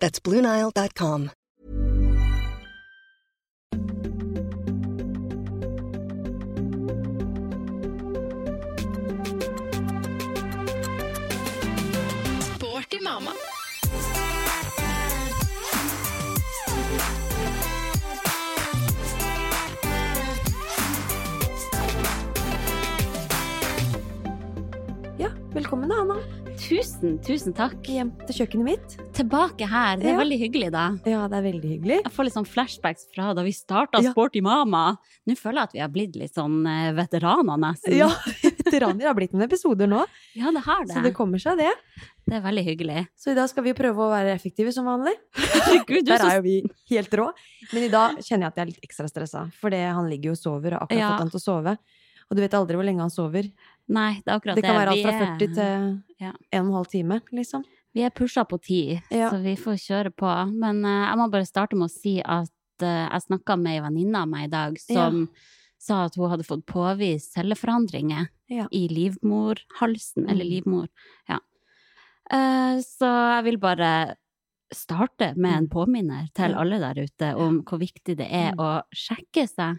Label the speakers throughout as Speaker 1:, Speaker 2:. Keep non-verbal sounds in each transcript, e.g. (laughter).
Speaker 1: That's BlueNile.com.
Speaker 2: Sporty mamma.
Speaker 3: Ja, velkommen da, Anna.
Speaker 4: Tusen, tusen takk.
Speaker 3: Hjem til kjøkkenet mitt.
Speaker 4: Tilbake her. Det er
Speaker 3: Ja.
Speaker 4: veldig hyggelig, da.
Speaker 3: Ja, det er veldig hyggelig.
Speaker 4: Jeg får litt sånn flashbacks fra da vi starta
Speaker 3: Ja.
Speaker 4: Sporty mamma. Nå føler jeg at vi har blitt litt sånn eh, veteraner, nesten.
Speaker 3: Ja, veteraner har blitt noen episoder nå,
Speaker 4: (laughs) Ja, det har
Speaker 3: så
Speaker 4: det.
Speaker 3: det kommer seg, det.
Speaker 4: Det er veldig hyggelig.
Speaker 3: Så i dag skal vi prøve å være effektive som vanlig. (laughs)
Speaker 4: Herregud, du
Speaker 3: Der
Speaker 4: er så
Speaker 3: er jo vi helt rå. Men i dag kjenner jeg at jeg er litt ekstra stressa, fordi han ligger jo og sover, og har akkurat
Speaker 4: Ja.
Speaker 3: fått han til å sove. Og du vet aldri hvor lenge han sover.
Speaker 4: Nei, det er akkurat
Speaker 3: Det
Speaker 4: det.
Speaker 3: kan være alt
Speaker 4: Vi
Speaker 3: fra
Speaker 4: er-
Speaker 3: 40 til
Speaker 4: Ja.
Speaker 3: 1 12 time, liksom.
Speaker 4: Vi er pusha på ti,
Speaker 3: Ja.
Speaker 4: så vi får kjøre på. Men eh, jeg må bare starte med å si at eh, jeg snakka med ei venninne av meg i dag som sa at hun hadde fått påvist celleforandringer
Speaker 3: Ja.
Speaker 4: i livmorhalsen, eller
Speaker 3: Mm.
Speaker 4: livmor. Ja. Eh, så jeg vil bare starte med
Speaker 3: Mm.
Speaker 4: en påminner til
Speaker 3: Ja.
Speaker 4: alle der ute om hvor viktig det er
Speaker 3: Mm.
Speaker 4: å sjekke seg.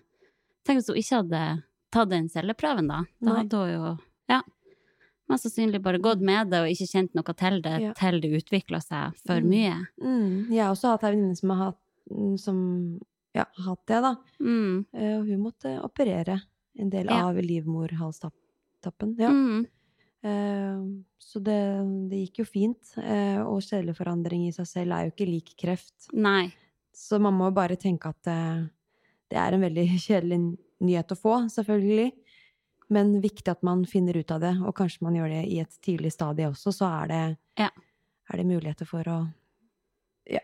Speaker 4: Tenk hvis hun ikke hadde tatt den celleprøven, da. Da
Speaker 3: Nei.
Speaker 4: hadde hun jo mest sannsynlig bare gått med det og ikke kjent noe til det
Speaker 3: Ja.
Speaker 4: til det utvikla seg for
Speaker 3: Mm.
Speaker 4: mye.
Speaker 3: Mm. Jeg har også hatt ei venninne som har hatt, mm, som, ja, har hatt det, da.
Speaker 4: Mm.
Speaker 3: Eh, Og hun måtte operere en del
Speaker 4: Ja.
Speaker 3: av livmorhalstappen. Ja.
Speaker 4: Mm.
Speaker 3: Eh, Så det, det gikk jo fint. eh, Og celleforandring i seg selv er jo ikke lik kreft.
Speaker 4: Nei.
Speaker 3: Så man må bare tenke at eh, det er en veldig (laughs) kjedelig nyhet å få, selvfølgelig. Men viktig at man finner ut av det, og kanskje man gjør det i et tidlig stadie også, så er det,
Speaker 4: Ja.
Speaker 3: er det muligheter for å ja,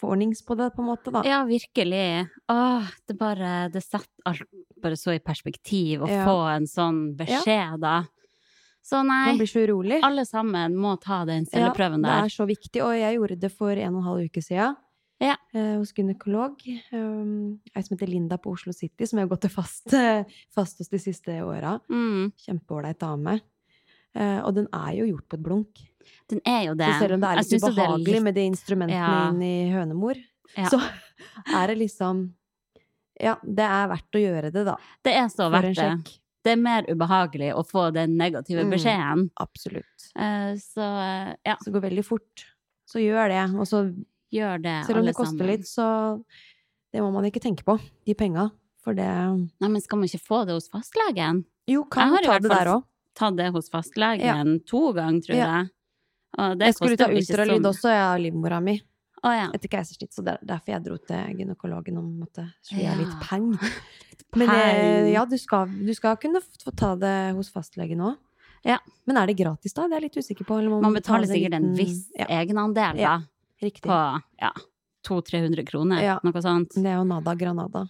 Speaker 3: få ordnings på det, på en måte, da.
Speaker 4: Ja, virkelig. Åh, det bare Det setter alt bare så i perspektiv å
Speaker 3: Ja.
Speaker 4: få en sånn beskjed, da. Så
Speaker 3: Man
Speaker 4: nei,
Speaker 3: blir så urolig.
Speaker 4: alle sammen må ta den
Speaker 3: Ja, det
Speaker 4: celleprøven der.
Speaker 3: er så viktig, og jeg gjorde det for en og en halv uke siden.
Speaker 4: Ja.
Speaker 3: eh, hos gynekolog. Um, ei som heter Linda på Oslo City, som jeg har gått til fast, (laughs) eh, fast hos de siste åra.
Speaker 4: Mm.
Speaker 3: Kjempeålreit dame. Eh, og den er jo gjort på et blunk.
Speaker 4: Den er jo det.
Speaker 3: Så selv om det er
Speaker 4: Jeg
Speaker 3: litt
Speaker 4: synes jo det er
Speaker 3: ubehagelig med de instrumentene
Speaker 4: Ja.
Speaker 3: inn i hønemor,
Speaker 4: Ja.
Speaker 3: så (laughs) er det liksom Ja, det er verdt å gjøre det, da.
Speaker 4: Det er så
Speaker 3: For en
Speaker 4: verdt det.
Speaker 3: sjekk.
Speaker 4: Det er mer ubehagelig å få den negative
Speaker 3: Mm.
Speaker 4: beskjeden.
Speaker 3: Absolutt.
Speaker 4: Eh, så eh, ja,
Speaker 3: Så det går veldig fort. Så gjør det. Og så
Speaker 4: gjør det,
Speaker 3: Selv om
Speaker 4: alle
Speaker 3: det koster
Speaker 4: sammen.
Speaker 3: litt, så det må man ikke tenke på, de penga. For det
Speaker 4: Nei, men skal man ikke få det hos fastlegen?
Speaker 3: Jo, kan
Speaker 4: har i
Speaker 3: ta
Speaker 4: hvert
Speaker 3: det
Speaker 4: fall
Speaker 3: der òg.
Speaker 4: ta det hos fastlegen to ganger, tror
Speaker 3: Ja.
Speaker 4: jeg. Og det
Speaker 3: Jeg skulle ta
Speaker 4: koster vel ikke
Speaker 3: ultralyd
Speaker 4: sånn-
Speaker 3: også, jeg og livmora mi,
Speaker 4: Å ja.
Speaker 3: etter keisersnitt. Så det er derfor jeg dro til gynekologen og måtte slo jeg litt
Speaker 4: Ja. (laughs)
Speaker 3: peng. Men
Speaker 4: peng.
Speaker 3: eh, ja, du skal, du skal kunne f- få ta det hos fastlegen òg.
Speaker 4: Ja.
Speaker 3: Men er det gratis, da? Det er jeg litt usikker på. eller må
Speaker 4: Man betaler
Speaker 3: betale
Speaker 4: sikkert en
Speaker 3: liten-
Speaker 4: viss eh,
Speaker 3: ja,
Speaker 4: egenandel, da.
Speaker 3: Ja, Riktig.
Speaker 4: På ja, 200-300 kroner,
Speaker 3: Ja.
Speaker 4: noe sånt.
Speaker 3: Det er jo nada granada.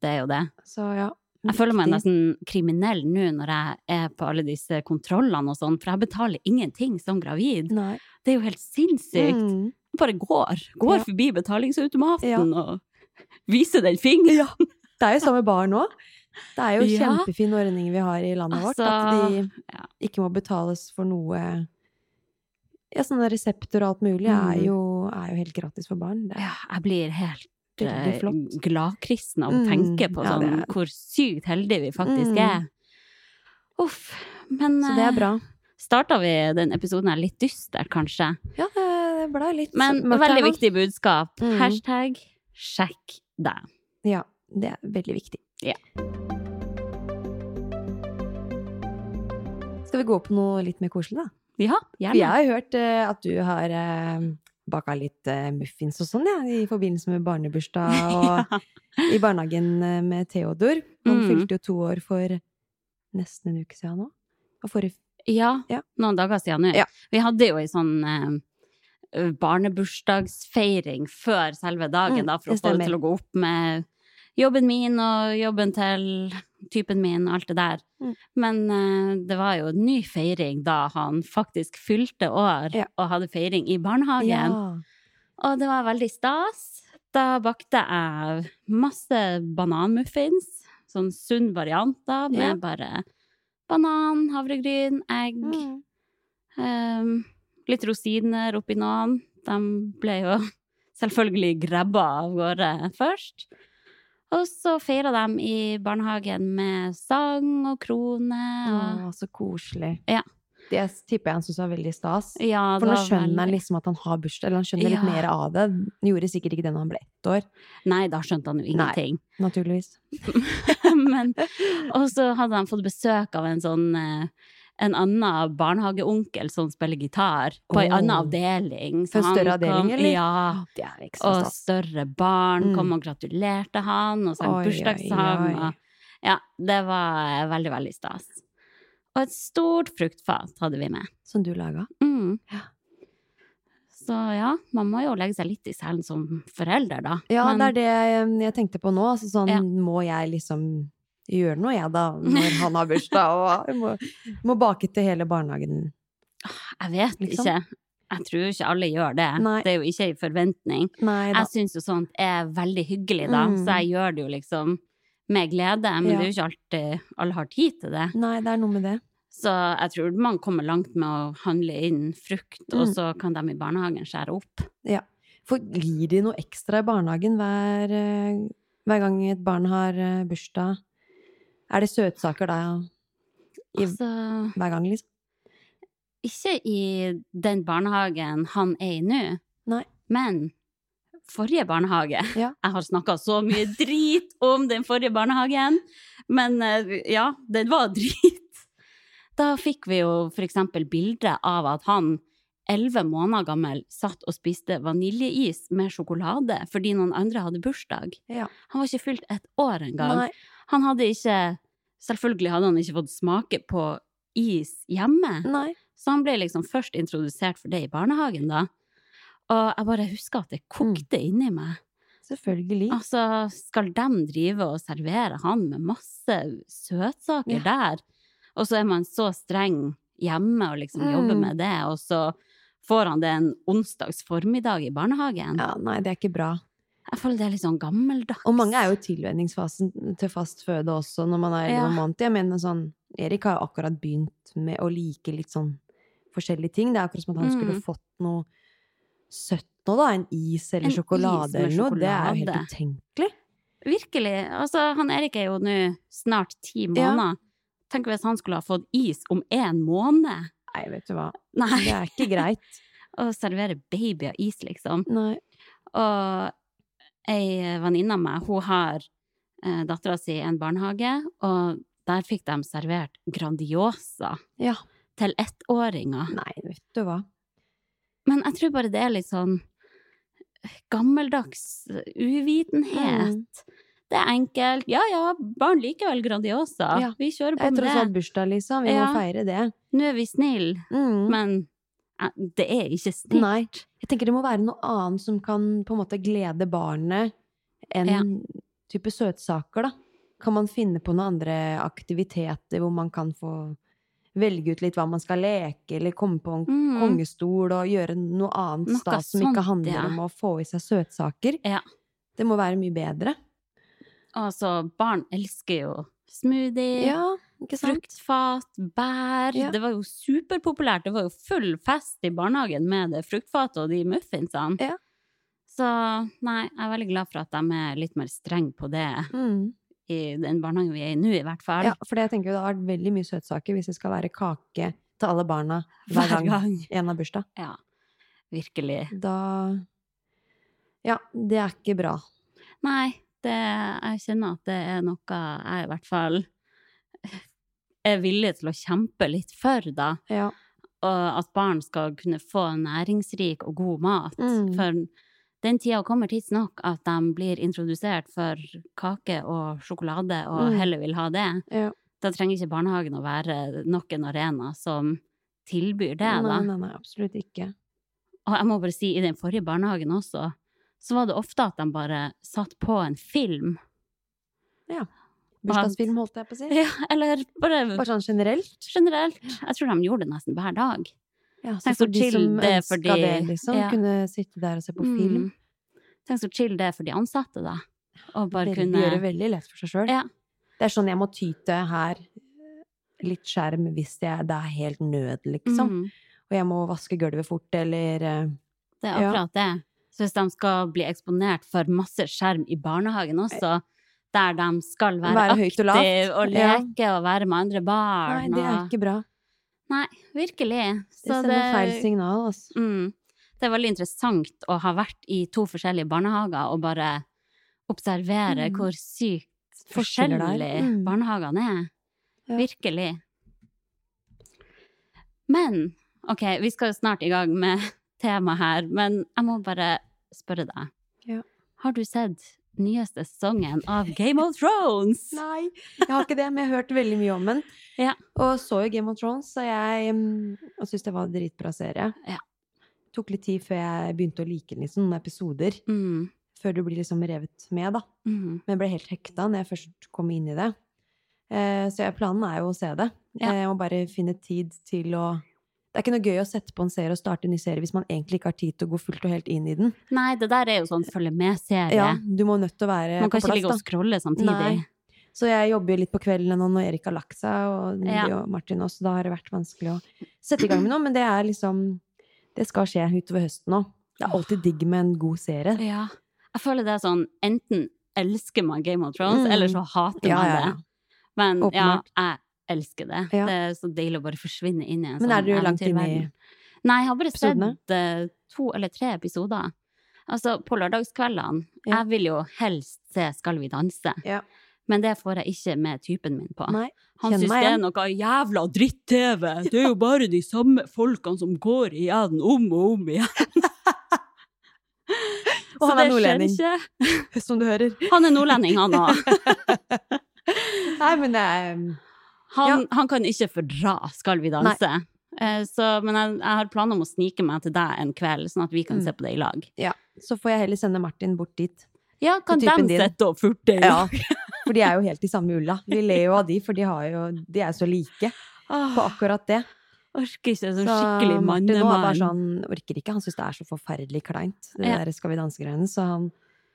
Speaker 4: Det er jo det.
Speaker 3: Så ja.
Speaker 4: Jeg føler meg
Speaker 3: riktig.
Speaker 4: nesten kriminell nå når jeg er på alle disse kontrollene og sånn, for jeg betaler ingenting som gravid.
Speaker 3: Nei.
Speaker 4: Det er jo helt sinnssykt.
Speaker 3: Mm.
Speaker 4: Jeg bare går. Går
Speaker 3: Ja.
Speaker 4: forbi betalingsautomaten
Speaker 3: Ja.
Speaker 4: og viser den fingeren.
Speaker 3: Ja. Det er jo samme bar nå. Det er jo
Speaker 4: Ja.
Speaker 3: kjempefin ordning vi har i landet vårt. At
Speaker 4: Altså,
Speaker 3: de ikke må betales for noe Ja, sånne resepter og alt mulig er
Speaker 4: Mm.
Speaker 3: jo, er jo helt gratis for barn. Det er
Speaker 4: Ja, jeg blir helt
Speaker 3: veldig flott.
Speaker 4: gladkristen av å
Speaker 3: Mm,
Speaker 4: tenke på
Speaker 3: ja, det
Speaker 4: sånn,
Speaker 3: er-
Speaker 4: hvor sykt heldige vi faktisk
Speaker 3: Mm.
Speaker 4: er. Uff. Men
Speaker 3: Så det er bra.
Speaker 4: starta vi den episoden her litt dyster, kanskje.
Speaker 3: Ja, det det ble litt
Speaker 4: Men
Speaker 3: mørkt her
Speaker 4: veldig
Speaker 3: nå.
Speaker 4: viktig budskap.
Speaker 3: Mm.
Speaker 4: Hashtag sjekk deg.
Speaker 3: Ja, det er veldig viktig.
Speaker 4: Ja.
Speaker 3: Skal vi gå på noe litt mer koselig, da?
Speaker 4: Ja,
Speaker 3: For jeg
Speaker 4: gjerne.
Speaker 3: har hørt eh, at du har uh, baka litt eh, muffins og sånn, ja, i forbindelse med barnebursdag og
Speaker 4: (laughs)
Speaker 3: (laughs)
Speaker 4: Ja.
Speaker 3: i barnehagen eh, med Theodor. Han
Speaker 4: Mm.
Speaker 3: fylte jo to år for nesten en uke siden nå. Og forrige
Speaker 4: Ja,
Speaker 3: Ja.
Speaker 4: noen dager siden nå.
Speaker 3: Ja.
Speaker 4: Vi hadde jo ei sånn eh, eh, barnebursdagsfeiring før selve dagen,
Speaker 3: Mm,
Speaker 4: da, for å
Speaker 3: det
Speaker 4: få
Speaker 3: stemmer.
Speaker 4: det til å gå opp med jobben min og jobben til typen min og alt det der.
Speaker 3: Mm.
Speaker 4: Men eh, det var jo en ny feiring da han faktisk fylte år
Speaker 3: Ja.
Speaker 4: og hadde feiring i barnehagen.
Speaker 3: Ja.
Speaker 4: Og det var veldig stas. Da bakte jeg masse bananmuffins, sånn sunn variant da, med
Speaker 3: Ja.
Speaker 4: bare banan, havregryn, egg,
Speaker 3: Mm.
Speaker 4: ehm, litt rosiner oppi noen. De ble jo (laughs) selvfølgelig grabba av gårde først. Og så feira de i barnehagen med sang og krone. Og,
Speaker 3: Å, så koselig.
Speaker 4: Ja.
Speaker 3: Det tipper jeg han syntes var veldig stas.
Speaker 4: ja,
Speaker 3: For
Speaker 4: det
Speaker 3: nå
Speaker 4: var
Speaker 3: skjønner
Speaker 4: veldig-
Speaker 3: han liksom at han har bursdag, eller han skjønner
Speaker 4: Ja.
Speaker 3: litt mer av det. Han gjorde sikkert ikke det når han ble ett år,
Speaker 4: Nei, da skjønte han jo
Speaker 3: Nei.
Speaker 4: ingenting. (laughs)
Speaker 3: naturligvis.
Speaker 4: Men, og så hadde han fått besøk av en sånn eh, en annen barnehageonkel som spiller gitar, på en
Speaker 3: Åh.
Speaker 4: annen avdeling.
Speaker 3: For en
Speaker 4: han
Speaker 3: større avdeling,
Speaker 4: kom-
Speaker 3: eller?
Speaker 4: Ja.
Speaker 3: Å, Ah, Det er ekstra
Speaker 4: Og
Speaker 3: stas.
Speaker 4: større barn
Speaker 3: sånn. Mm.
Speaker 4: kom og gratulerte han, og sang
Speaker 3: Oi, oi,
Speaker 4: bursdagssang.
Speaker 3: oi.
Speaker 4: og- Ja, det var eh, veldig, veldig stas. Og et stort fruktfat hadde vi med.
Speaker 3: Som du laga.
Speaker 4: Mm.
Speaker 3: Ja.
Speaker 4: Så ja, man må jo legge seg litt i selen som forelder, da.
Speaker 3: Ja,
Speaker 4: Men-
Speaker 3: det er det eh, jeg tenkte på nå. Altså sånn,
Speaker 4: Ja.
Speaker 3: må jeg liksom gjøre noe, jeg, da, når han har bursdag? Og jeg må, må bake til hele barnehagen.
Speaker 4: Jeg vet
Speaker 3: Liksom.
Speaker 4: ikke. Jeg tror ikke alle gjør det.
Speaker 3: Nei.
Speaker 4: Det er jo ikke en forventning.
Speaker 3: Nei da.
Speaker 4: Jeg syns jo sånt er veldig hyggelig, da,
Speaker 3: Mm.
Speaker 4: så jeg gjør det jo liksom med glede. Men
Speaker 3: Ja.
Speaker 4: det er jo ikke alltid alle har tid til det.
Speaker 3: Nei, det er noe med det.
Speaker 4: Så jeg tror man kommer langt med å handle inn frukt, og
Speaker 3: Mm.
Speaker 4: så kan de i barnehagen skjære opp.
Speaker 3: For gir de noe ekstra i barnehagen hver, eh, hver gang et barn har eh, bursdag? Er det søtsaker da I-
Speaker 4: Altså,
Speaker 3: hver gang, liksom?
Speaker 4: ikke i den barnehagen han er i nå,
Speaker 3: Nei.
Speaker 4: men forrige barnehage.
Speaker 3: Ja.
Speaker 4: (laughs) Jeg har snakka så mye drit om den forrige barnehagen, men eh, ja, den var drit. (laughs) Da fikk vi jo for eksempel bilde av at han, elleve måneder gammel, satt og spiste vaniljeis med sjokolade fordi noen andre hadde bursdag.
Speaker 3: Ja.
Speaker 4: Han var ikke fylt et år engang.
Speaker 3: Nei.
Speaker 4: Han hadde ikke Selvfølgelig hadde han ikke fått smake på is hjemme.
Speaker 3: Nei.
Speaker 4: Så han ble liksom først introdusert for det i barnehagen, da. Og jeg bare husker at det kokte
Speaker 3: Mm.
Speaker 4: inni meg.
Speaker 3: Selvfølgelig.
Speaker 4: Altså, skal de drive og servere han med masse søtsaker
Speaker 3: Ja.
Speaker 4: der? Og så er man så streng hjemme og liksom
Speaker 3: Mm.
Speaker 4: jobber med det, og så får han det en onsdags formiddag i barnehagen.
Speaker 3: Ja, nei, det er ikke bra.
Speaker 4: Jeg føler det er litt sånn gammeldags.
Speaker 3: Og mange er jo i tilvenningsfasen mm, til fast føde også, når man er
Speaker 4: Ja.
Speaker 3: noen måneder. Jeg mener sånn, Erik har jo akkurat begynt med å like litt sånn forskjellige ting. Det er akkurat som at han skulle
Speaker 4: Mm.
Speaker 3: fått noe søtt nå, da. En is eller
Speaker 4: En is
Speaker 3: sjokolade
Speaker 4: med
Speaker 3: eller noe. Det er jo helt
Speaker 4: sjokolade.
Speaker 3: utenkelig.
Speaker 4: Virkelig. Altså, han Erik er jo nå snart ti måneder. Tenk hvis han skulle ha fått is om én måned!
Speaker 3: Nei, vet du hva.
Speaker 4: Nei!
Speaker 3: Det er ikke
Speaker 4: (laughs)
Speaker 3: greit.
Speaker 4: Å servere babyer is, liksom.
Speaker 3: Nei.
Speaker 4: Og ei venninne av meg, hun har eh, dattera si i en barnehage, og der fikk de servert Grandiosa
Speaker 3: Ja.
Speaker 4: til ettåringer.
Speaker 3: Nei, vet du hva.
Speaker 4: Men jeg tror bare det er litt sånn gammeldags uvitenhet.
Speaker 3: Mm.
Speaker 4: Det er enkelt. Ja ja, barn liker vel Grandiosa.
Speaker 3: Ja.
Speaker 4: Vi kjører
Speaker 3: Det
Speaker 4: på
Speaker 3: er
Speaker 4: med
Speaker 3: tross alt
Speaker 4: det.
Speaker 3: bursdag, liksom. Vi
Speaker 4: Ja.
Speaker 3: må feire det.
Speaker 4: Nå er vi snille,
Speaker 3: Mm.
Speaker 4: men eh, det er ikke snilt.
Speaker 3: Nei. Jeg tenker det må være noe annet som kan på en måte glede barnet enn
Speaker 4: Ja.
Speaker 3: type søtsaker, da. Kan man finne på noen andre aktiviteter hvor man kan få velge ut litt hva man skal leke, eller komme på en
Speaker 4: Mm.
Speaker 3: kongestol og gjøre noe annet
Speaker 4: Noe
Speaker 3: stas som
Speaker 4: sånt,
Speaker 3: ikke handler
Speaker 4: ja.
Speaker 3: om å få i seg søtsaker?
Speaker 4: Ja.
Speaker 3: Det må være mye bedre.
Speaker 4: Altså, barn elsker jo smoothie.
Speaker 3: Ja, ikke sant?
Speaker 4: Fruktfat, bær.
Speaker 3: Ja.
Speaker 4: Det var jo superpopulært. Det var jo full fest i barnehagen med det fruktfatet og de muffinsene.
Speaker 3: Ja.
Speaker 4: Så nei, jeg er veldig glad for at de er litt mer streng på det
Speaker 3: Mm.
Speaker 4: i den barnehagen vi er i nå, i hvert fall.
Speaker 3: Ja, for det jeg tenker jo det har vært veldig mye søtsaker hvis det skal være kake til alle
Speaker 4: (laughs)
Speaker 3: barna hver
Speaker 4: Hver
Speaker 3: gang
Speaker 4: gang.
Speaker 3: en har bursdag.
Speaker 4: Ja, virkelig.
Speaker 3: Da Ja, det er ikke bra.
Speaker 4: Nei, det, jeg kjenner at det er noe jeg i hvert fall er villig til å kjempe litt for, da.
Speaker 3: Ja.
Speaker 4: og at barn skal kunne få næringsrik og god mat.
Speaker 3: Mm.
Speaker 4: For den tida kommer tidsnok at de blir introdusert for kake og sjokolade, og
Speaker 3: Mm.
Speaker 4: heller vil ha det.
Speaker 3: Ja.
Speaker 4: Da trenger ikke barnehagen å være nok en arena som tilbyr det,
Speaker 3: nei,
Speaker 4: da.
Speaker 3: nei, nei, absolutt ikke.
Speaker 4: Og jeg må bare si, i den forrige barnehagen også, så var det ofte at de bare satt på en film.
Speaker 3: Bursdagsfilm, holdt jeg på å si.
Speaker 4: (laughs) Ja, eller bare
Speaker 3: Bare sånn generelt.
Speaker 4: generelt. Jeg tror de gjorde det nesten hver dag.
Speaker 3: Ja, så
Speaker 4: Tenk
Speaker 3: for
Speaker 4: så
Speaker 3: de
Speaker 4: chill
Speaker 3: som
Speaker 4: det er
Speaker 3: ønska
Speaker 4: for de-
Speaker 3: det, liksom,
Speaker 4: ja.
Speaker 3: kunne sitte der og se på film.
Speaker 4: Mm. Tenk så chill det er for de ansatte, da. Og bare
Speaker 3: Veldig,
Speaker 4: kunne
Speaker 3: Gjøre veldig lett for seg sjøl.
Speaker 4: Ja.
Speaker 3: Det er sånn jeg må ty til her. eh, Litt skjerm hvis jeg, det er helt nød, liksom.
Speaker 4: Mm.
Speaker 3: Og jeg må vaske gulvet fort, eller eh,
Speaker 4: Det er
Speaker 3: Ja.
Speaker 4: akkurat det. Så hvis de skal bli eksponert for masse skjerm i barnehagen også, der de skal være,
Speaker 3: Være høyt og
Speaker 4: aktive
Speaker 3: lavt.
Speaker 4: og,
Speaker 3: Ja.
Speaker 4: leke og være med andre
Speaker 3: Nei,
Speaker 4: barn
Speaker 3: det er ikke bra.
Speaker 4: og Nei,
Speaker 3: Det
Speaker 4: virkelig.
Speaker 3: sender feil signal, altså.
Speaker 4: Mm. Det er veldig interessant å ha vært i to forskjellige barnehager og bare observere
Speaker 3: Mm.
Speaker 4: hvor sykt
Speaker 3: Forskjeller der.
Speaker 4: forskjellige
Speaker 3: Mm.
Speaker 4: barnehagene er.
Speaker 3: Ja.
Speaker 4: Virkelig. Men OK, vi skal jo snart i gang med (laughs) temaet her, men jeg må bare spørre deg.
Speaker 3: Ja.
Speaker 4: Har du sett nyeste sesongen av Game of Thrones?
Speaker 3: (laughs) Nei, jeg har ikke det, men jeg har hørt veldig mye om den.
Speaker 4: Ja.
Speaker 3: Og så jo Game of Thrones, så jeg mm, og syntes det var en dritbra serie.
Speaker 4: Ja.
Speaker 3: Tok litt tid før jeg begynte å like den, liksom, noen episoder.
Speaker 4: Mm.
Speaker 3: Før du blir liksom revet med, da.
Speaker 4: Mm.
Speaker 3: Men jeg ble helt hekta når jeg først kom inn i det. Eh, Så jeg, planen er jo å se det.
Speaker 4: Ja.
Speaker 3: Eh, Og bare finne tid til å Det er ikke noe gøy å sette på en serie og starte en ny serie hvis man egentlig ikke har tid til å gå fullt og helt inn i den.
Speaker 4: Nei, det der er jo sånn følge med-serie.
Speaker 3: Ja, du må nødt til å være
Speaker 4: Man
Speaker 3: på
Speaker 4: kan ikke
Speaker 3: plass,
Speaker 4: ligge
Speaker 3: da.
Speaker 4: og scrolle samtidig.
Speaker 3: Nei. Så jeg jobber jo litt på kvelden nå når Erik har lagt seg, og
Speaker 4: Ja.
Speaker 3: Nidi og Martin også, så da har det vært vanskelig å sette i gang med noe. Men det er liksom Det skal skje utover høsten òg. Det er alltid digg med en god serie.
Speaker 4: Ja. Jeg føler det er sånn Enten elsker man Game of Thrones,
Speaker 3: Mm.
Speaker 4: eller så hater
Speaker 3: Ja,
Speaker 4: man
Speaker 3: ja, ja.
Speaker 4: det. Men
Speaker 3: Åpenbart.
Speaker 4: ja, jeg elsker det.
Speaker 3: Ja.
Speaker 4: Det er så deilig å bare forsvinne inn i en
Speaker 3: Men
Speaker 4: sånn
Speaker 3: er du langt inn i
Speaker 4: eventyrverden. Nei, jeg har bare
Speaker 3: episodene?
Speaker 4: sett eh, to eller tre episoder. Altså, på lørdagskveldene
Speaker 3: Ja.
Speaker 4: Jeg vil jo helst se Skal vi danse,
Speaker 3: Ja.
Speaker 4: men det får jeg ikke med typen min på.
Speaker 3: Nei.
Speaker 4: Han
Speaker 3: kjenn
Speaker 4: syns
Speaker 3: meg
Speaker 4: det er
Speaker 3: igjen.
Speaker 4: noe jævla dritt-TV!
Speaker 3: (laughs)
Speaker 4: Det er jo bare de samme folkene som går igjen om og om igjen!
Speaker 3: Og han
Speaker 4: Så
Speaker 3: er
Speaker 4: det skjer
Speaker 3: nordlending,
Speaker 4: ikke.
Speaker 3: som du hører.
Speaker 4: Han er nordlending, han òg.
Speaker 3: Nei, men det er um,
Speaker 4: Han,
Speaker 3: Ja.
Speaker 4: han kan ikke fordra Skal vi danse. Eh, Så, men jeg, jeg har planer om å snike meg til deg en kveld, sånn at vi kan
Speaker 3: Mm.
Speaker 4: se på det i lag.
Speaker 3: Så får jeg heller sende Martin bort dit.
Speaker 4: Ja, kan
Speaker 3: typen
Speaker 4: dem
Speaker 3: din.
Speaker 4: sitte og furte i lag?
Speaker 3: For de er jo helt i samme ulla. Vi ler jo av de, for de, har jo, de er så like på
Speaker 4: Åh,
Speaker 3: akkurat det.
Speaker 4: Orker ikke sånn
Speaker 3: Så
Speaker 4: skikkelig
Speaker 3: Martin nå er bare
Speaker 4: mannemann.
Speaker 3: sånn, orker ikke. Han syns det er så forferdelig kleint, det
Speaker 4: Ja.
Speaker 3: der Skal vi danse-greiene. Så han,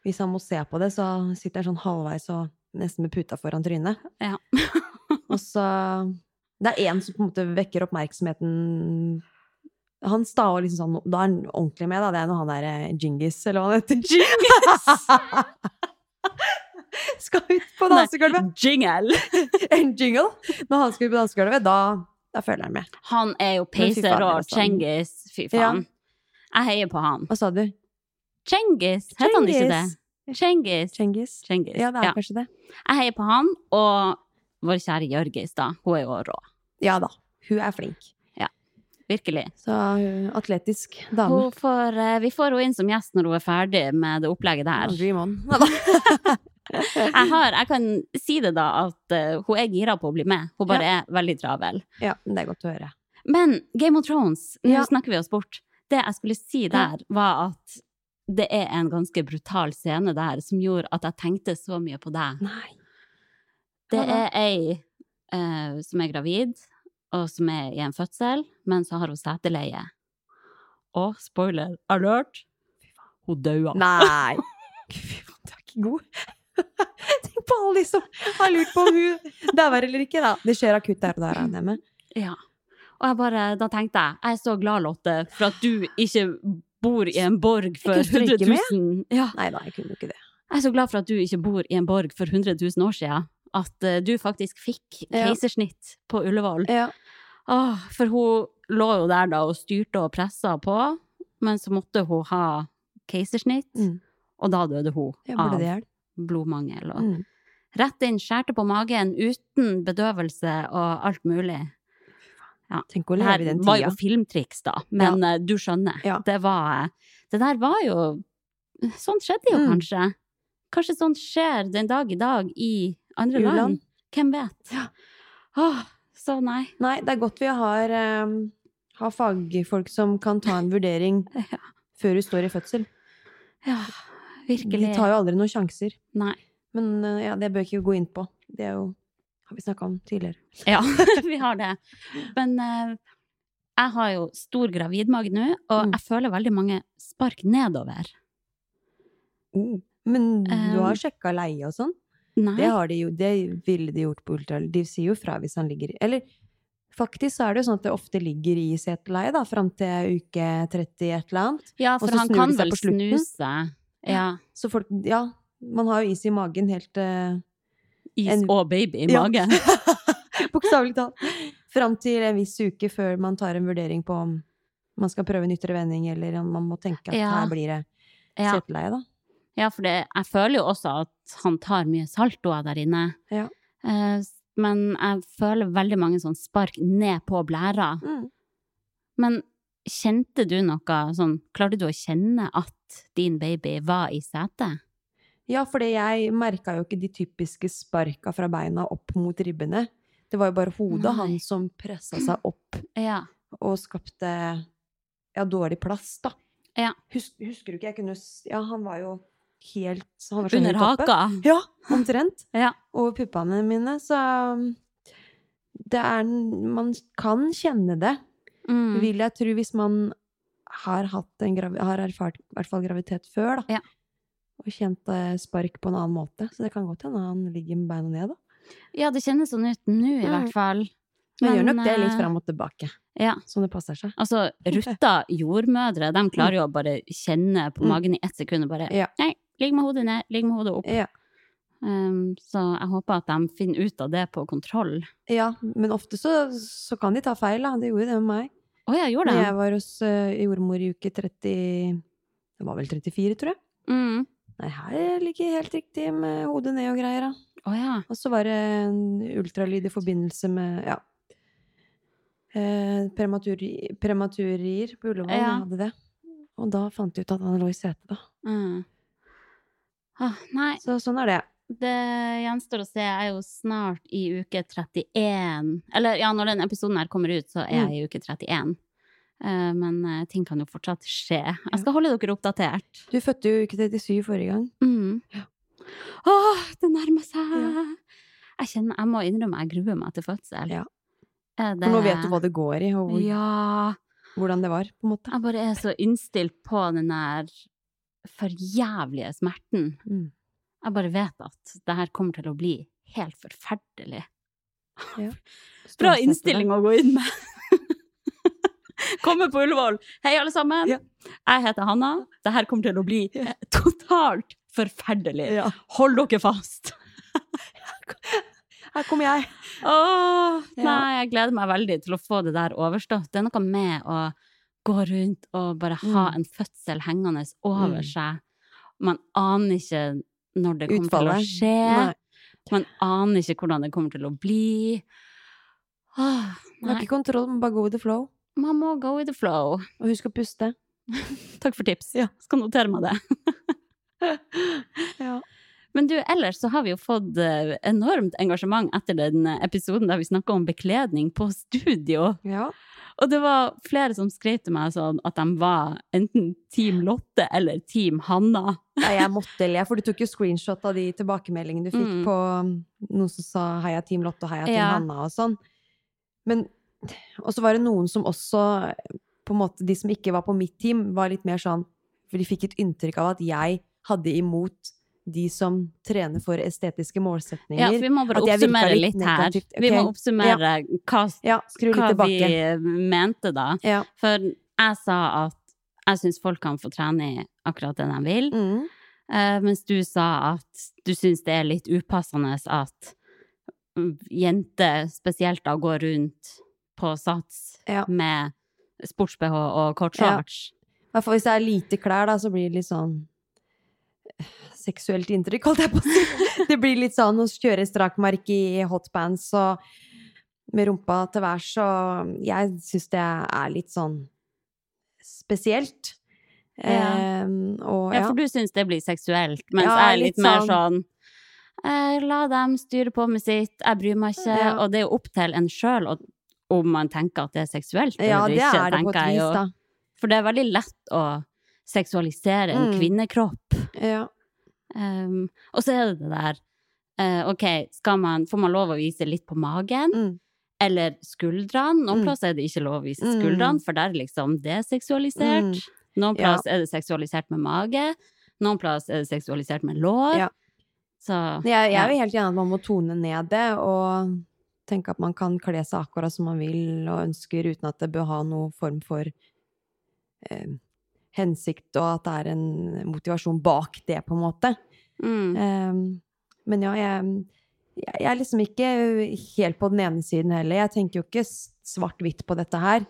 Speaker 3: hvis han må se på det, så sitter han sånn halvveis og nesten med puta foran trynet.
Speaker 4: Ja. (laughs)
Speaker 3: og så Det er én som på en måte vekker oppmerksomheten hans, da, og liksom sånn Da er han ordentlig med, da. Det er når han der eh, Djingis, eller hva han heter. (laughs) Skal ut på
Speaker 4: Nei.
Speaker 3: dansegulvet!
Speaker 4: Jingle!
Speaker 3: En jingle! Når han skal ut på dansegulvet, da, da føler han med.
Speaker 4: Han er jo
Speaker 3: Men fy faen,
Speaker 4: peiser og
Speaker 3: det er sant.
Speaker 4: Cengiz. Fy faen. Jeg heier på han.
Speaker 3: Hva sa du?
Speaker 4: Cengiz, heter han ikke det?
Speaker 3: Djingis.
Speaker 4: Cengiz.
Speaker 3: Cengiz.
Speaker 4: Cengiz.
Speaker 3: Ja, det er kanskje det.
Speaker 4: Jeg heier på han, og vår kjære Jørgis, da. Hun er jo rå.
Speaker 3: Ja da. Hun er flink.
Speaker 4: Virkelig.
Speaker 3: Så hun atletisk dame.
Speaker 4: Hun får, eh, vi får henne inn som gjest når hun er ferdig med det opplegget
Speaker 3: Ja,
Speaker 4: der.
Speaker 3: Dream on. Ja, da.
Speaker 4: Jeg, (laughs) har, jeg kan si det, da, at eh, hun er gira på å bli med. Hun bare er veldig travel.
Speaker 3: (laughs) ja, men det er godt å høre.
Speaker 4: Men Game of Thrones, nå
Speaker 3: Ja.
Speaker 4: snakker vi oss bort. Det jeg skulle si der, var at det er en ganske brutal scene der som gjorde at jeg tenkte så mye på deg.
Speaker 3: Nei.
Speaker 4: Det
Speaker 3: Hva da?
Speaker 4: er ei eh, som er gravid, og som er i en fødsel, men så har hun seteleie. Og spoiler alert, hun daua.
Speaker 3: (laughs) Nei. Fy faen, du er ikke god. (laughs) Tenk på alle de som har lurt på om hun dauer eller ikke, da. Det skjer akutt der og der, regner jeg med.
Speaker 4: Ja. Og jeg bare, da tenkte jeg, jeg er så glad, Lotte, for at du ikke bor i en borg for
Speaker 3: kunne
Speaker 4: 100
Speaker 3: stryke med.
Speaker 4: 000 ja.
Speaker 3: Nei da, jeg kunne jo ikke det.
Speaker 4: Jeg er så glad for at du ikke bor i en borg for 100 000 år siden. At eh, du faktisk fikk
Speaker 3: Ja.
Speaker 4: keisersnitt på Ullevål.
Speaker 3: Ja.
Speaker 4: Åh, for hun lå jo der da og styrte og pressa på, men så måtte hun ha keisersnitt,
Speaker 3: Mm.
Speaker 4: og da døde hun
Speaker 3: Jeg
Speaker 4: av
Speaker 3: burde det gjøre.
Speaker 4: blodmangel. Og
Speaker 3: Mm.
Speaker 4: Rett inn, skjærte på magen uten bedøvelse og alt mulig.
Speaker 3: Tenk å
Speaker 4: Det
Speaker 3: leve
Speaker 4: her
Speaker 3: i den
Speaker 4: var jo
Speaker 3: tida.
Speaker 4: filmtriks, da, men eh, du skjønner.
Speaker 3: Ja.
Speaker 4: Det, var, det der var jo Sånt skjedde jo
Speaker 3: Mm.
Speaker 4: kanskje. Kanskje sånt skjer den dag i dag i andre
Speaker 3: U-land.
Speaker 4: land. Hvem vet?
Speaker 3: Ja.
Speaker 4: Åh, så nei.
Speaker 3: Nei, det er godt vi har, eh, Ha fagfolk som kan ta en vurdering
Speaker 4: Ja.
Speaker 3: før hun står i fødsel.
Speaker 4: Ja, virkelig.
Speaker 3: De tar jo aldri noen sjanser.
Speaker 4: Nei.
Speaker 3: Men eh, ja, det bør jeg ikke gå inn på. Det er jo har vi snakka om tidligere.
Speaker 4: Ja, (laughs) vi har det. Men eh, jeg har jo stor gravidmage nå, og
Speaker 3: Mm.
Speaker 4: jeg føler veldig mange spark nedover.
Speaker 3: Men du
Speaker 4: Um,
Speaker 3: har sjekka leie og sånn?
Speaker 4: Nei.
Speaker 3: Det, har de jo, det ville de gjort på ultralyd. De sier jo fra hvis han ligger Eller faktisk så er det jo sånn at det ofte ligger i seteleie, da, fram til uke 30 et eller annet.
Speaker 4: Ja,
Speaker 3: Og
Speaker 4: for
Speaker 3: så
Speaker 4: han
Speaker 3: snur
Speaker 4: kan
Speaker 3: de seg
Speaker 4: vel
Speaker 3: på slutten.
Speaker 4: snuse. Ja.
Speaker 3: Så folk Ja, man har jo is i magen helt eh,
Speaker 4: Is
Speaker 3: En-
Speaker 4: og baby i
Speaker 3: ja.
Speaker 4: magen.
Speaker 3: (laughs) Bokstavelig talt. Fram til en viss uke før man tar en vurdering på om man skal prøve en ytre vending, eller om man må tenke at
Speaker 4: Ja.
Speaker 3: her blir det
Speaker 4: Ja,
Speaker 3: seteleie, da.
Speaker 4: ja for det, jeg føler jo også at han tar mye saltoer der inne.
Speaker 3: Ja.
Speaker 4: Eh, men jeg føler veldig mange sånn spark ned på blæra.
Speaker 3: Mm.
Speaker 4: Men kjente du noe sånn Klarte du å kjenne at din baby var i setet?
Speaker 3: Ja, for det- jeg merka jo ikke de typiske sparka fra beina opp mot ribbene. Det var jo bare hodet
Speaker 4: Nei.
Speaker 3: han som pressa seg opp
Speaker 4: Ja.
Speaker 3: og skapte ja, dårlig plass, da.
Speaker 4: Ja.
Speaker 3: Hus- husker du ikke? Jeg kunne s- Ja, han var jo helt han var sånn så
Speaker 4: Under
Speaker 3: høyt oppe.
Speaker 4: haka?
Speaker 3: Ja, omtrent.
Speaker 4: Ja.
Speaker 3: Over puppene mine. Så um, det er n- Man kan kjenne det,
Speaker 4: Mm.
Speaker 3: vil jeg tro, hvis man har, hatt en gravi har erfart i hvert fall graviditet før, da.
Speaker 4: Ja.
Speaker 3: Og kjent eh, spark på en annen måte. Så det kan godt hende han ligger med beina ned, da.
Speaker 4: Ja, det kjennes sånn ut nå,
Speaker 3: Mm.
Speaker 4: i hvert fall.
Speaker 3: Men, gjør nok det
Speaker 4: eh,
Speaker 3: litt fram og tilbake,
Speaker 4: Ja.
Speaker 3: som det passer seg.
Speaker 4: Altså, rutta jordmødre, de klarer jo å bare kjenne på
Speaker 3: Mm.
Speaker 4: magen i ett sekund og bare
Speaker 3: Ja.
Speaker 4: Nei, ligg med hodet ned, ligg med hodet opp.
Speaker 3: Ja.
Speaker 4: Um, så jeg håper at de finner ut av det på kontroll.
Speaker 3: ja, men ofte så, så kan de ta feil, da. Det gjorde det med meg.
Speaker 4: Å ja, gjorde
Speaker 3: Da
Speaker 4: det?
Speaker 3: jeg var hos eh, jordmor i uke 30 Det var vel 34, tror jeg.
Speaker 4: Mm.
Speaker 3: Nei, her ligger jeg helt riktig med hodet ned og greier, da.
Speaker 4: Å ja.
Speaker 3: Og så var det en ultralyd i forbindelse med ja. Eh, prematuri, prematurier på Ullevål.
Speaker 4: Ja.
Speaker 3: Jeg hadde det. Og da fant de ut at han lå i setet, da.
Speaker 4: Mm. Ah, nei,
Speaker 3: Så sånn er det.
Speaker 4: det gjenstår å se. Jeg er jo snart i uke 31. Eller ja, når den episoden her kommer ut, så
Speaker 3: Mm.
Speaker 4: er jeg i uke 31. Eh, men eh, ting kan jo fortsatt skje. Jeg skal holde dere oppdatert.
Speaker 3: Du fødte jo uke 37 forrige gang.
Speaker 4: Mm. Åh, det nærmer seg!
Speaker 3: Ja.
Speaker 4: Jeg kjenner, jeg må innrømme jeg gruer meg til fødsel.
Speaker 3: Ja.
Speaker 4: Er
Speaker 3: For nå vet du hva det går i, og hvor,
Speaker 4: Ja.
Speaker 3: hvordan det var, på en måte.
Speaker 4: Jeg bare er så innstilt på den der forjævlige smerten.
Speaker 3: Mm.
Speaker 4: Jeg bare vet at det her kommer til å bli helt forferdelig. Bra
Speaker 3: Stålsette deg.
Speaker 4: innstilling å gå inn med. (laughs) Kommer på Ullevål. Hei, alle sammen.
Speaker 3: Ja.
Speaker 4: Jeg heter Hanna. Det her kommer til å bli eh, totalt forferdelig.
Speaker 3: Ja.
Speaker 4: Hold dere fast.
Speaker 3: Her kommer jeg.
Speaker 4: Åh,
Speaker 3: Ja.
Speaker 4: nei, jeg gleder meg veldig til å få det der overstått. Det er noe med å gå rundt og bare ha
Speaker 3: Mm.
Speaker 4: en fødsel hengende over
Speaker 3: Mm.
Speaker 4: seg. Man aner ikke når det kommer til å
Speaker 3: Utfallet.
Speaker 4: skje.
Speaker 3: Nei.
Speaker 4: Man aner ikke hvordan det kommer til å bli. Åh,
Speaker 3: Du har
Speaker 4: nei.
Speaker 3: ikke kontroll, men bare go with the flow.
Speaker 4: Man må go with the flow.
Speaker 3: Og husk å puste.
Speaker 4: Takk for tips. Skal notere meg det.
Speaker 3: Ja.
Speaker 4: Men du, ellers så har vi jo fått eh, enormt engasjement etter den eh, episoden der vi snakka om bekledning på studio.
Speaker 3: ja.
Speaker 4: Og det var flere som skrev til meg sånn at de var enten Team Lotte eller Team Hanna.
Speaker 3: Nei, jeg måtte le, for du tok jo screenshot av de tilbakemeldingene du fikk
Speaker 4: Mm.
Speaker 3: på um, noen som sa 'heia Team Lotte' og 'heia Team
Speaker 4: Ja.
Speaker 3: Hanna' og sånn. Men Og så var det noen som også, på en måte, de som ikke var på mitt team, var litt mer sånn For de fikk et inntrykk av at jeg hadde imot de som trener for estetiske målsetninger.
Speaker 4: Ja,
Speaker 3: Ja,
Speaker 4: for vi må bare
Speaker 3: At jeg virka
Speaker 4: oppsummere
Speaker 3: litt
Speaker 4: litt her.
Speaker 3: negativt.
Speaker 4: Vi må
Speaker 3: Ok.
Speaker 4: oppsummere hva,
Speaker 3: skru litt
Speaker 4: hva vi
Speaker 3: tilbake.
Speaker 4: mente da.
Speaker 3: Ja.
Speaker 4: For jeg sa at jeg syns folk kan få trene i akkurat det de vil,
Speaker 3: Mm.
Speaker 4: eh, mens du sa at du syns det er litt upassende at mm, jenter spesielt da går rundt på sats
Speaker 3: Ja.
Speaker 4: med sports-BH og kort shorts.
Speaker 3: I hvert fall hvis det er lite klær, da, så blir det litt sånn eh, Seksuelt inntrykk, holdt jeg på å si. (laughs) Det blir litt sånn å kjøre strakmark i hotpants og med rumpa til værs, og jeg syns det er litt sånn spesielt.
Speaker 4: Ja.
Speaker 3: Ehm, og
Speaker 4: Ja,
Speaker 3: ja.
Speaker 4: for du syns det blir seksuelt, mens
Speaker 3: Ja,
Speaker 4: jeg er litt,
Speaker 3: litt
Speaker 4: mer sånn eh, La dem styre på med sitt, jeg bryr meg ikke.
Speaker 3: Ja.
Speaker 4: Og det er jo opp til en sjøl å om man tenker at det er seksuelt eller
Speaker 3: Ja, det
Speaker 4: ikke,
Speaker 3: er det på et
Speaker 4: tenker jeg jo.
Speaker 3: vis, da.
Speaker 4: For det er veldig lett å seksualisere en
Speaker 3: Mm.
Speaker 4: kvinnekropp.
Speaker 3: Ja.
Speaker 4: Um, og så er det det der eh, OK, skal man, får man lov å vise litt på magen?
Speaker 3: Mm.
Speaker 4: Eller skuldrene? Noen
Speaker 3: Mm.
Speaker 4: plasser er det ikke lov å vise
Speaker 3: Mm.
Speaker 4: skuldrene, for der er liksom det seksualisert.
Speaker 3: Mm.
Speaker 4: Noen
Speaker 3: Ja.
Speaker 4: plass er det seksualisert med mage. Noen plass er det seksualisert med lår.
Speaker 3: Ja.
Speaker 4: Så
Speaker 3: Jeg, jeg
Speaker 4: Ja.
Speaker 3: er jo helt enig i at man må tone ned det, og tenke at man kan kle seg akkurat som man vil og ønsker, uten at det bør ha noen form for eh, hensikt, og at det er en motivasjon bak det, på en måte.
Speaker 4: mm.
Speaker 3: Ehm, men ja, jeg, jeg jeg er liksom ikke helt på den ene siden heller. Jeg tenker jo ikke s- svart-hvitt på dette her.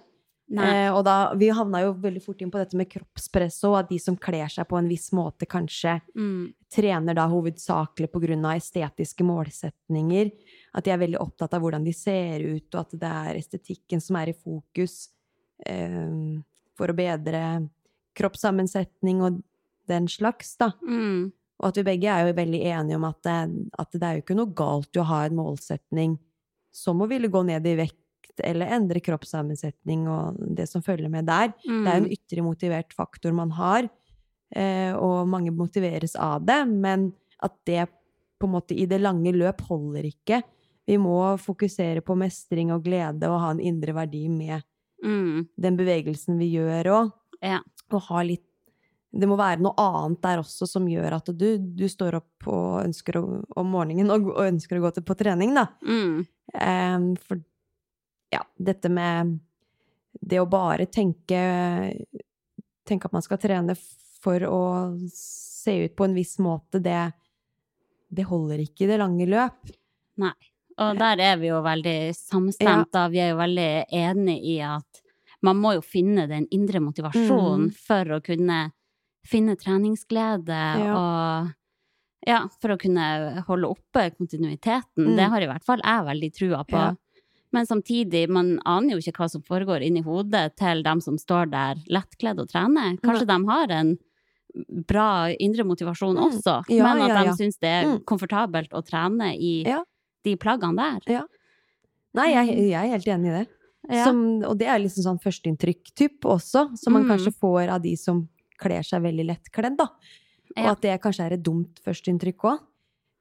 Speaker 4: Nei.
Speaker 3: Eh, og da, vi havna jo veldig fort inn på dette med kroppspress og at de som kler seg på en viss måte, kanskje
Speaker 4: Mm.
Speaker 3: trener da hovedsakelig pga. estetiske målsetninger. At de er veldig opptatt av hvordan de ser ut, og at det er estetikken som er i fokus eh, for å bedre kroppssammensetning og den slags, da.
Speaker 4: Mm.
Speaker 3: Og at vi begge er jo veldig enige om at det, at det er jo ikke noe galt i å ha en målsetning som å ville gå ned i vekt eller endre kroppssammensetning og det som følger med der.
Speaker 4: Mm.
Speaker 3: Det er jo en ytre motivert faktor man har, eh, og mange motiveres av det, men at det på en måte i det lange løp holder ikke. Vi må fokusere på mestring og glede og ha en indre verdi med
Speaker 4: mm.
Speaker 3: den bevegelsen vi gjør òg.
Speaker 4: Ja.
Speaker 3: Og ha litt Det må være noe annet der også som gjør at du, du står opp og ønsker å, om morgenen og, og ønsker å gå til, på trening, da.
Speaker 4: Mm.
Speaker 3: Em, Ehm, for ja, dette med det å bare tenke Tenke at man skal trene for å se ut på en viss måte, det, det holder ikke i det lange løp.
Speaker 4: Og der er vi jo veldig
Speaker 3: Ja.
Speaker 4: samstemt, da. Vi er jo veldig enige i at man må jo finne den indre
Speaker 3: Mm.
Speaker 4: motivasjonen for å kunne finne treningsglede
Speaker 3: Ja.
Speaker 4: og Ja, for å kunne holde oppe kontinuiteten.
Speaker 3: Mm.
Speaker 4: Det har i hvert fall jeg veldig trua på.
Speaker 3: Ja.
Speaker 4: Men samtidig, man aner jo ikke hva som foregår inni hodet til dem som står der lettkledd og trener. Kanskje de har en bra indre motivasjon
Speaker 3: Mm.
Speaker 4: også,
Speaker 3: Ja,
Speaker 4: men at
Speaker 3: ja, ja.
Speaker 4: de syns det er
Speaker 3: Mm.
Speaker 4: komfortabelt å trene i
Speaker 3: Ja.
Speaker 4: de plaggene der.
Speaker 3: Nei, jeg, jeg er helt enig i det.
Speaker 4: Mm. Ja.
Speaker 3: Som, og det er liksom sånn førsteinntrykk-typ også, som man
Speaker 4: Mm.
Speaker 3: kanskje får av de som kler seg veldig lettkledd, da. Og
Speaker 4: Ja.
Speaker 3: at det kanskje er et dumt førsteinntrykk òg.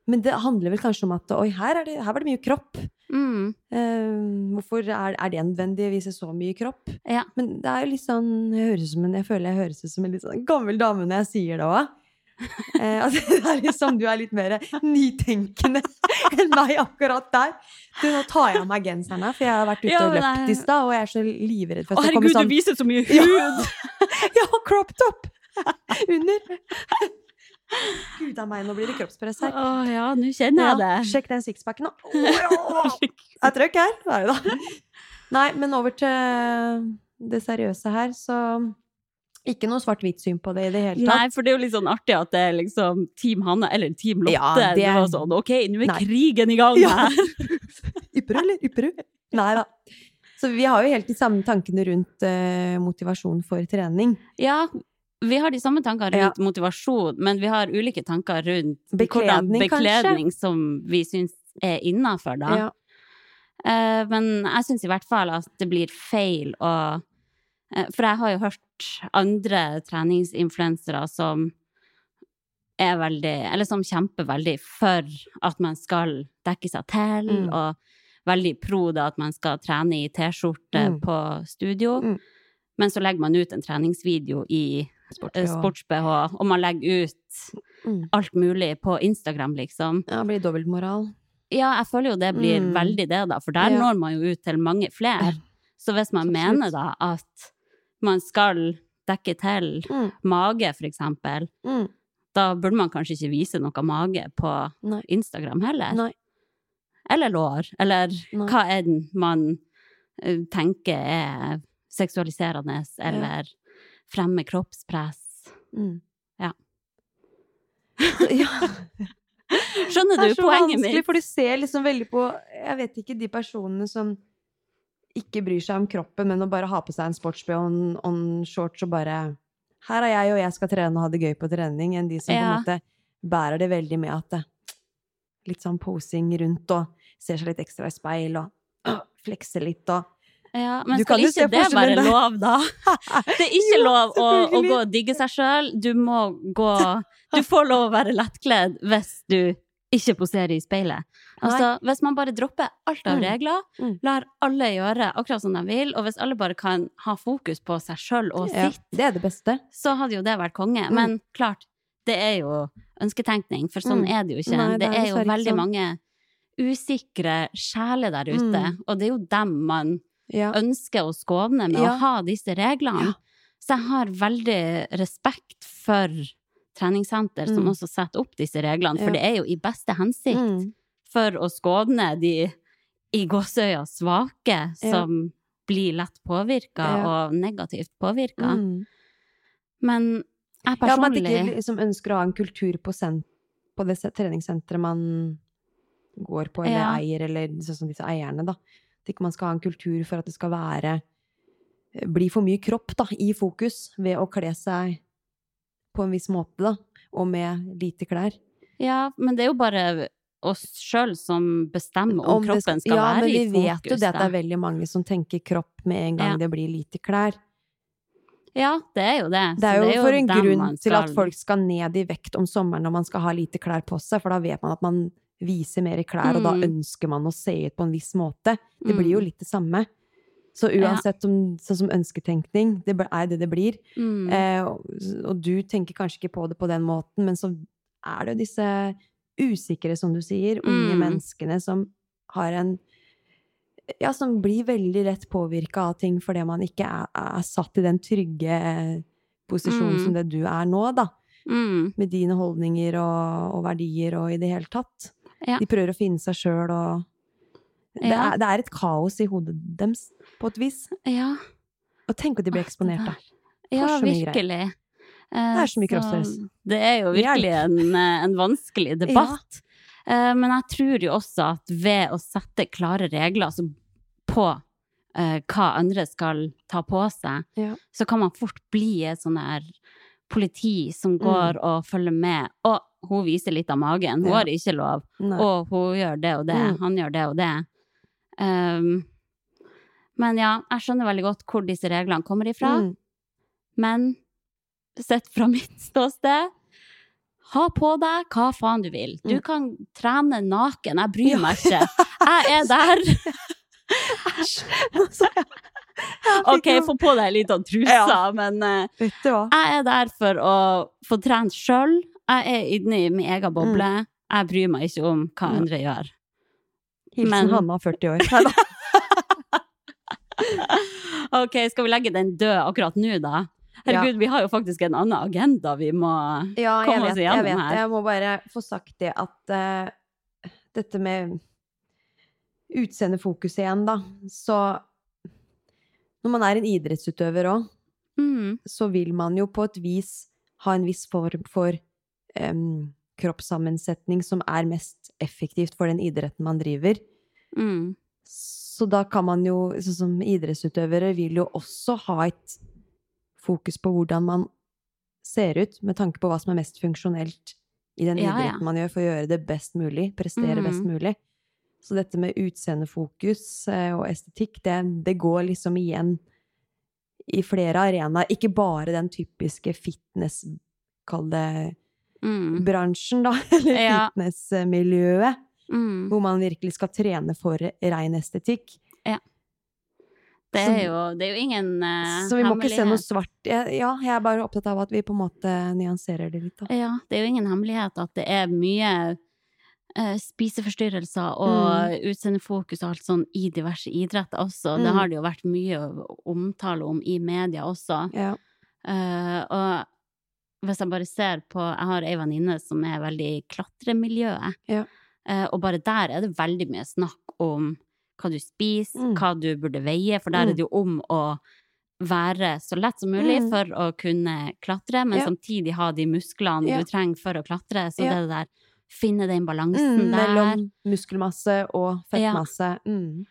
Speaker 3: Men det handler vel kanskje om at oi, her, er det, her var det mye kropp.
Speaker 4: Mm,
Speaker 3: Eh, hvorfor er, er det nødvendig å vise så mye kropp?
Speaker 4: Ja.
Speaker 3: Men det er jo litt sånn Jeg, høres ut som en, jeg føler jeg høres ut som en litt sånn gammel dame når jeg sier det
Speaker 4: (laughs)
Speaker 3: òg. Eh, altså, det er liksom, du er litt mer nytenkende enn meg akkurat der. Du, nå tar jeg av meg genseren her, for jeg har vært ute
Speaker 4: Ja,
Speaker 3: og
Speaker 4: men
Speaker 3: løpt
Speaker 4: det
Speaker 3: i
Speaker 4: er-
Speaker 3: stad, og jeg er så livredd for at det kommer (laughs) sånn
Speaker 4: viser så mye
Speaker 3: Ja. (laughs) Ja, crop top! Under. Gud a meg, nå blir det kroppspress
Speaker 4: Å
Speaker 3: her.
Speaker 4: ja, nå kjenner jeg det.
Speaker 3: sjekk den sixpacken nå.
Speaker 4: (laughs)
Speaker 3: Åh, jeg trøkk her. Nei da. Nei, men over til det seriøse her, så ikke noe svart-hvitt syn på det i det hele tatt.
Speaker 4: Nei, for det er jo litt sånn artig at det er liksom Team Hanne eller Team Lotte.
Speaker 3: Ja,
Speaker 4: det...
Speaker 3: det er-
Speaker 4: var sånn, ok, nå er
Speaker 3: Nei.
Speaker 4: krigen i gang
Speaker 3: (laughs) Ja.
Speaker 4: her.
Speaker 3: Ypper du, eller? Ypper du? Nei da. Så vi har jo helt de samme tankene rundt eh, motivasjon for trening.
Speaker 4: Ja, vi har de samme tankene
Speaker 3: Ja.
Speaker 4: rundt motivasjon, men vi har ulike tanker rundt hvordan
Speaker 3: Bekledning, kanskje?
Speaker 4: bekledning som vi syns er innafor, da.
Speaker 3: Ja.
Speaker 4: Eh, men jeg syns i hvert fall at det blir feil å eh, For jeg har jo hørt andre treningsinfluensere som er veldig Eller som kjemper veldig for at man skal dekke seg til,
Speaker 3: Mm.
Speaker 4: og veldig pro det at man skal trene i T-skjorte
Speaker 3: Mm.
Speaker 4: på studio.
Speaker 3: Mm.
Speaker 4: Men så legger man ut en treningsvideo i eh,
Speaker 3: BH.
Speaker 4: sports-BH, og man legger ut
Speaker 3: Mm.
Speaker 4: alt mulig på Instagram, liksom.
Speaker 3: Ja, blir dobbeltmoral.
Speaker 4: Ja, jeg føler jo det blir
Speaker 3: Mm.
Speaker 4: veldig det, da, for der
Speaker 3: Ja.
Speaker 4: når man jo ut til mange flere. Så hvis man
Speaker 3: Absolutt.
Speaker 4: mener da at man skal dekke til
Speaker 3: Mm.
Speaker 4: mage, for eksempel,
Speaker 3: Mm.
Speaker 4: da burde man kanskje ikke vise noe mage på
Speaker 3: Nei.
Speaker 4: Instagram heller.
Speaker 3: Nei.
Speaker 4: Eller lår, eller
Speaker 3: Nei.
Speaker 4: hva enn man eh, tenker er seksualiserende, eller fremmer kroppspress.
Speaker 3: Mm.
Speaker 4: Ja.
Speaker 3: Så, ja.
Speaker 4: Skjønner du poenget
Speaker 3: vanskelig,
Speaker 4: mitt?
Speaker 3: for du ser liksom veldig på Jeg vet ikke, de personene som ikke bryr seg om kroppen, men å bare ha på seg en sports-BH og en- og en shorts og bare Her er jeg, og jeg skal trene og ha det gøy på trening, enn de som
Speaker 4: Ja.
Speaker 3: på en måte bærer det veldig med at det Litt sånn posing rundt og ser seg litt ekstra i speil og øh, (clears throat) flekser litt og
Speaker 4: Ja, men
Speaker 3: Du
Speaker 4: skal
Speaker 3: kan jo se
Speaker 4: ikke det være
Speaker 3: forskjellen der.
Speaker 4: lov, da? (laughs) Det er
Speaker 3: (laughs)
Speaker 4: ikke
Speaker 3: Jo,
Speaker 4: lov å, å
Speaker 3: selvfølgelig.
Speaker 4: gå og digge seg sjøl. Du må gå Du får lov å være lettkledd hvis du ikke poserer i speilet. Altså, hvis man bare dropper alt av
Speaker 3: Mm.
Speaker 4: regler,
Speaker 3: Mm.
Speaker 4: lar alle gjøre akkurat som de vil, og hvis alle bare kan ha fokus på seg sjøl og
Speaker 3: Ja, Mm.
Speaker 4: sitt,
Speaker 3: det er det beste.
Speaker 4: så hadde jo det vært konge. Men klart, det er jo ønsketenkning, for sånn
Speaker 3: Mm.
Speaker 4: er det jo ikke.
Speaker 3: Nei,
Speaker 4: det,
Speaker 3: det er
Speaker 4: er jo
Speaker 3: dessverre ikke
Speaker 4: veldig
Speaker 3: sånn.
Speaker 4: mange usikre sjeler der ute,
Speaker 3: Mm.
Speaker 4: og det er jo dem man
Speaker 3: Ja.
Speaker 4: ønsker å skåne med
Speaker 3: Ja.
Speaker 4: å ha disse
Speaker 3: Ja.
Speaker 4: reglene. Så jeg har veldig respekt for treningssenter som
Speaker 3: Mm.
Speaker 4: også setter opp disse reglene, for
Speaker 3: Ja.
Speaker 4: det er jo i beste hensikt
Speaker 3: Mm.
Speaker 4: for å skåne de i gåsøya svake som blir lett påvirka
Speaker 3: Ja.
Speaker 4: og negativt påvirka.
Speaker 3: Mm.
Speaker 4: Men jeg
Speaker 3: Ja, man
Speaker 4: personlig
Speaker 3: ikke liksom ønsker å ha en kultur på, sen på det se- treningssenteret man går på, eller
Speaker 4: Ja.
Speaker 3: eier, eller sånn som disse eierne, da. At ikke man skal ha en kultur for at det skal være eh, Bli for mye kropp, da, i fokus, ved å kle seg på en viss måte, da. Og med lite klær.
Speaker 4: Ja, men det er jo bare oss sjøl som bestemmer om,
Speaker 3: det
Speaker 4: kroppen skal
Speaker 3: ja,
Speaker 4: være i
Speaker 3: men vi
Speaker 4: fokus.
Speaker 3: vet jo det at det
Speaker 4: da.
Speaker 3: er veldig mange som tenker kropp med en gang
Speaker 4: Ja.
Speaker 3: det blir lite klær.
Speaker 4: Ja, det er jo Altså, det. Så
Speaker 3: Det er jo, for en
Speaker 4: dem
Speaker 3: grunn
Speaker 4: man
Speaker 3: til at
Speaker 4: skal-
Speaker 3: folk skal ned i vekt om sommeren når man skal ha lite klær på seg, for da vet man at man viser mer klær, og da
Speaker 4: Mm.
Speaker 3: ønsker man å se ut på en viss måte. Det blir jo
Speaker 4: Mm.
Speaker 3: litt det samme. Så
Speaker 4: Ja.
Speaker 3: uansett om, sånn som ønsketenkning, det bl- er det det blir.
Speaker 4: Mm.
Speaker 3: Eh, og- og du tenker kanskje ikke på det på den måten, men så er det jo disse usikre, som du sier, unge
Speaker 4: Mm.
Speaker 3: menneskene som har en Ja, som blir veldig lett påvirka av ting fordi man ikke er, er satt i den trygge eh, posisjonen
Speaker 4: Mm.
Speaker 3: som det du er nå, da.
Speaker 4: Mm.
Speaker 3: Med dine holdninger og, og verdier og i det hele tatt.
Speaker 4: Ja.
Speaker 3: De prøver å finne seg sjøl og det
Speaker 4: Ja.
Speaker 3: er, det er et kaos i hodet deres, på et vis.
Speaker 4: Ja.
Speaker 3: Og tenk at de
Speaker 4: Ah,
Speaker 3: blir
Speaker 4: det
Speaker 3: eksponert, da.
Speaker 4: Ja,
Speaker 3: For så mye greier.
Speaker 4: virkelig. Eh,
Speaker 3: Det er så mye kroppspress.
Speaker 4: Det er jo virkelig en, eh, en vanskelig debatt. Eh, Men jeg tror jo også at ved å sette klare regler altså på eh, hva andre skal ta på seg,
Speaker 3: Ja.
Speaker 4: så kan man fort bli et sånn her politi
Speaker 3: Mm.
Speaker 4: som går og følger med. Og hun viser litt av magen, hun
Speaker 3: Ja.
Speaker 4: har ikke lov.
Speaker 3: Nei.
Speaker 4: Og hun gjør det og det,
Speaker 3: Mm.
Speaker 4: han gjør det og det. Ehm, men ja, jeg skjønner veldig godt hvor disse reglene kommer ifra.
Speaker 3: Mm.
Speaker 4: Men sett fra (laughs) mitt ståsted ha på deg hva faen du vil. Du
Speaker 3: Mm.
Speaker 4: kan trene naken, jeg bryr
Speaker 3: Ja.
Speaker 4: meg ikke. Jeg
Speaker 3: (laughs)
Speaker 4: er der.
Speaker 3: Altså, ja.
Speaker 4: (laughs) OK, få på deg litt av trusa,
Speaker 3: Ja.
Speaker 4: men eh,
Speaker 3: Vet du hva?
Speaker 4: jeg er der for å få trent sjøl. Jeg er inni min egen boble. Jeg bryr meg ikke om hva
Speaker 3: Mm.
Speaker 4: andre gjør.
Speaker 3: Hilsen
Speaker 4: Men-
Speaker 3: Hanna, 40 år. Neida.
Speaker 4: (laughs) Ok, skal vi legge den død akkurat nå, da? Herregud, vi har jo faktisk en annen agenda vi må
Speaker 3: (laughs) Ja, jeg
Speaker 4: Kom oss
Speaker 3: vet, jeg
Speaker 4: igjennom
Speaker 3: vet.
Speaker 4: her.
Speaker 3: Jeg må bare få sagt det at eh, dette med utseendefokus igjen, da, så Når man er en idrettsutøver òg,
Speaker 4: mm,
Speaker 3: så vil man jo på et vis ha en viss form for em, kroppssammensetning som er mest effektivt for den idretten man driver.
Speaker 4: mm,
Speaker 3: Så da kan man jo, sånn som idrettsutøvere, vil jo også ha et fokus på hvordan man ser ut, med tanke på hva som er mest funksjonelt i den
Speaker 4: Ja, ja.
Speaker 3: idretten man gjør, for å gjøre det best mulig, prestere
Speaker 4: Mm.
Speaker 3: best mulig. Så dette med utseendefokus eh, og estetikk, det, det går liksom igjen i flere arenaer. Ikke bare den typiske fitness, kall det,
Speaker 4: mm,
Speaker 3: bransjen, da, (laughs) eller
Speaker 4: Ja.
Speaker 3: fitnessmiljøet
Speaker 4: mm.
Speaker 3: hvor man virkelig skal trene for rein estetikk.
Speaker 4: Det,
Speaker 3: så-
Speaker 4: er jo, det er jo ingen eh,
Speaker 3: Så vi må ikke se noe
Speaker 4: hemmelighet.
Speaker 3: svart Ja, ja, jeg er bare opptatt av at vi på en måte nyanserer det litt, da.
Speaker 4: Ja, det er jo ingen hemmelighet at det er mye eh, spiseforstyrrelser og utseendefokus og alt sånn i diverse idretter også. Det
Speaker 3: Mm.
Speaker 4: har det jo vært mye omtale om i media også.
Speaker 3: Ja.
Speaker 4: Eh, og hvis jeg bare ser på Jeg har ei venninne som er veldig i klatremiljøet.
Speaker 3: Ja.
Speaker 4: Eh, og bare der er det veldig mye snakk om hva du spiser,
Speaker 3: Mm.
Speaker 4: hva du burde veie, for der er det jo om å være så lett som mulig
Speaker 3: Mm.
Speaker 4: for å kunne klatre, men
Speaker 3: Ja.
Speaker 4: samtidig ha de musklene
Speaker 3: Ja.
Speaker 4: du trenger for å klatre. Så
Speaker 3: Ja.
Speaker 4: det er det der Finne den balansen
Speaker 3: Mm,
Speaker 4: der.
Speaker 3: mellom muskelmasse og fettmasse. Mm.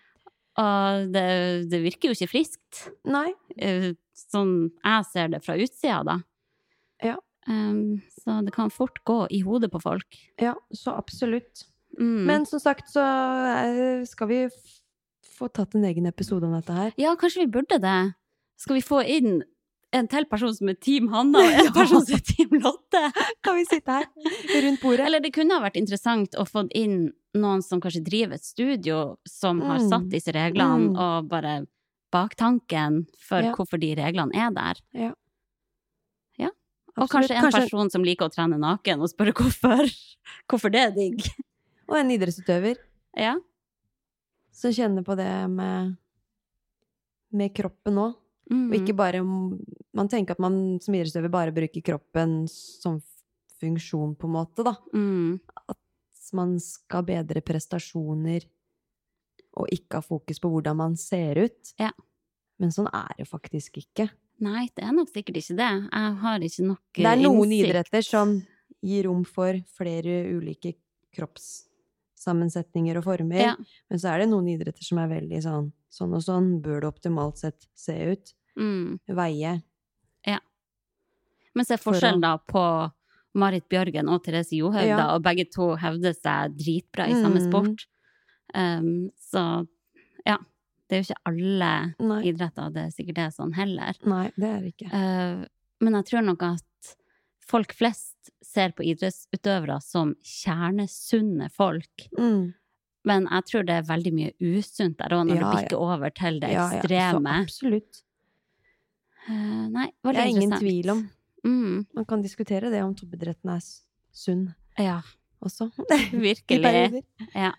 Speaker 4: Og det, det virker jo ikke friskt.
Speaker 3: Nei.
Speaker 4: eh, sånn jeg ser det fra utsida, da.
Speaker 3: Ja.
Speaker 4: Em, så det kan fort gå i hodet på folk.
Speaker 3: Ja, så absolutt.
Speaker 4: Mm.
Speaker 3: Men som sagt så eh, skal vi f- få tatt en egen episode om dette her.
Speaker 4: Ja, kanskje vi burde det. Skal vi få inn en til person som er
Speaker 3: (laughs)
Speaker 4: Team Hanna, og en
Speaker 3: Ja.
Speaker 4: person som er Team Lotte?
Speaker 3: (laughs) Kan vi sitte her rundt bordet?
Speaker 4: (laughs) Eller det kunne ha vært interessant å få inn noen som kanskje driver et studio, som har
Speaker 3: Mm.
Speaker 4: satt disse reglene,
Speaker 3: Mm.
Speaker 4: og bare baktanken for
Speaker 3: Ja.
Speaker 4: hvorfor de reglene er der.
Speaker 3: Ja.
Speaker 4: Ja. Og
Speaker 3: Absolutt.
Speaker 4: kanskje en person som liker å trene naken, og spørre hvorfor. (laughs) Hvorfor det er digg.
Speaker 3: Og en idrettsutøver
Speaker 4: Ja.
Speaker 3: som kjenner på det med, med kroppen òg.
Speaker 4: Mm.
Speaker 3: Og ikke bare Man tenker at man som idrettsutøver bare bruker kroppen som funksjon, på en måte, da.
Speaker 4: mm.
Speaker 3: Så man skal bedre prestasjoner og ikke ha fokus på hvordan man ser ut.
Speaker 4: Ja.
Speaker 3: Men sånn er det faktisk ikke.
Speaker 4: Nei, det er nok sikkert ikke det. Jeg har ikke nok eh,
Speaker 3: Det er noen
Speaker 4: innsikt.
Speaker 3: idretter som gir rom for flere ulike kroppssammensetninger og former,
Speaker 4: Ja.
Speaker 3: men så er det noen idretter som er veldig sånn sånn og sånn bør det optimalt sett se ut,
Speaker 4: Mm.
Speaker 3: veie.
Speaker 4: Men se
Speaker 3: For å-
Speaker 4: forskjellen da på Marit Bjørgen og Therese Johaug,
Speaker 3: Ja.
Speaker 4: da, og begge to hevder seg dritbra i samme
Speaker 3: Mm.
Speaker 4: sport. Um, så ja, det er jo ikke alle
Speaker 3: Nei,
Speaker 4: idretter det er sikkert det er sånn heller.
Speaker 3: nei det er det ikke.
Speaker 4: Uh, men jeg tror nok at folk flest ser på idrettsutøvere som kjernesunne folk.
Speaker 3: Mm.
Speaker 4: Men jeg tror det er veldig mye usunt der òg,
Speaker 3: Ja,
Speaker 4: når det
Speaker 3: ja.
Speaker 4: bikker over til det
Speaker 3: Ja, ja, så
Speaker 4: ekstreme.
Speaker 3: absolutt.
Speaker 4: Uh, nei,
Speaker 3: Det
Speaker 4: veldig
Speaker 3: er ingen
Speaker 4: interessant.
Speaker 3: tvil om.
Speaker 4: Mm,
Speaker 3: Man kan diskutere det om toppidretten er s- sunn (laughs)
Speaker 4: ja,
Speaker 3: også. (laughs) I
Speaker 4: virkelig.
Speaker 3: perioder.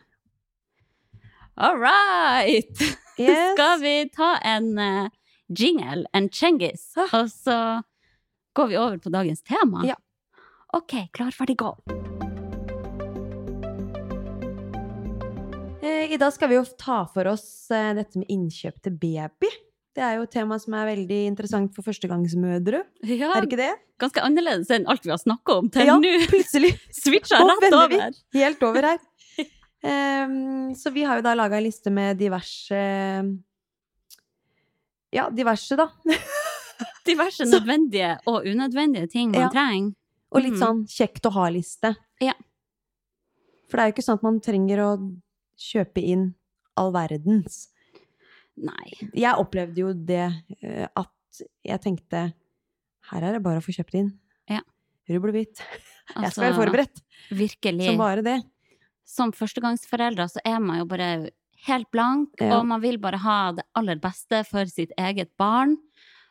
Speaker 4: All right!
Speaker 3: Yes.
Speaker 4: Skal vi ta en eh, jingle, en Cengiz,
Speaker 3: Ah.
Speaker 4: og så går vi over på dagens tema?
Speaker 3: Ja.
Speaker 4: OK, klar, ferdig, gå.
Speaker 3: Eh, I dag skal vi jo ta for oss eh, dette med innkjøp til baby. Det er jo et tema som er veldig interessant for førstegangsmødre.
Speaker 4: Ja,
Speaker 3: Er det ikke det? (laughs)
Speaker 4: ganske annerledes enn alt vi har snakka om til
Speaker 3: Ja,
Speaker 4: nå.
Speaker 3: (laughs)
Speaker 4: (laughs)
Speaker 3: plutselig.
Speaker 4: Switcha
Speaker 3: Nå
Speaker 4: rett
Speaker 3: vender vi.
Speaker 4: over.
Speaker 3: Helt over her. Ehm, så vi har jo da laga en liste med diverse Ja, diverse, da.
Speaker 4: Diverse
Speaker 3: Så-
Speaker 4: nødvendige og unødvendige ting man
Speaker 3: Ja.
Speaker 4: trenger.
Speaker 3: Og litt
Speaker 4: Mhm.
Speaker 3: sånn kjekt å ha-liste.
Speaker 4: Ja.
Speaker 3: For det er jo ikke sånn at man trenger å kjøpe inn all verdens.
Speaker 4: Nei.
Speaker 3: jeg opplevde jo det eh, at jeg tenkte her er det bare å få kjøpt inn.
Speaker 4: Ja.
Speaker 3: Rubbel og bit. jeg skal
Speaker 4: altså,
Speaker 3: være forberedt,
Speaker 4: Virkelig.
Speaker 3: som bare det.
Speaker 4: Som førstegangsforeldre så er man jo bare helt blank,
Speaker 3: Ja.
Speaker 4: og man vil bare ha det aller beste for sitt eget barn.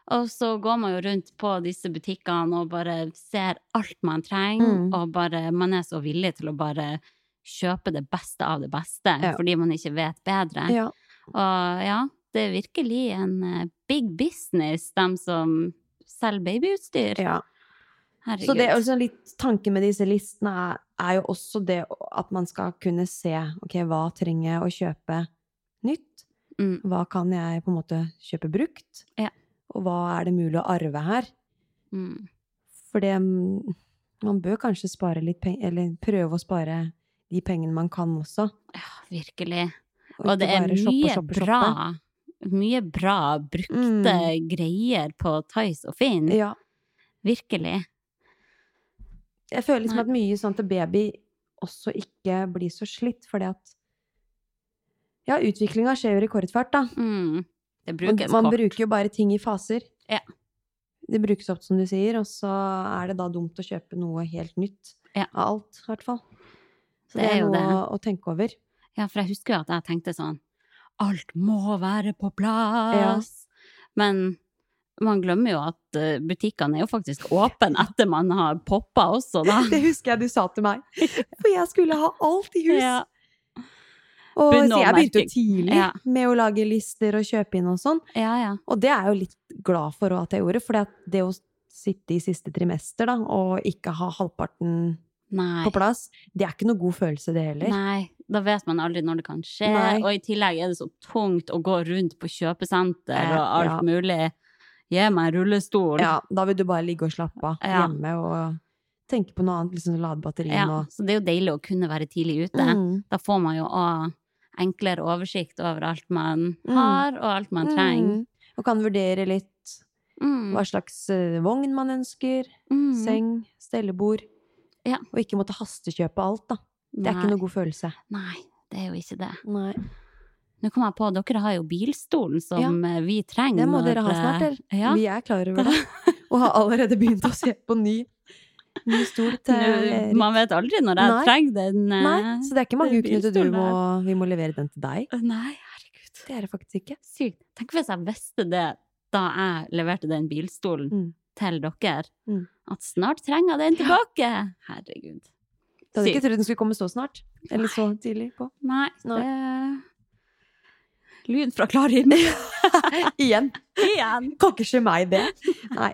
Speaker 4: Og så går man jo rundt på disse butikkene og bare ser alt man trenger,
Speaker 3: Mm.
Speaker 4: og bare, man er så villig til å bare kjøpe det beste av det beste,
Speaker 3: Ja.
Speaker 4: fordi man ikke vet bedre.
Speaker 3: Ja.
Speaker 4: Og ja, det er virkelig en eh, big business, dem som selger babyutstyr.
Speaker 3: ja.
Speaker 4: Herregud.
Speaker 3: Så det, altså, litt tanken med disse listene er, er jo også det at man skal kunne se ok, hva trenger jeg å kjøpe nytt,
Speaker 4: Mm.
Speaker 3: hva kan jeg på en måte kjøpe brukt,
Speaker 4: Ja.
Speaker 3: og hva er det mulig å arve her?
Speaker 4: mm.
Speaker 3: For det mm, Man bør kanskje spare litt penger, eller prøve å spare de pengene man kan også.
Speaker 4: Ja, virkelig.
Speaker 3: ikke
Speaker 4: Og det er
Speaker 3: bare
Speaker 4: mye
Speaker 3: shoppe, shoppe, shoppe.
Speaker 4: bra Mye bra brukte greier på Tice og Finn.
Speaker 3: Mm, Ja.
Speaker 4: Virkelig.
Speaker 3: Jeg føler liksom
Speaker 4: Nei.
Speaker 3: at mye sånn til baby også ikke blir så slitt, fordi at Ja, utviklinga skjer jo i rekordfart, da.
Speaker 4: Mm. Det
Speaker 3: Og
Speaker 4: brukes
Speaker 3: man
Speaker 4: kort.
Speaker 3: bruker jo bare ting i faser.
Speaker 4: Ja.
Speaker 3: Det brukes opp, som du sier, og så er det da dumt å kjøpe noe helt nytt
Speaker 4: Ja.
Speaker 3: av alt, i hvert fall. Så
Speaker 4: Det
Speaker 3: det,
Speaker 4: er
Speaker 3: er
Speaker 4: jo
Speaker 3: noe
Speaker 4: det.
Speaker 3: å tenke over.
Speaker 4: Ja, for jeg husker jo at jeg tenkte sånn Alt må være på plass! Men man glemmer jo at eh, butikkene er jo faktisk åpne etter man har poppa også,
Speaker 3: (laughs)
Speaker 4: da.
Speaker 3: Det husker jeg du sa til meg. For jeg skulle ha alt i hus!
Speaker 4: Ja.
Speaker 3: Og
Speaker 4: Begynne
Speaker 3: så
Speaker 4: å
Speaker 3: jeg begynte jo
Speaker 4: merke-
Speaker 3: tidlig
Speaker 4: Ja.
Speaker 3: med å lage lister og kjøpe inn og sånn.
Speaker 4: ja, ja.
Speaker 3: Og det er jeg jo litt glad for at jeg gjorde, for det å sitte i siste trimester da, og ikke ha halvparten
Speaker 4: Nei.
Speaker 3: på plass, det er ikke noe god følelse det heller.
Speaker 4: Nei, da vet man aldri når det kan skje.
Speaker 3: Nei.
Speaker 4: Og i tillegg er det så tungt å gå rundt på kjøpesenter
Speaker 3: Ja,
Speaker 4: og alt
Speaker 3: Eh, ja.
Speaker 4: mulig. Gi meg rullestol.
Speaker 3: Ja, da vil du bare ligge og slappe av
Speaker 4: Ja.
Speaker 3: hjemme og tenke på noe annet, liksom lade batteriet
Speaker 4: Ja,
Speaker 3: og
Speaker 4: så det er jo deilig å kunne være tidlig ute.
Speaker 3: Mm.
Speaker 4: Da får man jo også enklere oversikt over alt man
Speaker 3: Mm.
Speaker 4: har, og alt man trenger.
Speaker 3: Mm. Og kan vurdere litt
Speaker 4: Mm.
Speaker 3: hva slags eh, vogn man ønsker,
Speaker 4: Mm.
Speaker 3: seng, stellebord.
Speaker 4: Ja.
Speaker 3: Og ikke måtte hastekjøpe alt, da. Det er
Speaker 4: Nei.
Speaker 3: ikke noe god følelse.
Speaker 4: Nei, det er jo ikke det.
Speaker 3: Nei.
Speaker 4: Nå kom jeg på, dere har jo bilstolen som eh, vi trenger.
Speaker 3: Det må
Speaker 4: når,
Speaker 3: dere ha snart,
Speaker 4: eh,
Speaker 3: dere.
Speaker 4: Ja,
Speaker 3: Vi er klar over det. (laughs) Og har allerede begynt å se på ny, ny (laughs) stol til
Speaker 4: Nå-
Speaker 3: Erik.
Speaker 4: man vet aldri når jeg
Speaker 3: Nei.
Speaker 4: trenger den. eh,
Speaker 3: Nei, så det er ikke mange
Speaker 4: det er
Speaker 3: ukene til du
Speaker 4: bilstolen
Speaker 3: må, vi må levere den til deg.
Speaker 4: Nei, herregud.
Speaker 3: Det er det faktisk ikke.
Speaker 4: Sykt. Tenk hvis jeg visste det da jeg leverte den bilstolen
Speaker 3: Mm.
Speaker 4: til dere,
Speaker 3: Mm.
Speaker 4: at snart trenger jeg den tilbake. Herregud.
Speaker 3: Du hadde ikke
Speaker 4: Sykt.
Speaker 3: trodd den skulle komme så snart. Eller så tidlig på.
Speaker 4: Nei,
Speaker 3: Nei.
Speaker 4: det Lyd fra klar (laughs) himmel
Speaker 3: Igjen.
Speaker 4: igjen.
Speaker 3: Kan ikke skje meg (laughs) det. Nei.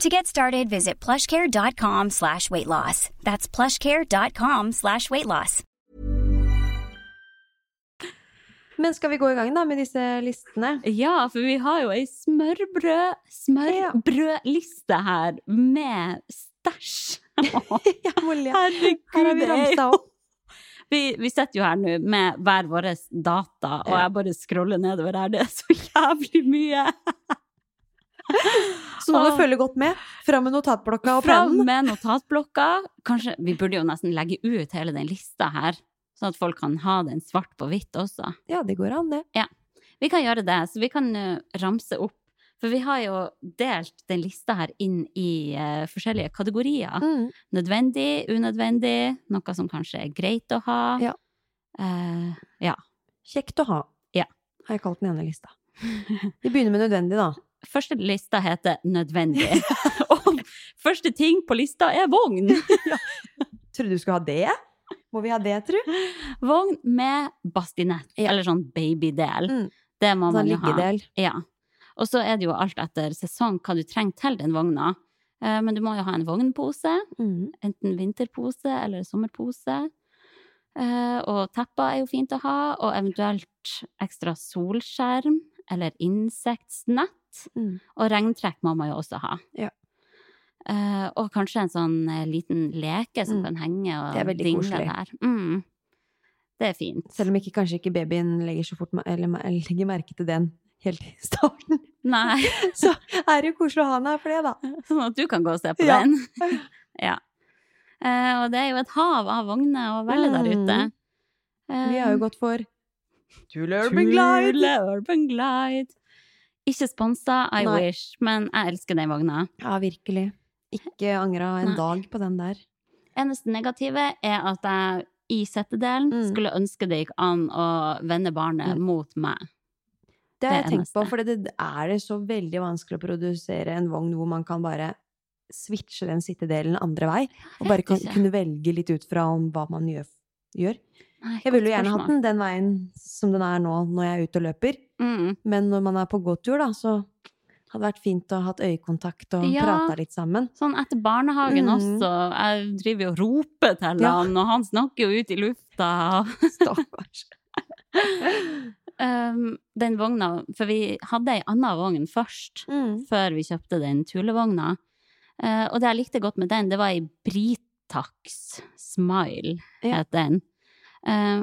Speaker 5: To get started, visit plushcare.com slash weight loss. That's plushcare.com slash weight loss.
Speaker 3: Men skal vi gå i gang da med disse listene?
Speaker 4: Ja, for vi har jo ei smørbrød smørbrødliste her med
Speaker 3: (laughs)
Speaker 4: stæsj.
Speaker 3: Ja, Molly.
Speaker 4: Herregud,
Speaker 3: Her har vi
Speaker 4: det er
Speaker 3: ramsa
Speaker 4: jo-
Speaker 3: opp.
Speaker 4: Vi, vi sitter jo her nå med hver våre data, og
Speaker 3: Ja.
Speaker 4: jeg bare scroller nedover her. Det er så jævlig mye!
Speaker 3: Så nå må
Speaker 4: Åh.
Speaker 3: du følge godt med. Fram med notatblokka og
Speaker 4: Fram
Speaker 3: pennen.
Speaker 4: med notatblokka. Kanskje, vi burde jo nesten legge ut hele den lista her, sånn at folk kan ha den svart på hvitt også.
Speaker 3: Ja, det går an, det.
Speaker 4: Vi kan gjøre det, så vi kan eh, ramse opp. For vi har jo delt den lista her inn i eh, forskjellige kategorier.
Speaker 3: Mm.
Speaker 4: Nødvendig, unødvendig, noe som kanskje er greit å ha.
Speaker 3: Ja.
Speaker 4: Eh, ja.
Speaker 3: Kjekt å ha.
Speaker 4: Ja.
Speaker 3: Har jeg kalt den ene lista. Vi begynner med nødvendig, da.
Speaker 4: Første lista heter nødvendig.
Speaker 3: (laughs)
Speaker 4: Og første ting på lista er vogn.
Speaker 3: Trodde du skulle ha det? Må vi ha det, tru?
Speaker 4: Vogn med bastinett, eller sånn babydel.
Speaker 3: Mm.
Speaker 4: Det må
Speaker 3: Sånn
Speaker 4: man jo ha.
Speaker 3: liggedel.
Speaker 4: Ja. Og så er det jo alt etter sesong hva du trenger til den vogna. Eh, Men du må jo ha en vognpose,
Speaker 3: Mm.
Speaker 4: enten vinterpose eller sommerpose. Eh, Og tepper er jo fint å ha, og eventuelt ekstra solskjerm eller insektsnett.
Speaker 3: Mm.
Speaker 4: Og regntrekk må man jo også ha.
Speaker 3: Ja.
Speaker 4: Eh, og kanskje en sånn eh, liten leke som
Speaker 3: Mm.
Speaker 4: kan henge
Speaker 3: Det er
Speaker 4: og
Speaker 3: veldig
Speaker 4: dingle
Speaker 3: koselig.
Speaker 4: der. Mm. Det er fint.
Speaker 3: Selv om ikke, kanskje ikke babyen legger, så fort, eller, eller legger merke til den helt i starten, (laughs)
Speaker 4: Nei, (laughs)
Speaker 3: så er det jo koselig å ha den her for det, da.
Speaker 4: sånn at du kan gå og se på
Speaker 3: Ja. (laughs)
Speaker 4: den. ja. Eh, og det er jo et hav av vogner å velge der ute. Eh,
Speaker 3: Mm. Vi har
Speaker 4: Mm.
Speaker 3: jo gått for Tule
Speaker 4: Tule Urban Glide. Ikke sponsa, I
Speaker 3: Nei.
Speaker 4: wish, men jeg elsker den vogna.
Speaker 3: Ja, virkelig. Ikke angra en
Speaker 4: Nei.
Speaker 3: dag på den der.
Speaker 4: Eneste negative er at jeg i settedelen
Speaker 3: Mm.
Speaker 4: skulle ønske det gikk an å vende barnet
Speaker 3: Mm.
Speaker 4: mot meg.
Speaker 3: Det har jeg
Speaker 4: Det
Speaker 3: tenkt på,
Speaker 4: eneste.
Speaker 3: for det er det så veldig vanskelig å produsere en vogn hvor man kan bare switche den sittedelen andre vei, og bare
Speaker 4: vet
Speaker 3: kan,
Speaker 4: ikke.
Speaker 3: kunne velge litt ut fra om hva man gjør. gjør.
Speaker 4: Nei,
Speaker 3: Jeg ville
Speaker 4: godt
Speaker 3: jo gjerne hatt
Speaker 4: spørsmål.
Speaker 3: den den veien som den er nå, når jeg er ute og løper,
Speaker 4: Mm.
Speaker 3: men når man er på gåtur, da, så hadde det vært fint å ha hatt øyekontakt og
Speaker 4: Ja.
Speaker 3: prata litt
Speaker 4: (laughs)
Speaker 3: sammen.
Speaker 4: Sånn etter barnehagen
Speaker 3: Mhm.
Speaker 4: også. Jeg driver jo og roper til
Speaker 3: Ja.
Speaker 4: han, og han snakker jo ut i lufta. (laughs)
Speaker 3: Stakkars.
Speaker 4: um, den vogna For vi hadde ei anna vogn først,
Speaker 3: Mm.
Speaker 4: før vi kjøpte den tulevogna. Eh, og det jeg likte godt med den, det var ei Britax Smile,
Speaker 3: Ja.
Speaker 4: het den. Eh,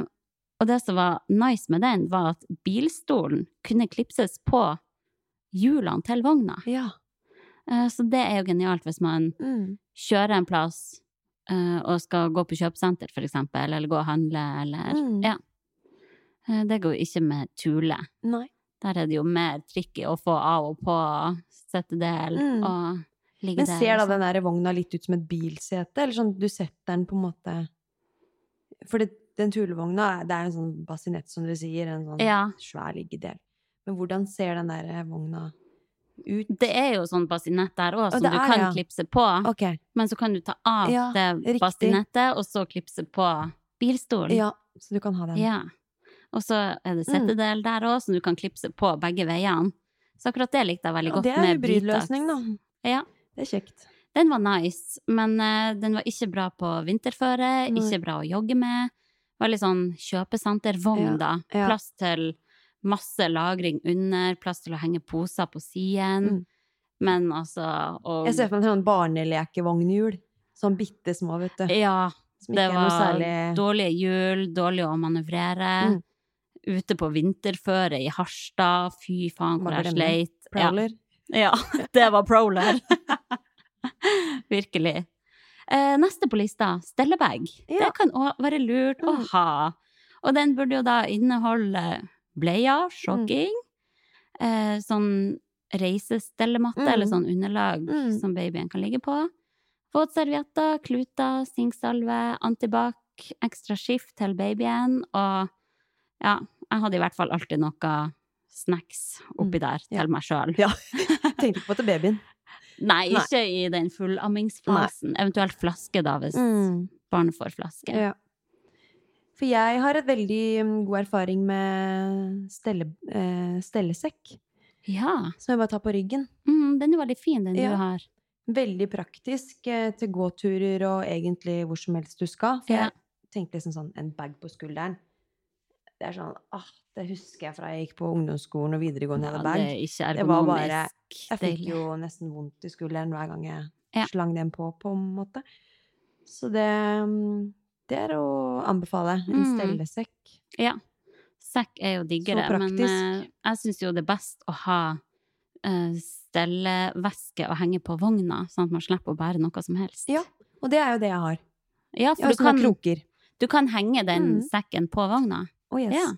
Speaker 4: og det som var nice med den, var at bilstolen kunne klipses på hjulene til vogna.
Speaker 3: Ja.
Speaker 4: Eh, så det er jo genialt hvis man
Speaker 3: Mm.
Speaker 4: kjøre en plass eh, og skal gå på kjøpesenter, for eksempel, eller gå og handle, eller
Speaker 3: Mm.
Speaker 4: Ja. Eh, det går jo ikke med Tule.
Speaker 3: Nei.
Speaker 4: Der er det jo mer tricky å få av og på settedel
Speaker 3: Mm.
Speaker 4: og ligge
Speaker 3: Men
Speaker 4: der.
Speaker 3: ser da
Speaker 4: og sånn.
Speaker 3: den der vogna litt ut som et bilsete, eller sånn du setter den på en måte For det, den tulevogna, er- det er en sånn basinett, som du sier, en sånn
Speaker 4: Ja.
Speaker 3: svær liggedel. Men hvordan ser den der vogna ut
Speaker 4: Det er jo sånn bastinett der òg, som
Speaker 3: det
Speaker 4: du
Speaker 3: er,
Speaker 4: kan
Speaker 3: ja.
Speaker 4: klipse på.
Speaker 3: Ok.
Speaker 4: Men så kan du ta av
Speaker 3: Ja,
Speaker 4: det
Speaker 3: riktig.
Speaker 4: bastinettet, og så klipse på bilstolen.
Speaker 3: Ja, Mm. så du kan ha den.
Speaker 4: Ja. Og så er det settedel der òg, som du kan klipse på begge veiene. Så akkurat det likte jeg veldig
Speaker 3: Ja,
Speaker 4: godt
Speaker 3: det er
Speaker 4: med
Speaker 3: hybridløsning, da.
Speaker 4: Britax. Ja.
Speaker 3: Det er kjekt.
Speaker 4: Den var nice, men eh, den var ikke bra på vinterføre,
Speaker 3: Nei.
Speaker 4: ikke bra å jogge med. Veldig sånn kjøpesentervogn,
Speaker 3: Ja,
Speaker 4: da.
Speaker 3: ja.
Speaker 4: Plass til masse lagring under, plass til å henge poser på siden.
Speaker 3: Mm.
Speaker 4: Men altså og,
Speaker 3: Jeg ser for meg en sånn barnelekevognhjul. Sånn bitte små, vet du.
Speaker 4: Ja,
Speaker 3: Som
Speaker 4: det
Speaker 3: ikke er noe
Speaker 4: var
Speaker 3: særlig
Speaker 4: dårlige hjul, dårlig å manøvrere.
Speaker 3: Mm.
Speaker 4: Ute på vinterføre i Harstad, fy faen hvor
Speaker 3: Bare
Speaker 4: jeg
Speaker 3: glemme.
Speaker 4: sleit. Ja.
Speaker 3: prowler.
Speaker 4: Ja, (laughs) det var prowler. (laughs) Virkelig. Eh, neste på lista, stellebag.
Speaker 3: Ja.
Speaker 4: Det kan òg være lurt å
Speaker 3: Mm.
Speaker 4: ha. Og den burde jo da inneholde
Speaker 3: Mm.
Speaker 4: bleier, shocking, eh, sånn reisestellematte
Speaker 3: Mm.
Speaker 4: eller sånn underlag
Speaker 3: Mm.
Speaker 4: som babyen kan ligge på, våtservietter, kluter, sinksalve, antibac, ekstra skift til babyen, og ja, jeg hadde i hvert fall alltid noe snacks oppi
Speaker 3: Mm.
Speaker 4: der
Speaker 3: Ja.
Speaker 4: til meg sjøl.
Speaker 3: Ja.
Speaker 4: (laughs)
Speaker 3: Tenkte ikke på til babyen.
Speaker 4: Nei,
Speaker 3: Nei.
Speaker 4: ikke i den fullammingsfasen. Eventuelt flaske, da, hvis barnet får flaske.
Speaker 3: Mm. Ja. For jeg har et veldig mm, god erfaring med stelle, eh, stellesekk,
Speaker 4: Ja.
Speaker 3: som jeg bare tar på ryggen.
Speaker 4: Mm, den er veldig fin, den
Speaker 3: Ja.
Speaker 4: du har.
Speaker 3: Veldig praktisk eh, til gåturer og egentlig hvor som helst du skal. For
Speaker 4: Ja.
Speaker 3: jeg tenkte liksom sånn en bag på skulderen. Det er sånn ah, Det husker jeg fra jeg gikk på ungdomsskolen og videregående.
Speaker 4: Ja,
Speaker 3: hadde
Speaker 4: det
Speaker 3: bag.
Speaker 4: er ikke
Speaker 3: Det var
Speaker 4: ergonomisk.
Speaker 3: bare- Jeg fikk
Speaker 4: deilig.
Speaker 3: jo nesten vondt i skulderen hver gang jeg
Speaker 4: Ja.
Speaker 3: slang den på, på en måte. Så det, mm, det er å anbefale. En
Speaker 4: Mm.
Speaker 3: stellesekk.
Speaker 4: Sekk er jo
Speaker 3: Så
Speaker 4: diggere,
Speaker 3: praktisk.
Speaker 4: men eh, jeg syns jo det er best å ha eh, stelleveske å henge på vogna, sånn at man slipper å bære noe som helst.
Speaker 3: Ja. sånn Og det er jo det jeg har.
Speaker 4: Ja,
Speaker 3: Jeg
Speaker 4: for
Speaker 3: har
Speaker 4: du,
Speaker 3: sånne
Speaker 4: kan,
Speaker 3: kroker.
Speaker 4: du kan henge den
Speaker 3: Mm.
Speaker 4: sekken på vogna.
Speaker 3: Å, yes.
Speaker 4: Ja.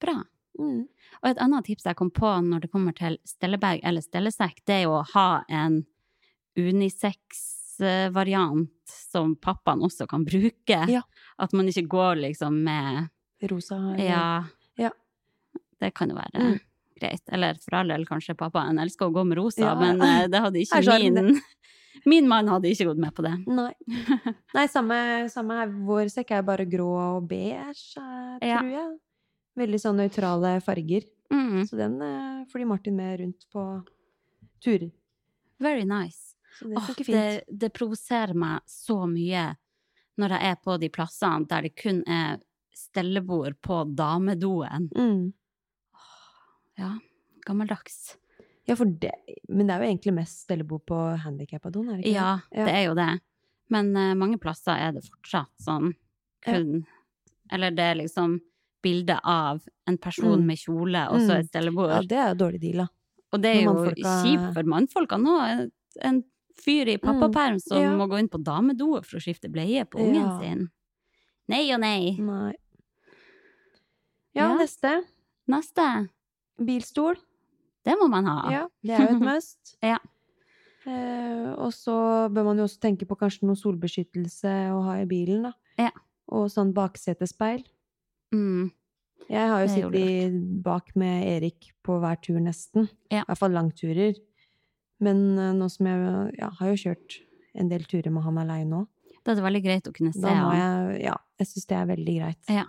Speaker 4: Bra.
Speaker 3: Mm.
Speaker 4: Og et annet tips jeg kom på når det kommer til stellebag eller stellesekk, det er jo å ha en unisex-variant som pappaen også kan bruke.
Speaker 3: Ja.
Speaker 4: At man ikke går liksom med
Speaker 3: Rosa
Speaker 4: Ja.
Speaker 3: Ja.
Speaker 4: Det kan jo være
Speaker 3: Mm.
Speaker 4: greit. Eller for all del, kanskje pappaen elsker å gå med rosa,
Speaker 3: Ja.
Speaker 4: men eh, det hadde ikke
Speaker 3: Er sjarmen,
Speaker 4: min Min mann hadde ikke gått med på det.
Speaker 3: Nei.
Speaker 4: (laughs)
Speaker 3: Nei, samme, samme her. Vår sekk er bare grå og beige, eh,
Speaker 4: Ja.
Speaker 3: tror jeg. Veldig sånn nøytrale farger.
Speaker 4: Mm.
Speaker 3: Så den eh, flyr Martin med rundt på turer.
Speaker 4: Very nice.
Speaker 3: Så det
Speaker 4: Åh,
Speaker 3: funker fint.
Speaker 4: det, det provoserer meg så mye når jeg er på de plassene der det kun er stellebord på damedoen.
Speaker 3: Mm.
Speaker 4: Ja, gammeldags.
Speaker 3: Ja, for det Men det er jo egentlig mest stellebord på handikappadoen, er det ikke?
Speaker 4: Ja,
Speaker 3: Ja.
Speaker 4: det er jo det. Men eh, mange plasser er det fortsatt sånn kun Eller det er liksom bilde av en person
Speaker 3: Mm.
Speaker 4: med kjole og så
Speaker 3: Mm.
Speaker 4: et stellebord.
Speaker 3: det? Ja, det er jo dårlig deal, da.
Speaker 4: og det er jo
Speaker 3: når mannfolka-
Speaker 4: kjipt for mannfolka nå. En- En fyr i pappaperm som
Speaker 3: Mm. Ja.
Speaker 4: må gå inn på damedoet for å skifte bleie på ungen
Speaker 3: Ja.
Speaker 4: sin. Nei og nei.
Speaker 3: Nei. Ja,
Speaker 4: Ja.
Speaker 3: neste.
Speaker 4: Neste.
Speaker 3: Bilstol.
Speaker 4: Det må man ha.
Speaker 3: Ja, det er jo et must.
Speaker 4: (laughs) Ja.
Speaker 3: Eh, og så bør man jo også tenke på kanskje noe solbeskyttelse å ha i bilen, da.
Speaker 4: Ja.
Speaker 3: Og sånn baksetespeil.
Speaker 4: Mm.
Speaker 3: Jeg har jo
Speaker 4: Det er jo
Speaker 3: sittet bak med Erik på hver tur, nesten.
Speaker 4: Ja.
Speaker 3: I hvert fall langturer. Men eh, nå som jeg ja, har jo kjørt en del turer med han aleine òg,
Speaker 4: Da er det veldig greit å kunne se
Speaker 3: da må
Speaker 4: han.
Speaker 3: jeg Ja, jeg syns det er veldig greit.
Speaker 4: Ja.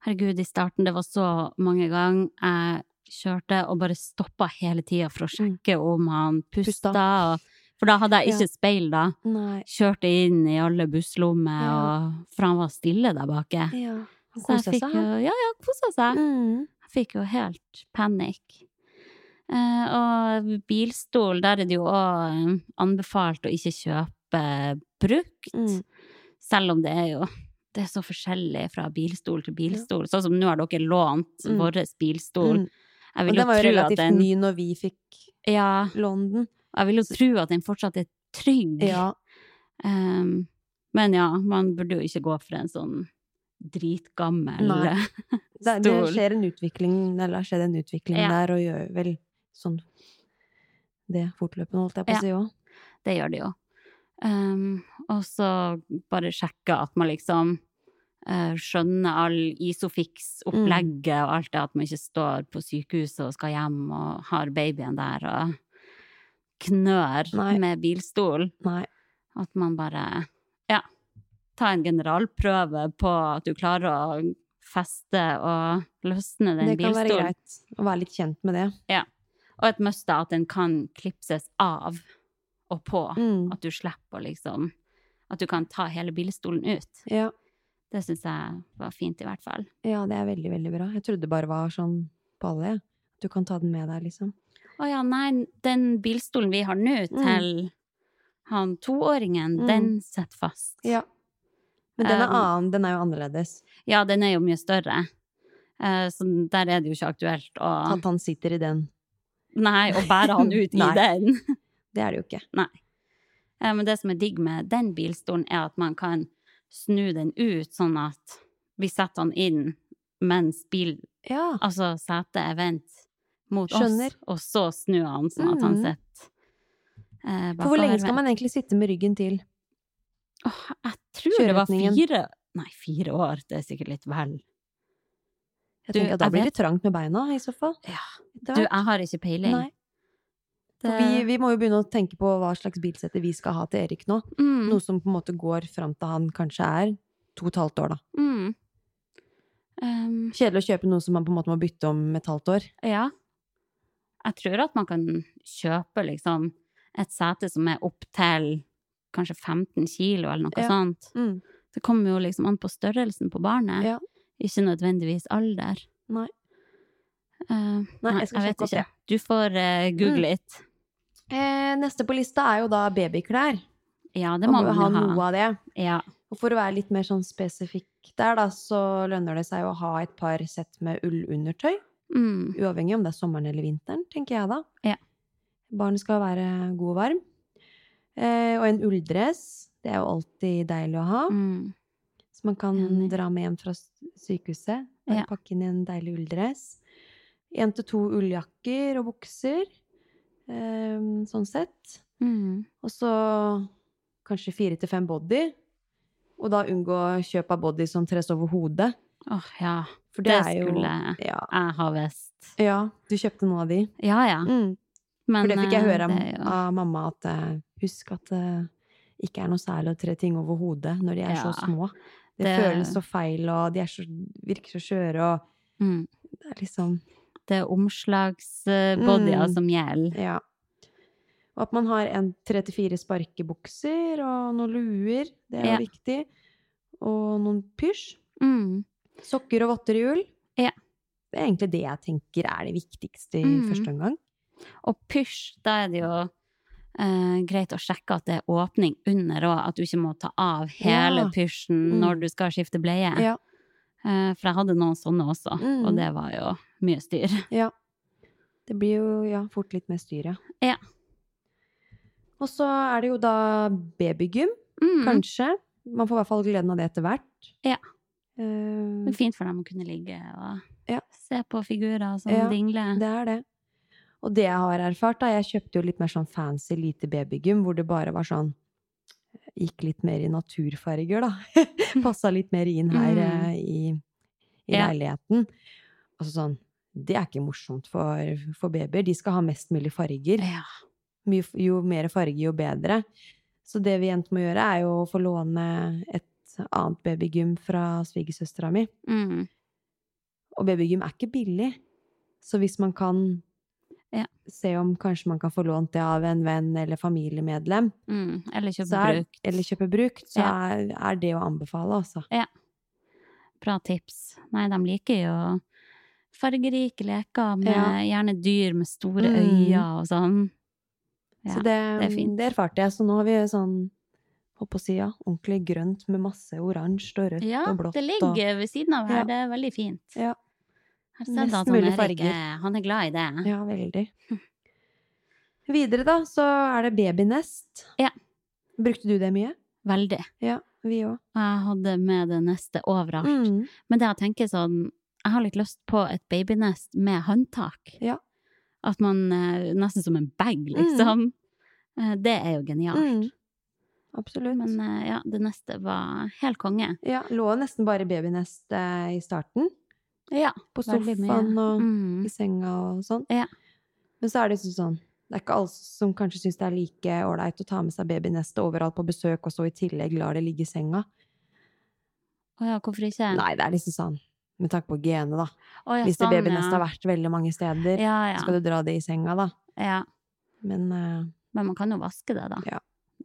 Speaker 4: Herregud, i starten, det var så mange ganger jeg kjørte og bare stoppa hele tida for å
Speaker 3: Mm.
Speaker 4: sjekke om han pusta.
Speaker 3: Pusta.
Speaker 4: og- For da hadde jeg
Speaker 3: Ja.
Speaker 4: ikke speil, da.
Speaker 3: Nei.
Speaker 4: Kjørte inn i alle busslommer,
Speaker 3: Ja.
Speaker 4: og for han var stille der bake.
Speaker 3: Ja. Han
Speaker 4: Så
Speaker 3: koser seg.
Speaker 4: jeg fikk jo
Speaker 3: han.
Speaker 4: Ja, ja, kosa seg.
Speaker 3: Mm.
Speaker 4: Jeg fikk jo helt panikk. Eh, og bilstol, der er det jo òg anbefalt å ikke kjøpe brukt.
Speaker 3: Mm.
Speaker 4: Selv om det er jo det er så forskjellig fra bilstol til bilstol. Sånn som nå har dere lånt
Speaker 3: Mm.
Speaker 4: vår bilstol.
Speaker 3: Mm.
Speaker 4: Jeg
Speaker 3: Og
Speaker 4: vil jo
Speaker 3: den var jo
Speaker 4: tro at
Speaker 3: relativt
Speaker 4: den
Speaker 3: ny når vi fikk
Speaker 4: Ja,
Speaker 3: låne den.
Speaker 4: jeg vil jo tro at den fortsatt er trygg.
Speaker 3: Ja.
Speaker 4: Ehm, men ja, man burde jo ikke gå for en sånn dritgammel (laughs)
Speaker 3: Nei. Det, det
Speaker 4: Stol.
Speaker 3: skjer en utvikling, eller har skjedd en utvikling
Speaker 4: Ja.
Speaker 3: der, og gjør vel sånn det fortløpende, holdt jeg på
Speaker 4: Ja.
Speaker 3: å si òg.
Speaker 4: Det gjør det jo. Ehm, og så bare sjekke at man liksom eh, skjønner all Isofix-opplegget
Speaker 3: Mm.
Speaker 4: og alt det at man ikke står på sykehuset og skal hjem og har babyen der og knør
Speaker 3: Nei.
Speaker 4: med bilstol.
Speaker 3: Nei.
Speaker 4: At man bare ja, tar en generalprøve på at du klarer å feste og løsne den
Speaker 3: Det kan være
Speaker 4: bilstolen.
Speaker 3: greit å være litt kjent med det.
Speaker 4: Og et must er at den kan klipses av og på.
Speaker 3: Mm.
Speaker 4: At du slipper å liksom At du kan ta hele bilstolen ut.
Speaker 3: Ja.
Speaker 4: Det syns jeg var fint, i hvert fall.
Speaker 3: ja, det er veldig, veldig bra. Jeg trodde det bare var sånn på alle. jeg. Du kan ta den med deg, liksom.
Speaker 4: Å ja, nei, den bilstolen vi har nå til han toåringen,
Speaker 3: Mm.
Speaker 4: den sitter fast.
Speaker 3: Ja. Men den er,
Speaker 4: Um,
Speaker 3: annen, den er jo annerledes.
Speaker 4: Ja, den er jo mye større. Eh, Så der er det jo ikke aktuelt å
Speaker 3: At han sitter i den.
Speaker 4: Nei, å bære
Speaker 3: (laughs)
Speaker 4: han ut i
Speaker 3: Nei.
Speaker 4: den.
Speaker 3: Det er det jo ikke.
Speaker 4: Eh, Men det som er digg med den bilstolen, er at man kan snu den ut, sånn at vi setter han inn mens bil,
Speaker 3: Ja.
Speaker 4: altså setet er vendt mot
Speaker 3: Skjønner.
Speaker 4: oss, og så snur han sånn at han
Speaker 3: Mhm.
Speaker 4: sitter eh,
Speaker 3: For hvor lenge skal
Speaker 4: bakovervendt.
Speaker 3: man egentlig sitte med ryggen til?
Speaker 4: Åh, jeg tror det var
Speaker 3: Kjøreretningen.
Speaker 4: fire Nei, fire år, det er sikkert litt vel.
Speaker 3: Jeg
Speaker 4: Du,
Speaker 3: tenker at Da
Speaker 4: jeg
Speaker 3: blir det trangt med beina, i så fall.
Speaker 4: Ja.
Speaker 3: Etter
Speaker 4: Du,
Speaker 3: hvert.
Speaker 4: jeg har ikke peiling.
Speaker 3: Nei.
Speaker 4: det,
Speaker 3: For vi, vi må jo begynne å tenke på hva slags bilsette vi skal ha til Erik nå.
Speaker 4: mm,
Speaker 3: Noe som på en måte går fram til han kanskje er to og et halvt år, da.
Speaker 4: mm. Um,
Speaker 3: Kjedelig å kjøpe noe som man på en måte må bytte om et halvt år.
Speaker 4: ja. Jeg tror at man kan kjøpe liksom et sete som er opp til kanskje 15 kilo eller noe
Speaker 3: Ja. Mm.
Speaker 4: sånt. Det kommer jo liksom an på størrelsen på barnet,
Speaker 3: Ja.
Speaker 4: ikke nødvendigvis alder.
Speaker 3: Nei.
Speaker 4: Eh, nei,
Speaker 3: jeg
Speaker 4: jeg,
Speaker 3: skal
Speaker 4: vet
Speaker 3: sjekke opp Mm.
Speaker 4: ikke. Du får eh, google litt.
Speaker 3: Eh, neste på lista er jo da babyklær.
Speaker 4: Ja, det
Speaker 3: Man
Speaker 4: må
Speaker 3: må jo
Speaker 4: man
Speaker 3: ha
Speaker 4: jo ha.
Speaker 3: noe av det.
Speaker 4: Ja.
Speaker 3: Og for å være litt mer sånn spesifikk der, da, så lønner det seg å ha et par sett med ullundertøy.
Speaker 4: Mm.
Speaker 3: Uavhengig om det er sommeren eller vinteren, tenker jeg da.
Speaker 4: Ja.
Speaker 3: Barnet skal være god og varm. Eh, og en ulldress. Det er jo alltid deilig å ha.
Speaker 4: Mm.
Speaker 3: Så man kan
Speaker 4: Enig.
Speaker 3: dra med hjem fra s- sykehuset. Bare
Speaker 4: Ja.
Speaker 3: pakke inn i en deilig ulldress. Én til to ulljakker og bukser. Eh, sånn sett.
Speaker 4: Mm.
Speaker 3: Og så kanskje fire til fem body. Og da unngå kjøp av body som tres over hodet.
Speaker 4: Åh, ja.
Speaker 3: For
Speaker 4: Det
Speaker 3: det, er jo
Speaker 4: skulle
Speaker 3: ja.
Speaker 4: jeg ha visst.
Speaker 3: ja, du kjøpte noen av de.
Speaker 4: Ja, ja. Men,
Speaker 3: Mm. For det fikk jeg
Speaker 4: eh,
Speaker 3: høre av,
Speaker 4: det er jo-
Speaker 3: av mamma, at eh, husk at det ikke er noe særlig å tre ting over hodet når de er så
Speaker 4: Ja.
Speaker 3: små. Det,
Speaker 4: Det-
Speaker 3: føles så feil, og de er så, virker så skjøre, og
Speaker 4: Mm.
Speaker 3: det er liksom
Speaker 4: Det er omslagsbodyer
Speaker 3: Mm.
Speaker 4: som gjelder.
Speaker 3: Ja. Og at man har en 34 sparkebukser og noen luer, det er jo
Speaker 4: Ja.
Speaker 3: viktig. Og noen pysj.
Speaker 4: Mm.
Speaker 3: Sokker og votter i ull.
Speaker 4: Ja.
Speaker 3: Det er egentlig det jeg tenker er det viktigste i
Speaker 4: Mm.
Speaker 3: første omgang.
Speaker 4: Og pysj, da er det jo eh, greit å sjekke at det er åpning under òg, at du ikke må ta av hele
Speaker 3: Ja.
Speaker 4: pysjen
Speaker 3: Mm.
Speaker 4: når du skal skifte bleie.
Speaker 3: Ja.
Speaker 4: Eh, for jeg hadde noen sånne også,
Speaker 3: Mm.
Speaker 4: og det var jo mye styr.
Speaker 3: Ja. Det blir jo ja, fort litt mer styr, ja.
Speaker 4: Ja.
Speaker 3: Og så er det jo da babygym,
Speaker 4: Mm.
Speaker 3: kanskje. Man får i hvert fall gleden av det etter hvert.
Speaker 4: Ja.
Speaker 3: Eh,
Speaker 4: Det er fint for dem å kunne ligge og
Speaker 3: Ja.
Speaker 4: se på figurer sånn som
Speaker 3: Ja,
Speaker 4: dingler.
Speaker 3: Det er det. Og det jeg har erfart, da, jeg kjøpte jo litt mer sånn fancy lite babygym, hvor det bare var sånn Gikk litt mer i naturfarger, da. (laughs) Passa litt mer inn her
Speaker 4: Mm.
Speaker 3: eh, i, i
Speaker 4: Ja.
Speaker 3: leiligheten. Altså sånn Det er ikke morsomt for, for babyer. De skal ha mest mulig farger.
Speaker 4: Ja.
Speaker 3: Mye, f- jo mer farge, jo bedre. Så det vi endte med å gjøre, er jo å få låne et annet babygym fra svigersøstera mi.
Speaker 4: Mm.
Speaker 3: Og babygym er ikke billig. Så hvis man kan
Speaker 4: Ja.
Speaker 3: se om kanskje man kan få lånt det av en venn eller familiemedlem,
Speaker 4: Mm. Eller kjøpe
Speaker 3: så er,
Speaker 4: bruk.
Speaker 3: eller kjøpe brukt, så
Speaker 4: Ja.
Speaker 3: er, er det å anbefale, altså.
Speaker 4: Bra tips. Nei, de liker jo fargerike leker med
Speaker 3: Ja.
Speaker 4: gjerne dyr med store
Speaker 3: Mm.
Speaker 4: øyne og sånn. Ja,
Speaker 3: så det,
Speaker 4: det er
Speaker 3: det,
Speaker 4: fint.
Speaker 3: erfarte jeg. Så nå har vi sånn holdt på å si, ja, ordentlig grønt med masse oransje og rødt
Speaker 4: Ja,
Speaker 3: og blått.
Speaker 4: det ligger ved siden av her.
Speaker 3: Ja.
Speaker 4: Det er veldig fint.
Speaker 3: Ja.
Speaker 4: Jeg har sett
Speaker 3: Mest
Speaker 4: at han
Speaker 3: mulig
Speaker 4: Erik
Speaker 3: farger.
Speaker 4: er- han er glad i
Speaker 3: Og,
Speaker 4: det.
Speaker 3: ja, veldig.
Speaker 4: Hm.
Speaker 3: Videre, da, så er det babynest.
Speaker 4: Ja.
Speaker 3: Brukte du det mye?
Speaker 4: Veldig.
Speaker 3: Ja, vi òg.
Speaker 4: Og jeg hadde med det neste overalt.
Speaker 3: Mm.
Speaker 4: Men det jeg tenker sånn Jeg har litt lyst på et babynest med håndtak.
Speaker 3: Ja. Mm.
Speaker 4: At man eh, Nesten som en bag, liksom. Eh, Det er jo genialt.
Speaker 3: absolutt.
Speaker 4: Men eh, ja, det neste var helt konge.
Speaker 3: ja, lå nesten bare i babynest eh, i starten.
Speaker 4: Ja,
Speaker 3: På
Speaker 4: veldig mye.
Speaker 3: sofaen og
Speaker 4: Mm.
Speaker 3: i senga og sånn.
Speaker 4: Ja.
Speaker 3: Men så er det liksom sånn Det er ikke alle som kanskje syns det er like ålreit å ta med seg babynestet overalt på besøk, og så i tillegg lar det ligge i senga.
Speaker 4: Å ja, hvorfor ikke?
Speaker 3: Nei, det er liksom sånn med tanke på genet, da.
Speaker 4: Å ja,
Speaker 3: Hvis det
Speaker 4: sånn,
Speaker 3: babynestet
Speaker 4: ja.
Speaker 3: har vært veldig mange steder,
Speaker 4: Ja,
Speaker 3: så
Speaker 4: ja,
Speaker 3: skal du dra det i senga, da.
Speaker 4: ja.
Speaker 3: Men eh,
Speaker 4: Men man kan jo vaske det, da.
Speaker 3: Ja.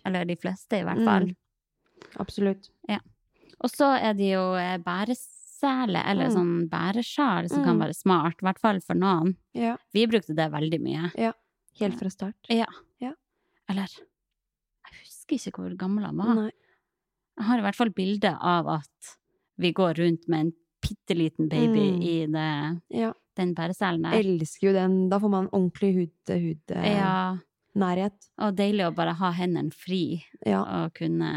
Speaker 4: Eller de fleste, i hvert
Speaker 3: Mm.
Speaker 4: fall.
Speaker 3: absolutt.
Speaker 4: Og så er det jo eh, bæresele, eller
Speaker 3: Mm.
Speaker 4: sånn bæresjal, som kan
Speaker 3: Mm.
Speaker 4: være smart. I hvert fall for noen.
Speaker 3: Ja.
Speaker 4: Vi brukte det veldig mye.
Speaker 3: Helt fra start.
Speaker 4: Ja.
Speaker 3: Ja.
Speaker 4: Eller Jeg husker ikke hvor gammel han var.
Speaker 3: Nei.
Speaker 4: Jeg har i hvert fall bilde av at vi går rundt med en bitte liten baby
Speaker 3: Mm.
Speaker 4: i det,
Speaker 3: Ja.
Speaker 4: den bæreselen der.
Speaker 3: Elsker jo den. Da får man ordentlig eh, hud-til-hud-nærhet.
Speaker 4: Ja, og deilig å bare ha hendene fri
Speaker 3: Ja.
Speaker 4: og kunne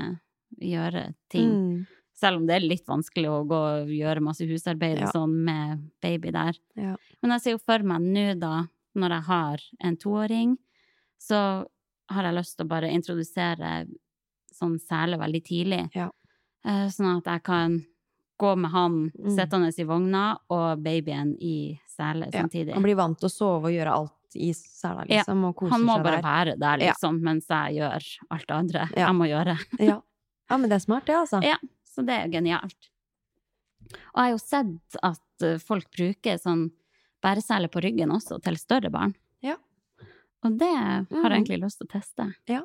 Speaker 4: gjøre ting.
Speaker 3: Mm.
Speaker 4: Selv om det er litt vanskelig å gå og gjøre masse husarbeid
Speaker 3: Ja.
Speaker 4: og sånn med baby der.
Speaker 3: Ja.
Speaker 4: Men jeg ser jo for meg nå, da, når jeg har en toåring, så har jeg lyst til å bare introdusere sånn sele veldig tidlig.
Speaker 3: Ja.
Speaker 4: Eh, Sånn at jeg kan gå med han
Speaker 3: Mm.
Speaker 4: sittende i vogna og babyen i sele
Speaker 3: Ja,
Speaker 4: samtidig.
Speaker 3: Han blir vant til å sove og gjøre alt i sela,
Speaker 4: Ja,
Speaker 3: liksom, og koser
Speaker 4: Han må
Speaker 3: seg
Speaker 4: bare
Speaker 3: der.
Speaker 4: være der,
Speaker 3: Ja.
Speaker 4: liksom, mens jeg gjør alt det andre
Speaker 3: Ja.
Speaker 4: jeg må gjøre.
Speaker 3: Ja. ja, men det er smart, det, altså.
Speaker 4: Ja. Så det er jo genialt. Og jeg har jo sett at eh, folk bruker sånn bæresele på ryggen også til større barn.
Speaker 3: Ja.
Speaker 4: Og det har
Speaker 3: Mm.
Speaker 4: jeg egentlig lyst til å teste.
Speaker 3: Ja.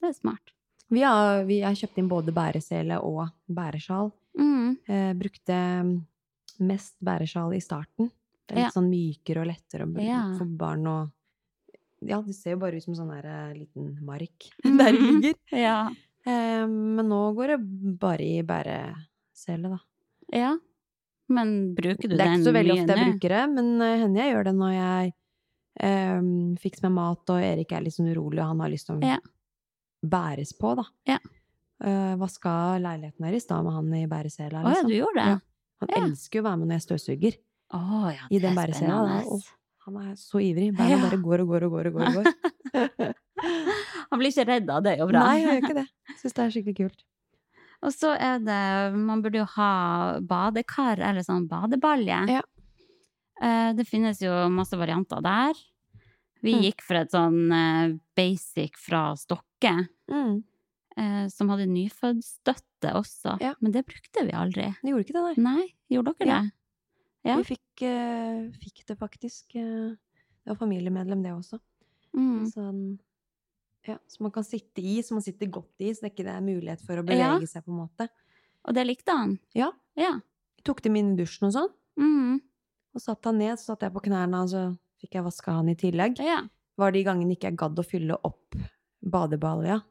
Speaker 4: Det er smart.
Speaker 3: Vi har, vi har kjøpt inn både bæresele og bæresjal.
Speaker 4: Mm.
Speaker 3: Eh, brukte mest bæresjal i starten. Det er litt sånn mykere og lettere å br-
Speaker 4: Ja.
Speaker 3: for barn å Ja, det ser jo bare ut som sånn der eh, liten mark
Speaker 4: (laughs)
Speaker 3: der det ligger.
Speaker 4: Ja.
Speaker 3: Eh, men nå går det bare i bæresele, da.
Speaker 4: ja. Men bruker du
Speaker 3: Det er
Speaker 4: den
Speaker 3: ikke så veldig
Speaker 4: mye
Speaker 3: ofte jeg
Speaker 4: nå?
Speaker 3: bruker det, men eh, hender jeg gjør det når jeg um, fikser meg mat, og Erik er litt sånn urolig, og han har lyst til å
Speaker 4: Ja.
Speaker 3: bæres på, da.
Speaker 4: Ja.
Speaker 3: Eh, vaska leiligheten her i stad med han i bæresela,
Speaker 4: Å ja, du
Speaker 3: liksom.
Speaker 4: gjorde det?
Speaker 3: Ja. Han
Speaker 4: ja.
Speaker 3: elsker jo å være med når jeg støvsuger.
Speaker 4: Å ja,
Speaker 3: I
Speaker 4: det
Speaker 3: den
Speaker 4: er
Speaker 3: bæresela,
Speaker 4: spennende.
Speaker 3: da. Åh, Han er så ivrig. Beina
Speaker 4: Ja.
Speaker 3: bare går og går og går og går. Og går.
Speaker 4: (laughs) Han blir ikke redd av det, det er jo (laughs) bra.
Speaker 3: Nei, jeg gjør ikke det. Syns det er skikkelig kult.
Speaker 4: Og så er det Man burde jo ha badekar, eller sånn badebalje.
Speaker 3: Ja.
Speaker 4: Eh, Det finnes jo masse varianter der. Vi
Speaker 3: Mm.
Speaker 4: gikk for et sånn eh, basic fra Stokke,
Speaker 3: Mm.
Speaker 4: eh, som hadde nyfødtstøtte også.
Speaker 3: Ja.
Speaker 4: Men det brukte vi aldri.
Speaker 3: Det gjorde ikke det, nei.
Speaker 4: Nei, gjorde dere
Speaker 3: Ja.
Speaker 4: det? Ja.
Speaker 3: Vi fikk, eh, fikk det faktisk. eh, det var familiemedlem, det også.
Speaker 4: Mm.
Speaker 3: Sånn, ja, som man kan sitte i, som man sitter godt i, så det ikke det er mulighet for å bevege seg på en måte.
Speaker 4: Og det likte han.
Speaker 3: Ja.
Speaker 4: Ja.
Speaker 3: Jeg tok dem inn i dusjen og sånn,
Speaker 4: Mm.
Speaker 3: og satt han ned, så satt jeg på knærne, og så fikk jeg vaska han i tillegg.
Speaker 4: ja.
Speaker 3: Var de gangene ikke jeg gadd å fylle opp badebalja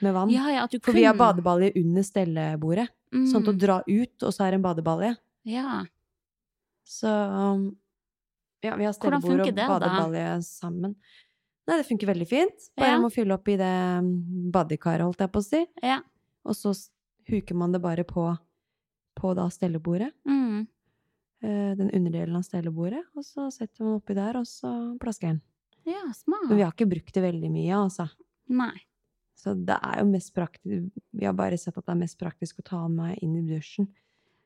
Speaker 3: med vann.
Speaker 4: Ja, ja, at du
Speaker 3: For vi har
Speaker 4: kun-
Speaker 3: badebalje under stellebordet,
Speaker 4: Mm.
Speaker 3: sånn at å dra ut, og så er det en badebalje.
Speaker 4: Ja.
Speaker 3: Så um, ja, vi har
Speaker 4: Hvordan
Speaker 3: stellebord
Speaker 4: funker
Speaker 3: og
Speaker 4: det, da?
Speaker 3: badebalje sammen. Nei, det funker veldig fint. Bare
Speaker 4: Ja.
Speaker 3: må fylle opp i det um, badekaret, holdt jeg på å si.
Speaker 4: Ja.
Speaker 3: Og så s- huker man det bare på, på da stellebordet.
Speaker 4: Mm.
Speaker 3: eh, Den underdelen av stellebordet. Og så setter man oppi der, og så plasker den.
Speaker 4: ja, smart.
Speaker 3: Men vi har ikke brukt det veldig mye, altså.
Speaker 4: Nei.
Speaker 3: Så det er jo mest praktisk Vi har bare sett at det er mest praktisk å ta meg inn i dusjen.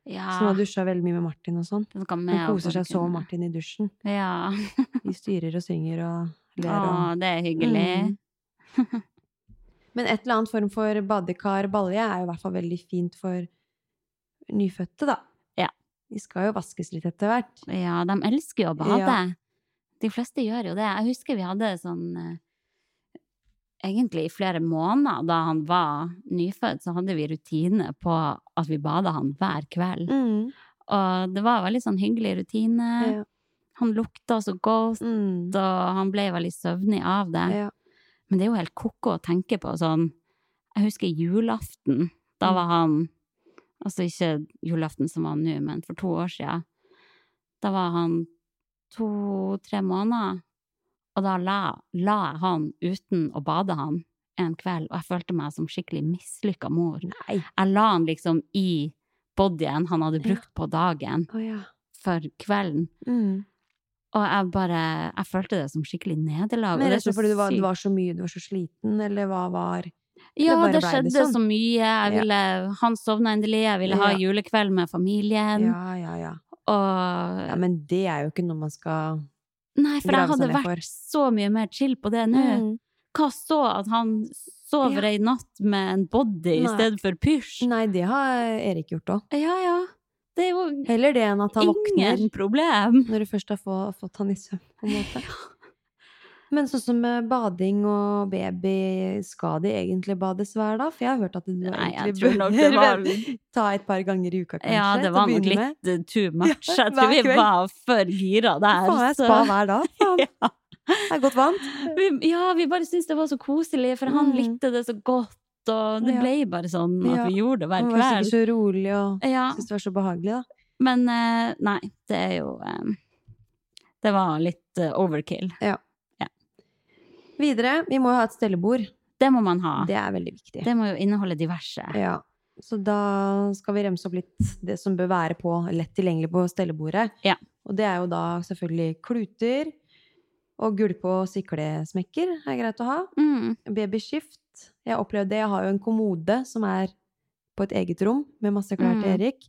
Speaker 3: Så nå
Speaker 4: Ja.
Speaker 3: har jeg dusja veldig mye med Martin og sånn.
Speaker 4: Den kan med
Speaker 3: Han koser
Speaker 4: og
Speaker 3: seg så
Speaker 4: orken.
Speaker 3: med Martin i dusjen.
Speaker 4: Ja.
Speaker 3: De styrer og synger og ler og
Speaker 4: Å, det er hyggelig. (laughs)
Speaker 3: Mm. Men et eller annet form for badekar, balje, er jo i hvert fall veldig fint for nyfødte, da.
Speaker 4: Ja.
Speaker 3: De skal jo vaskes litt etter hvert.
Speaker 4: Ja, de elsker jo å bade.
Speaker 3: Ja.
Speaker 4: De fleste gjør jo det. Jeg husker vi hadde sånn eh, Egentlig i flere måneder da han var nyfødt, så hadde vi rutine på at vi bada han hver kveld.
Speaker 3: Mm.
Speaker 4: Og det var veldig sånn hyggelig rutine.
Speaker 3: Ja.
Speaker 4: Han lukta så godt,
Speaker 3: Mm.
Speaker 4: og han ble veldig søvnig av det.
Speaker 3: Ja.
Speaker 4: Men det er jo helt ko-ko å tenke på sånn Jeg husker julaften. Da var han Altså ikke julaften som var nå, men for to år siden. Da var han to-tre måneder. Og da la, la jeg han uten å bade han en kveld, og jeg følte meg som skikkelig mislykka mor.
Speaker 3: Nei.
Speaker 4: Jeg la han liksom i bodyen han hadde brukt på dagen,
Speaker 3: Å ja.
Speaker 4: for kvelden.
Speaker 3: Mm.
Speaker 4: Og jeg bare Jeg følte det som skikkelig nederlag. og
Speaker 3: Men
Speaker 4: det er
Speaker 3: rett og slett
Speaker 4: så
Speaker 3: fordi det var,
Speaker 4: sykt.
Speaker 3: det var så mye, du var så sliten, eller hva var
Speaker 4: Ja,
Speaker 3: bare
Speaker 4: det,
Speaker 3: ble
Speaker 4: skjedde
Speaker 3: det sånn.
Speaker 4: så mye. Jeg
Speaker 3: Ja.
Speaker 4: ville, Han sovna endelig, jeg ville ha
Speaker 3: Ja.
Speaker 4: julekveld med familien.
Speaker 3: Ja, ja, ja.
Speaker 4: Og
Speaker 3: ja. Men det er jo ikke noe man skal
Speaker 4: Nei, for jeg
Speaker 3: grave seg
Speaker 4: hadde
Speaker 3: ned
Speaker 4: vært
Speaker 3: for. Mm.
Speaker 4: så mye mer chill på det nå. Hva så at han sover
Speaker 3: Ja.
Speaker 4: ei natt med en body i
Speaker 3: Nei.
Speaker 4: stedet for pysj?
Speaker 3: Nei, det har Erik gjort òg.
Speaker 4: Ja, ja. Det er jo
Speaker 3: Heller det enn at han våkner
Speaker 4: ingen problem.
Speaker 3: når du først har få, fått han i søvn, på en måte. Men sånn som med bading og baby, skal de egentlig bades hver dag? For jeg har hørt at du
Speaker 4: Nei, jeg
Speaker 3: egentlig
Speaker 4: tror nok det var
Speaker 3: (laughs) ta et par ganger i uka, kanskje.
Speaker 4: Ja, det
Speaker 3: til å
Speaker 4: var nok
Speaker 3: begynne med.
Speaker 4: litt eh, too much.
Speaker 3: Ja,
Speaker 4: Jeg tror
Speaker 3: hver
Speaker 4: vi
Speaker 3: kveld.
Speaker 4: var for gira der.
Speaker 3: Faen, jeg
Speaker 4: så-
Speaker 3: spa hver dag. Faen.
Speaker 4: (laughs) Ja.
Speaker 3: Jeg er godt vant.
Speaker 4: (laughs) Vi, ja, vi bare syntes det var så koselig, for han
Speaker 3: Mm.
Speaker 4: likte det så godt. Og det
Speaker 3: Ja.
Speaker 4: ble bare sånn at
Speaker 3: Ja.
Speaker 4: vi gjorde det hver
Speaker 3: Man var
Speaker 4: kveld.
Speaker 3: sikkert så rolig og
Speaker 4: Ja,
Speaker 3: syntes det var så behagelig, da.
Speaker 4: men eh, nei, det er jo eh, Det var litt eh, overkill.
Speaker 3: Videre, vi må jo ha et stellebord.
Speaker 4: Det må man ha. Det,
Speaker 3: Det er veldig viktig.
Speaker 4: må jo inneholde diverse.
Speaker 3: Ja. Så da skal vi remse opp litt det som bør være på, lett tilgjengelig på stellebordet.
Speaker 4: Ja.
Speaker 3: Og det er jo da selvfølgelig kluter og gulpe- og siklesmekker er greit å ha.
Speaker 4: Mm.
Speaker 3: Babyskift. Jeg opplevde det. Jeg har jo en kommode som er på et eget rom med masse klær til
Speaker 4: Mm.
Speaker 3: Erik.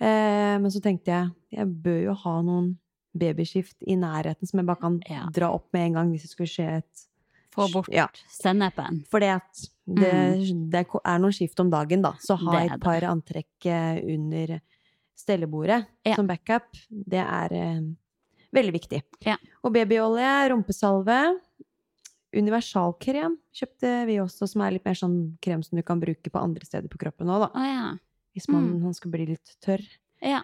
Speaker 3: Eh, men så tenkte jeg jeg bør jo ha noen babyskift i nærheten som jeg bare kan
Speaker 4: Ja.
Speaker 3: dra opp med en gang hvis det skulle skje et
Speaker 4: Få bort
Speaker 3: Ja.
Speaker 4: sennepen.
Speaker 3: fordi at det, det ko- er noen skift om dagen, da. Så ha
Speaker 4: Mm. Det er
Speaker 3: et par antrekk eh, under stellebordet
Speaker 4: Ja.
Speaker 3: som backup, det er eh, veldig viktig.
Speaker 4: Ja.
Speaker 3: Og babyolje, rumpesalve, universalkrem kjøpte vi også, som er litt mer sånn krem som du kan bruke på andre steder på kroppen òg, da.
Speaker 4: Å ja.
Speaker 3: Hvis man,
Speaker 4: Mm.
Speaker 3: han skal bli litt tørr.
Speaker 4: Ja.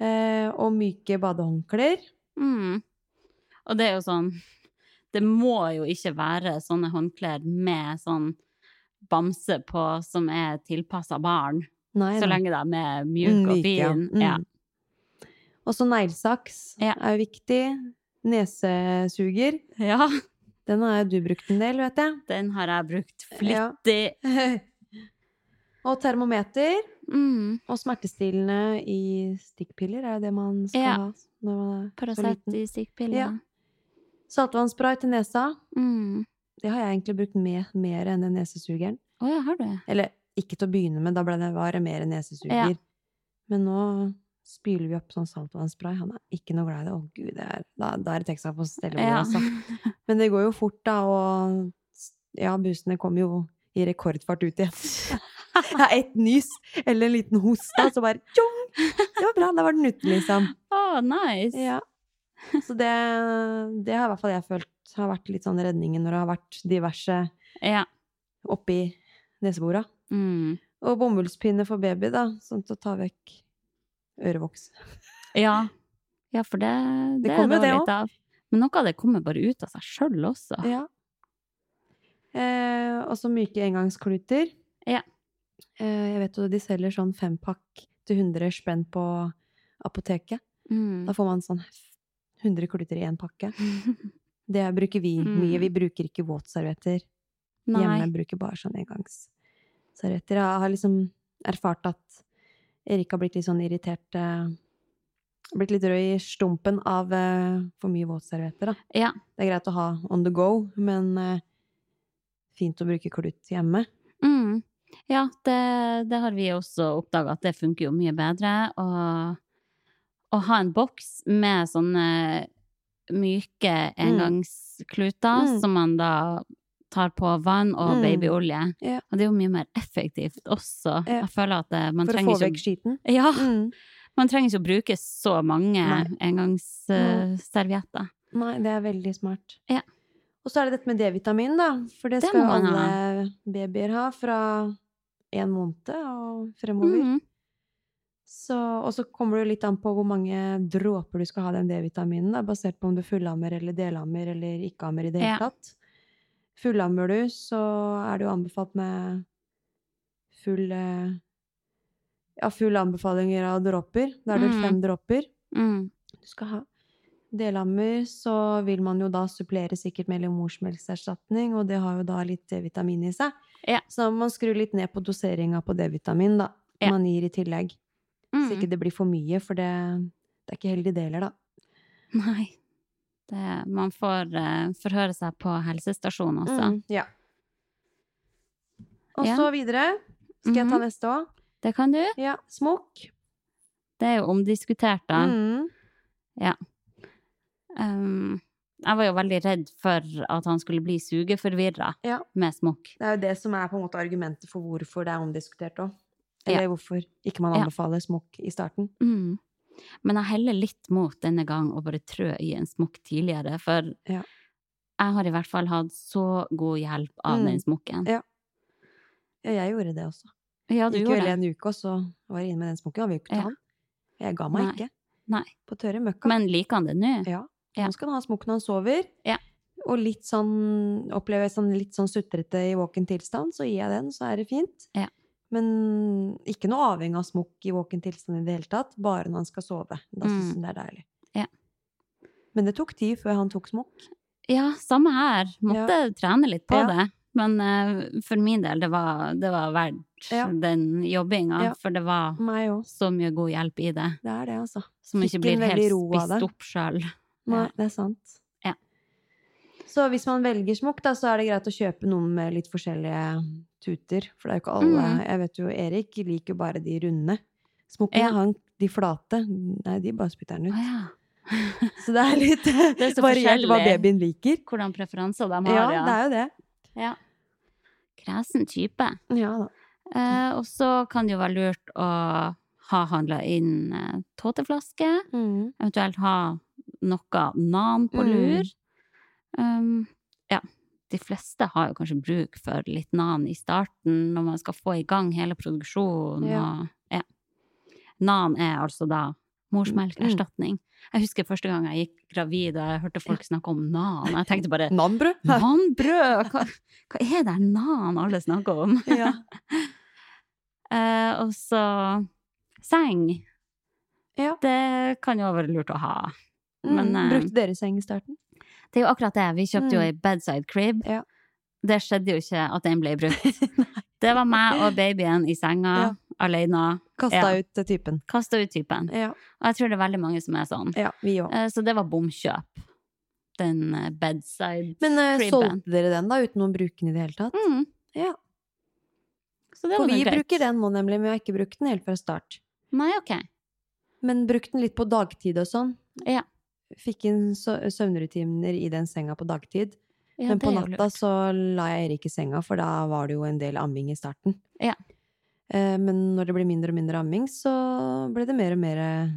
Speaker 3: Eh, og myke badehåndklær.
Speaker 4: Mm. Og det er jo sånn Det må jo ikke være sånne håndklær med sånn bamse på som er tilpassa barn,
Speaker 3: Nei,
Speaker 4: så
Speaker 3: nei.
Speaker 4: lenge de er mjuke og
Speaker 3: Myke, ja.
Speaker 4: fine.
Speaker 3: Mm.
Speaker 4: Ja.
Speaker 3: Og så neglesaks
Speaker 4: Ja.
Speaker 3: er jo viktig. Nesesuger.
Speaker 4: Ja.
Speaker 3: Den har jo du brukt en del, vet jeg.
Speaker 4: den har jeg brukt
Speaker 3: Ja. (laughs)
Speaker 4: flittig.
Speaker 3: og termometer.
Speaker 4: Mm.
Speaker 3: Og smertestillende i stikkpiller er jo det man skal
Speaker 4: Ja.
Speaker 3: ha når man er så
Speaker 4: Paracet
Speaker 3: liten.
Speaker 4: i stikkpiller.
Speaker 3: Ja. Saltvannsspray til nesa.
Speaker 4: Mm.
Speaker 3: Det har jeg egentlig brukt med, mer enn den nesesugeren.
Speaker 4: Å ja, har du?
Speaker 3: Eller ikke til å begynne med, da ble det bare mer enn nesesuger.
Speaker 4: Ja.
Speaker 3: Men nå spyler vi opp sånn saltvannsspray. Han er ikke noe glad i det. Å gud, det er, da, da er det Texas på stellebordet,
Speaker 4: Ja.
Speaker 3: altså. Men det går jo fort, da, og ja, busene kommer jo i rekordfart ut igjen.
Speaker 4: (laughs)
Speaker 3: Det er ett nys eller en liten host, da, så bare tjong! Det var bra, da var den ute, liksom.
Speaker 4: Å, nice!
Speaker 3: Ja. Så det, det har i hvert fall jeg følt har vært litt sånn redningen når det har vært diverse
Speaker 4: Ja.
Speaker 3: oppi nesebora.
Speaker 4: Mm.
Speaker 3: Og bomullspinne for baby, da, sånn til å ta vekk ørevoks.
Speaker 4: Ja. ja, for det, det,
Speaker 3: Det
Speaker 4: er
Speaker 3: kommer jo
Speaker 4: det
Speaker 3: det
Speaker 4: også litt av. Men noe av det kommer bare ut av seg sjøl også.
Speaker 3: Ja. (laughs) Eh, og så myke engangskluter.
Speaker 4: Ja.
Speaker 3: Eh, jeg vet jo de selger sånn fempakk til 100 spenn på apoteket.
Speaker 4: Mm.
Speaker 3: Da får man sånn 100 kluter i én pakke. Det bruker vi
Speaker 4: Mm.
Speaker 3: mye. Vi bruker ikke våtservietter hjemme.
Speaker 4: (laughs) Nei.
Speaker 3: Bruker bare sånn engangsservietter. Jeg har liksom erfart at Erik har blitt litt sånn irritert eh, Blitt litt rød i stumpen av eh, for mye våtservietter, da.
Speaker 4: Ja.
Speaker 3: Det er greit å ha on the go, men eh, fint å bruke klut hjemme.
Speaker 4: Mm. Ja, det, det har vi også oppdaga at det funker jo mye bedre. Å, å ha en boks med sånne myke engangskluter
Speaker 3: Mm.
Speaker 4: som man da tar på vann og
Speaker 3: Mm.
Speaker 4: babyolje.
Speaker 3: Ja.
Speaker 4: Og det er jo mye mer effektivt også.
Speaker 3: Ja.
Speaker 4: Jeg føler at det, man
Speaker 3: For å
Speaker 4: trenger
Speaker 3: få
Speaker 4: ikke å-
Speaker 3: vekk skiten.
Speaker 4: Ja,
Speaker 3: Mm.
Speaker 4: man trenger ikke å bruke så mange
Speaker 3: Nei. Nei.
Speaker 4: engangsservietter.
Speaker 3: Nei, det er veldig smart.
Speaker 4: Ja.
Speaker 3: Og så er det dette med D-vitamin, da. For det,
Speaker 4: Det
Speaker 3: skal
Speaker 4: må
Speaker 3: jo
Speaker 4: man
Speaker 3: alle
Speaker 4: ha.
Speaker 3: babyer ha fra en måned og fremover.
Speaker 4: Mhm.
Speaker 3: Så, og så kommer det jo litt an på hvor mange dråper du skal ha den D-vitaminen, da, basert på om du fullammer eller delammer eller ikke ammer i det hele
Speaker 4: Ja.
Speaker 3: tatt. Fullammer du, så er det jo anbefalt med full eh, Ja, full anbefalinger av dråper. Da er det vel
Speaker 4: Mm.
Speaker 3: fem dråper
Speaker 4: Mm.
Speaker 3: du skal ha. Delammer, så vil man jo da supplere sikkert med morsmelkerstatning, og det har jo da litt D-vitamin i seg.
Speaker 4: Ja.
Speaker 3: Så man skrur litt ned på doseringa på D-vitamin, da.
Speaker 4: Ja.
Speaker 3: Man gir i tillegg. Så
Speaker 4: Mm.
Speaker 3: ikke det blir for mye, for det, det er ikke heldig det heller, da.
Speaker 4: Nei. Det,
Speaker 3: Mm.
Speaker 4: man får eh, forhøre seg på helsestasjonen også.
Speaker 3: Ja. Og
Speaker 4: Ja.
Speaker 3: så videre. Skal jeg ta
Speaker 4: Mhm.
Speaker 3: neste òg?
Speaker 4: Det kan du.
Speaker 3: Ja. Smokk.
Speaker 4: Det er jo omdiskutert, da.
Speaker 3: Mm.
Speaker 4: Um, jeg var jo veldig redd for at han skulle bli sugeforvirra
Speaker 3: Ja.
Speaker 4: med smokk.
Speaker 3: Det er jo det som er på en måte argumentet for hvorfor det er omdiskutert òg. Eller hvorfor ikke man
Speaker 4: Ja.
Speaker 3: anbefaler smokk i starten.
Speaker 4: Mm. Men jeg heller litt mot denne gang å bare trø i en smokk tidligere, for
Speaker 3: Ja.
Speaker 4: jeg har i hvert fall hatt så god hjelp av
Speaker 3: Mm.
Speaker 4: den smokken.
Speaker 3: Ja. Ja, jeg gjorde det også.
Speaker 4: Ja, du
Speaker 3: Gikk jo
Speaker 4: gjorde
Speaker 3: hele en
Speaker 4: det.
Speaker 3: uke, og så var jeg inne med den smokken. Han ville jo ikke ta
Speaker 4: Ja.
Speaker 3: den. Jeg ga meg
Speaker 4: Nei.
Speaker 3: ikke.
Speaker 4: Nei.
Speaker 3: På tørre møkka.
Speaker 4: Men liker han det nå?
Speaker 3: ja.
Speaker 4: Ja.
Speaker 3: Nå skal han ha smokken når han sover.
Speaker 4: Ja.
Speaker 3: Og litt sånn, opplever jeg sånn litt sånn sutrete i våken tilstand, så gir jeg den, så er det fint.
Speaker 4: Ja.
Speaker 3: Men ikke noe avhengig av smokk i våken tilstand i det hele tatt, bare når han skal sove. Da synes
Speaker 4: Mm.
Speaker 3: han det er deilig.
Speaker 4: Ja.
Speaker 3: Men det tok tid før han tok smokk.
Speaker 4: Ja, samme her. Måtte trene litt på
Speaker 3: Ja.
Speaker 4: det. Men eh, for min del, det var, det var verdt
Speaker 3: Ja.
Speaker 4: den jobbinga,
Speaker 3: Ja.
Speaker 4: for det var
Speaker 3: Meg òg.
Speaker 4: så mye god hjelp i det.
Speaker 3: Det er det, altså.
Speaker 4: Som ikke
Speaker 3: Fikk
Speaker 4: blir
Speaker 3: en
Speaker 4: helt
Speaker 3: veldig ro av
Speaker 4: spist
Speaker 3: det.
Speaker 4: opp sjøl.
Speaker 3: Nei,
Speaker 4: Ja.
Speaker 3: det er sant.
Speaker 4: Ja.
Speaker 3: Så hvis man velger smokk, da, så er det greit å kjøpe noen med litt forskjellige tuter. For det er jo ikke alle
Speaker 4: Mm.
Speaker 3: Jeg vet jo Erik liker jo bare de runde smokkene.
Speaker 4: Ja.
Speaker 3: Han, de flate, nei, de bare spytter han
Speaker 4: Å
Speaker 3: ut.
Speaker 4: ja.
Speaker 3: Så det er
Speaker 4: (laughs)
Speaker 3: litt
Speaker 4: er
Speaker 3: (laughs)
Speaker 4: så
Speaker 3: variert hva
Speaker 4: forskjellig.
Speaker 3: babyen liker.
Speaker 4: Hvordan preferanser de
Speaker 3: Ja,
Speaker 4: har,
Speaker 3: det er jo det.
Speaker 4: ja. Kresen type.
Speaker 3: Ja da.
Speaker 4: Eh,
Speaker 3: Mm.
Speaker 4: og så kan det jo være lurt å ha handla inn eh, tåteflaske,
Speaker 3: Mm.
Speaker 4: eventuelt ha noe nan på
Speaker 3: Mm.
Speaker 4: lur. Um, ja, de fleste har jo kanskje bruk for litt nan i starten, når man skal få i gang hele produksjonen.
Speaker 3: Ja.
Speaker 4: Og, ja. Nan er altså da
Speaker 3: Mm,
Speaker 4: morsmelkerstatning. Jeg husker første gang jeg gikk gravid og jeg hørte folk snakke om nan. Jeg tenkte
Speaker 3: (laughs)
Speaker 4: bare
Speaker 3: Nanbrød?
Speaker 4: Nanbrød! Hva, hva er det nan alle snakker om?
Speaker 3: (laughs) Ja.
Speaker 4: Eh, og så seng.
Speaker 3: Ja.
Speaker 4: Det kan jo være lurt å ha.
Speaker 3: Mm.
Speaker 4: (laughs) Men, eh,
Speaker 3: Brukte dere seng i
Speaker 4: (laughs)
Speaker 3: starten?
Speaker 4: Det er jo akkurat det. Vi kjøpte jo
Speaker 3: Mm.
Speaker 4: ei bedside crib.
Speaker 3: Ja.
Speaker 4: Det skjedde jo ikke at den ble brukt. det var meg og babyen i senga
Speaker 3: Ja.
Speaker 4: alene.
Speaker 3: Kasta
Speaker 4: Ja.
Speaker 3: ut typen.
Speaker 4: Kasta ut typen.
Speaker 3: Ja,
Speaker 4: Og jeg tror det er veldig mange som er sånn.
Speaker 3: ja vi òg.
Speaker 4: Eh, så det var bomkjøp. Den eh, bedside
Speaker 3: Men eh,
Speaker 4: cribben.
Speaker 3: solgte dere den, da, uten å bruke den i det hele tatt?
Speaker 4: mm.
Speaker 3: Ja.
Speaker 4: Så det
Speaker 3: For
Speaker 4: var
Speaker 3: vi
Speaker 4: nå greit.
Speaker 3: bruker den nå, nemlig, men vi har ikke brukt den helt fra start.
Speaker 4: Nei, ok.
Speaker 3: Men brukt den litt på dagtid og sånn.
Speaker 4: Ja.
Speaker 3: Fikk inn sø- søvnrutiner i den senga på dagtid.
Speaker 4: Ja,
Speaker 3: men på
Speaker 4: det er jo
Speaker 3: natta
Speaker 4: lurt.
Speaker 3: så la jeg Erik i senga, for da var det jo en del amming i starten.
Speaker 4: Ja.
Speaker 3: Eh, Men når det ble mindre og mindre amming, så ble det mer og mer eh,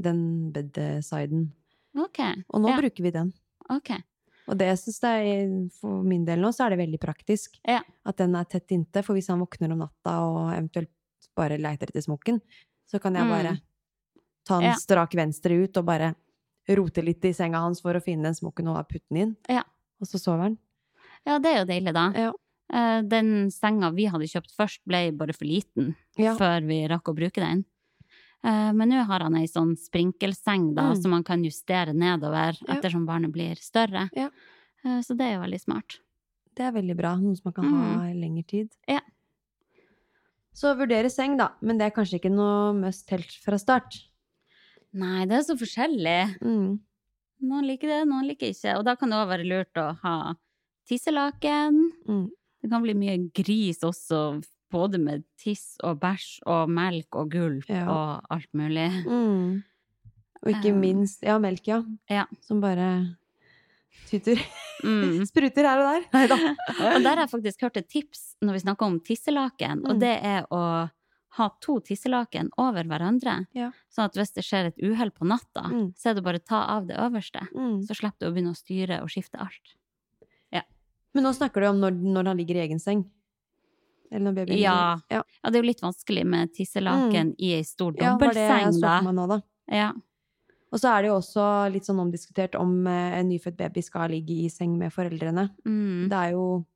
Speaker 3: den bedsiden.
Speaker 4: Ok,
Speaker 3: Og nå
Speaker 4: Ja.
Speaker 3: bruker vi den.
Speaker 4: ok.
Speaker 3: Og det jeg synes det er, for min del nå, så er det veldig praktisk
Speaker 4: Ja.
Speaker 3: at den er tett inntil. For hvis han våkner om natta og eventuelt bare leiter etter smokken, så kan jeg
Speaker 4: Mm.
Speaker 3: bare ta den
Speaker 4: Ja.
Speaker 3: strak venstre ut og bare rote litt i senga hans for å finne den smokken og putte den inn.
Speaker 4: Ja.
Speaker 3: Og så sover han.
Speaker 4: Ja, det er jo deilig, da.
Speaker 3: Ja.
Speaker 4: Eh, Den senga vi hadde kjøpt først, ble bare for liten
Speaker 3: Ja.
Speaker 4: før vi rakk å bruke den. Eh, Men nå har han ei sånn sprinkelseng da,
Speaker 3: Mm.
Speaker 4: som man kan justere nedover
Speaker 3: Ja.
Speaker 4: ettersom barnet blir større.
Speaker 3: Ja.
Speaker 4: Eh, Så det er jo veldig smart.
Speaker 3: Det er veldig bra. Noe som man kan ha i lengre tid.
Speaker 4: Mm. Ja.
Speaker 3: Så vurdere seng, da. Men det er kanskje ikke noe must helt fra start.
Speaker 4: Nei, det er så forskjellig.
Speaker 3: Mm.
Speaker 4: Noen liker det, noen liker ikke. Og da kan det òg være lurt å ha tisselaken.
Speaker 3: Mm.
Speaker 4: Det kan bli mye gris også, både med tiss og bæsj og melk og gulp
Speaker 3: Ja.
Speaker 4: og alt mulig.
Speaker 3: (laughs) Mm. Og ikke
Speaker 4: Um,
Speaker 3: minst Ja, melk, ja.
Speaker 4: ja.
Speaker 3: Som bare tuter.
Speaker 4: (laughs) Mm.
Speaker 3: Spruter her og der. Nei (laughs) da.
Speaker 4: Og der har jeg faktisk hørt et tips når vi snakker om tisselaken, og
Speaker 3: Mm.
Speaker 4: det er å ha to tisselaken over hverandre.
Speaker 3: Ja.
Speaker 4: Sånn at hvis det skjer et uhell på natta,
Speaker 3: Mm.
Speaker 4: så er det bare å ta av det øverste.
Speaker 3: Mm.
Speaker 4: Så slipper du å begynne å styre og skifte alt.
Speaker 3: Men nå snakker du om når, når han ligger i egen seng. Eller når babyen
Speaker 4: Ja.
Speaker 3: ligger ja.
Speaker 4: Ja, det er jo litt vanskelig med tisselaken i ei stor
Speaker 3: Mm. ja, det var det jeg så
Speaker 4: dobbeltseng,
Speaker 3: for
Speaker 4: da.
Speaker 3: meg nå, da.
Speaker 4: Ja.
Speaker 3: Og så er det jo også litt sånn omdiskutert om eh, en nyfødt baby skal ligge i seng med foreldrene.
Speaker 4: Mm.
Speaker 3: Det er jo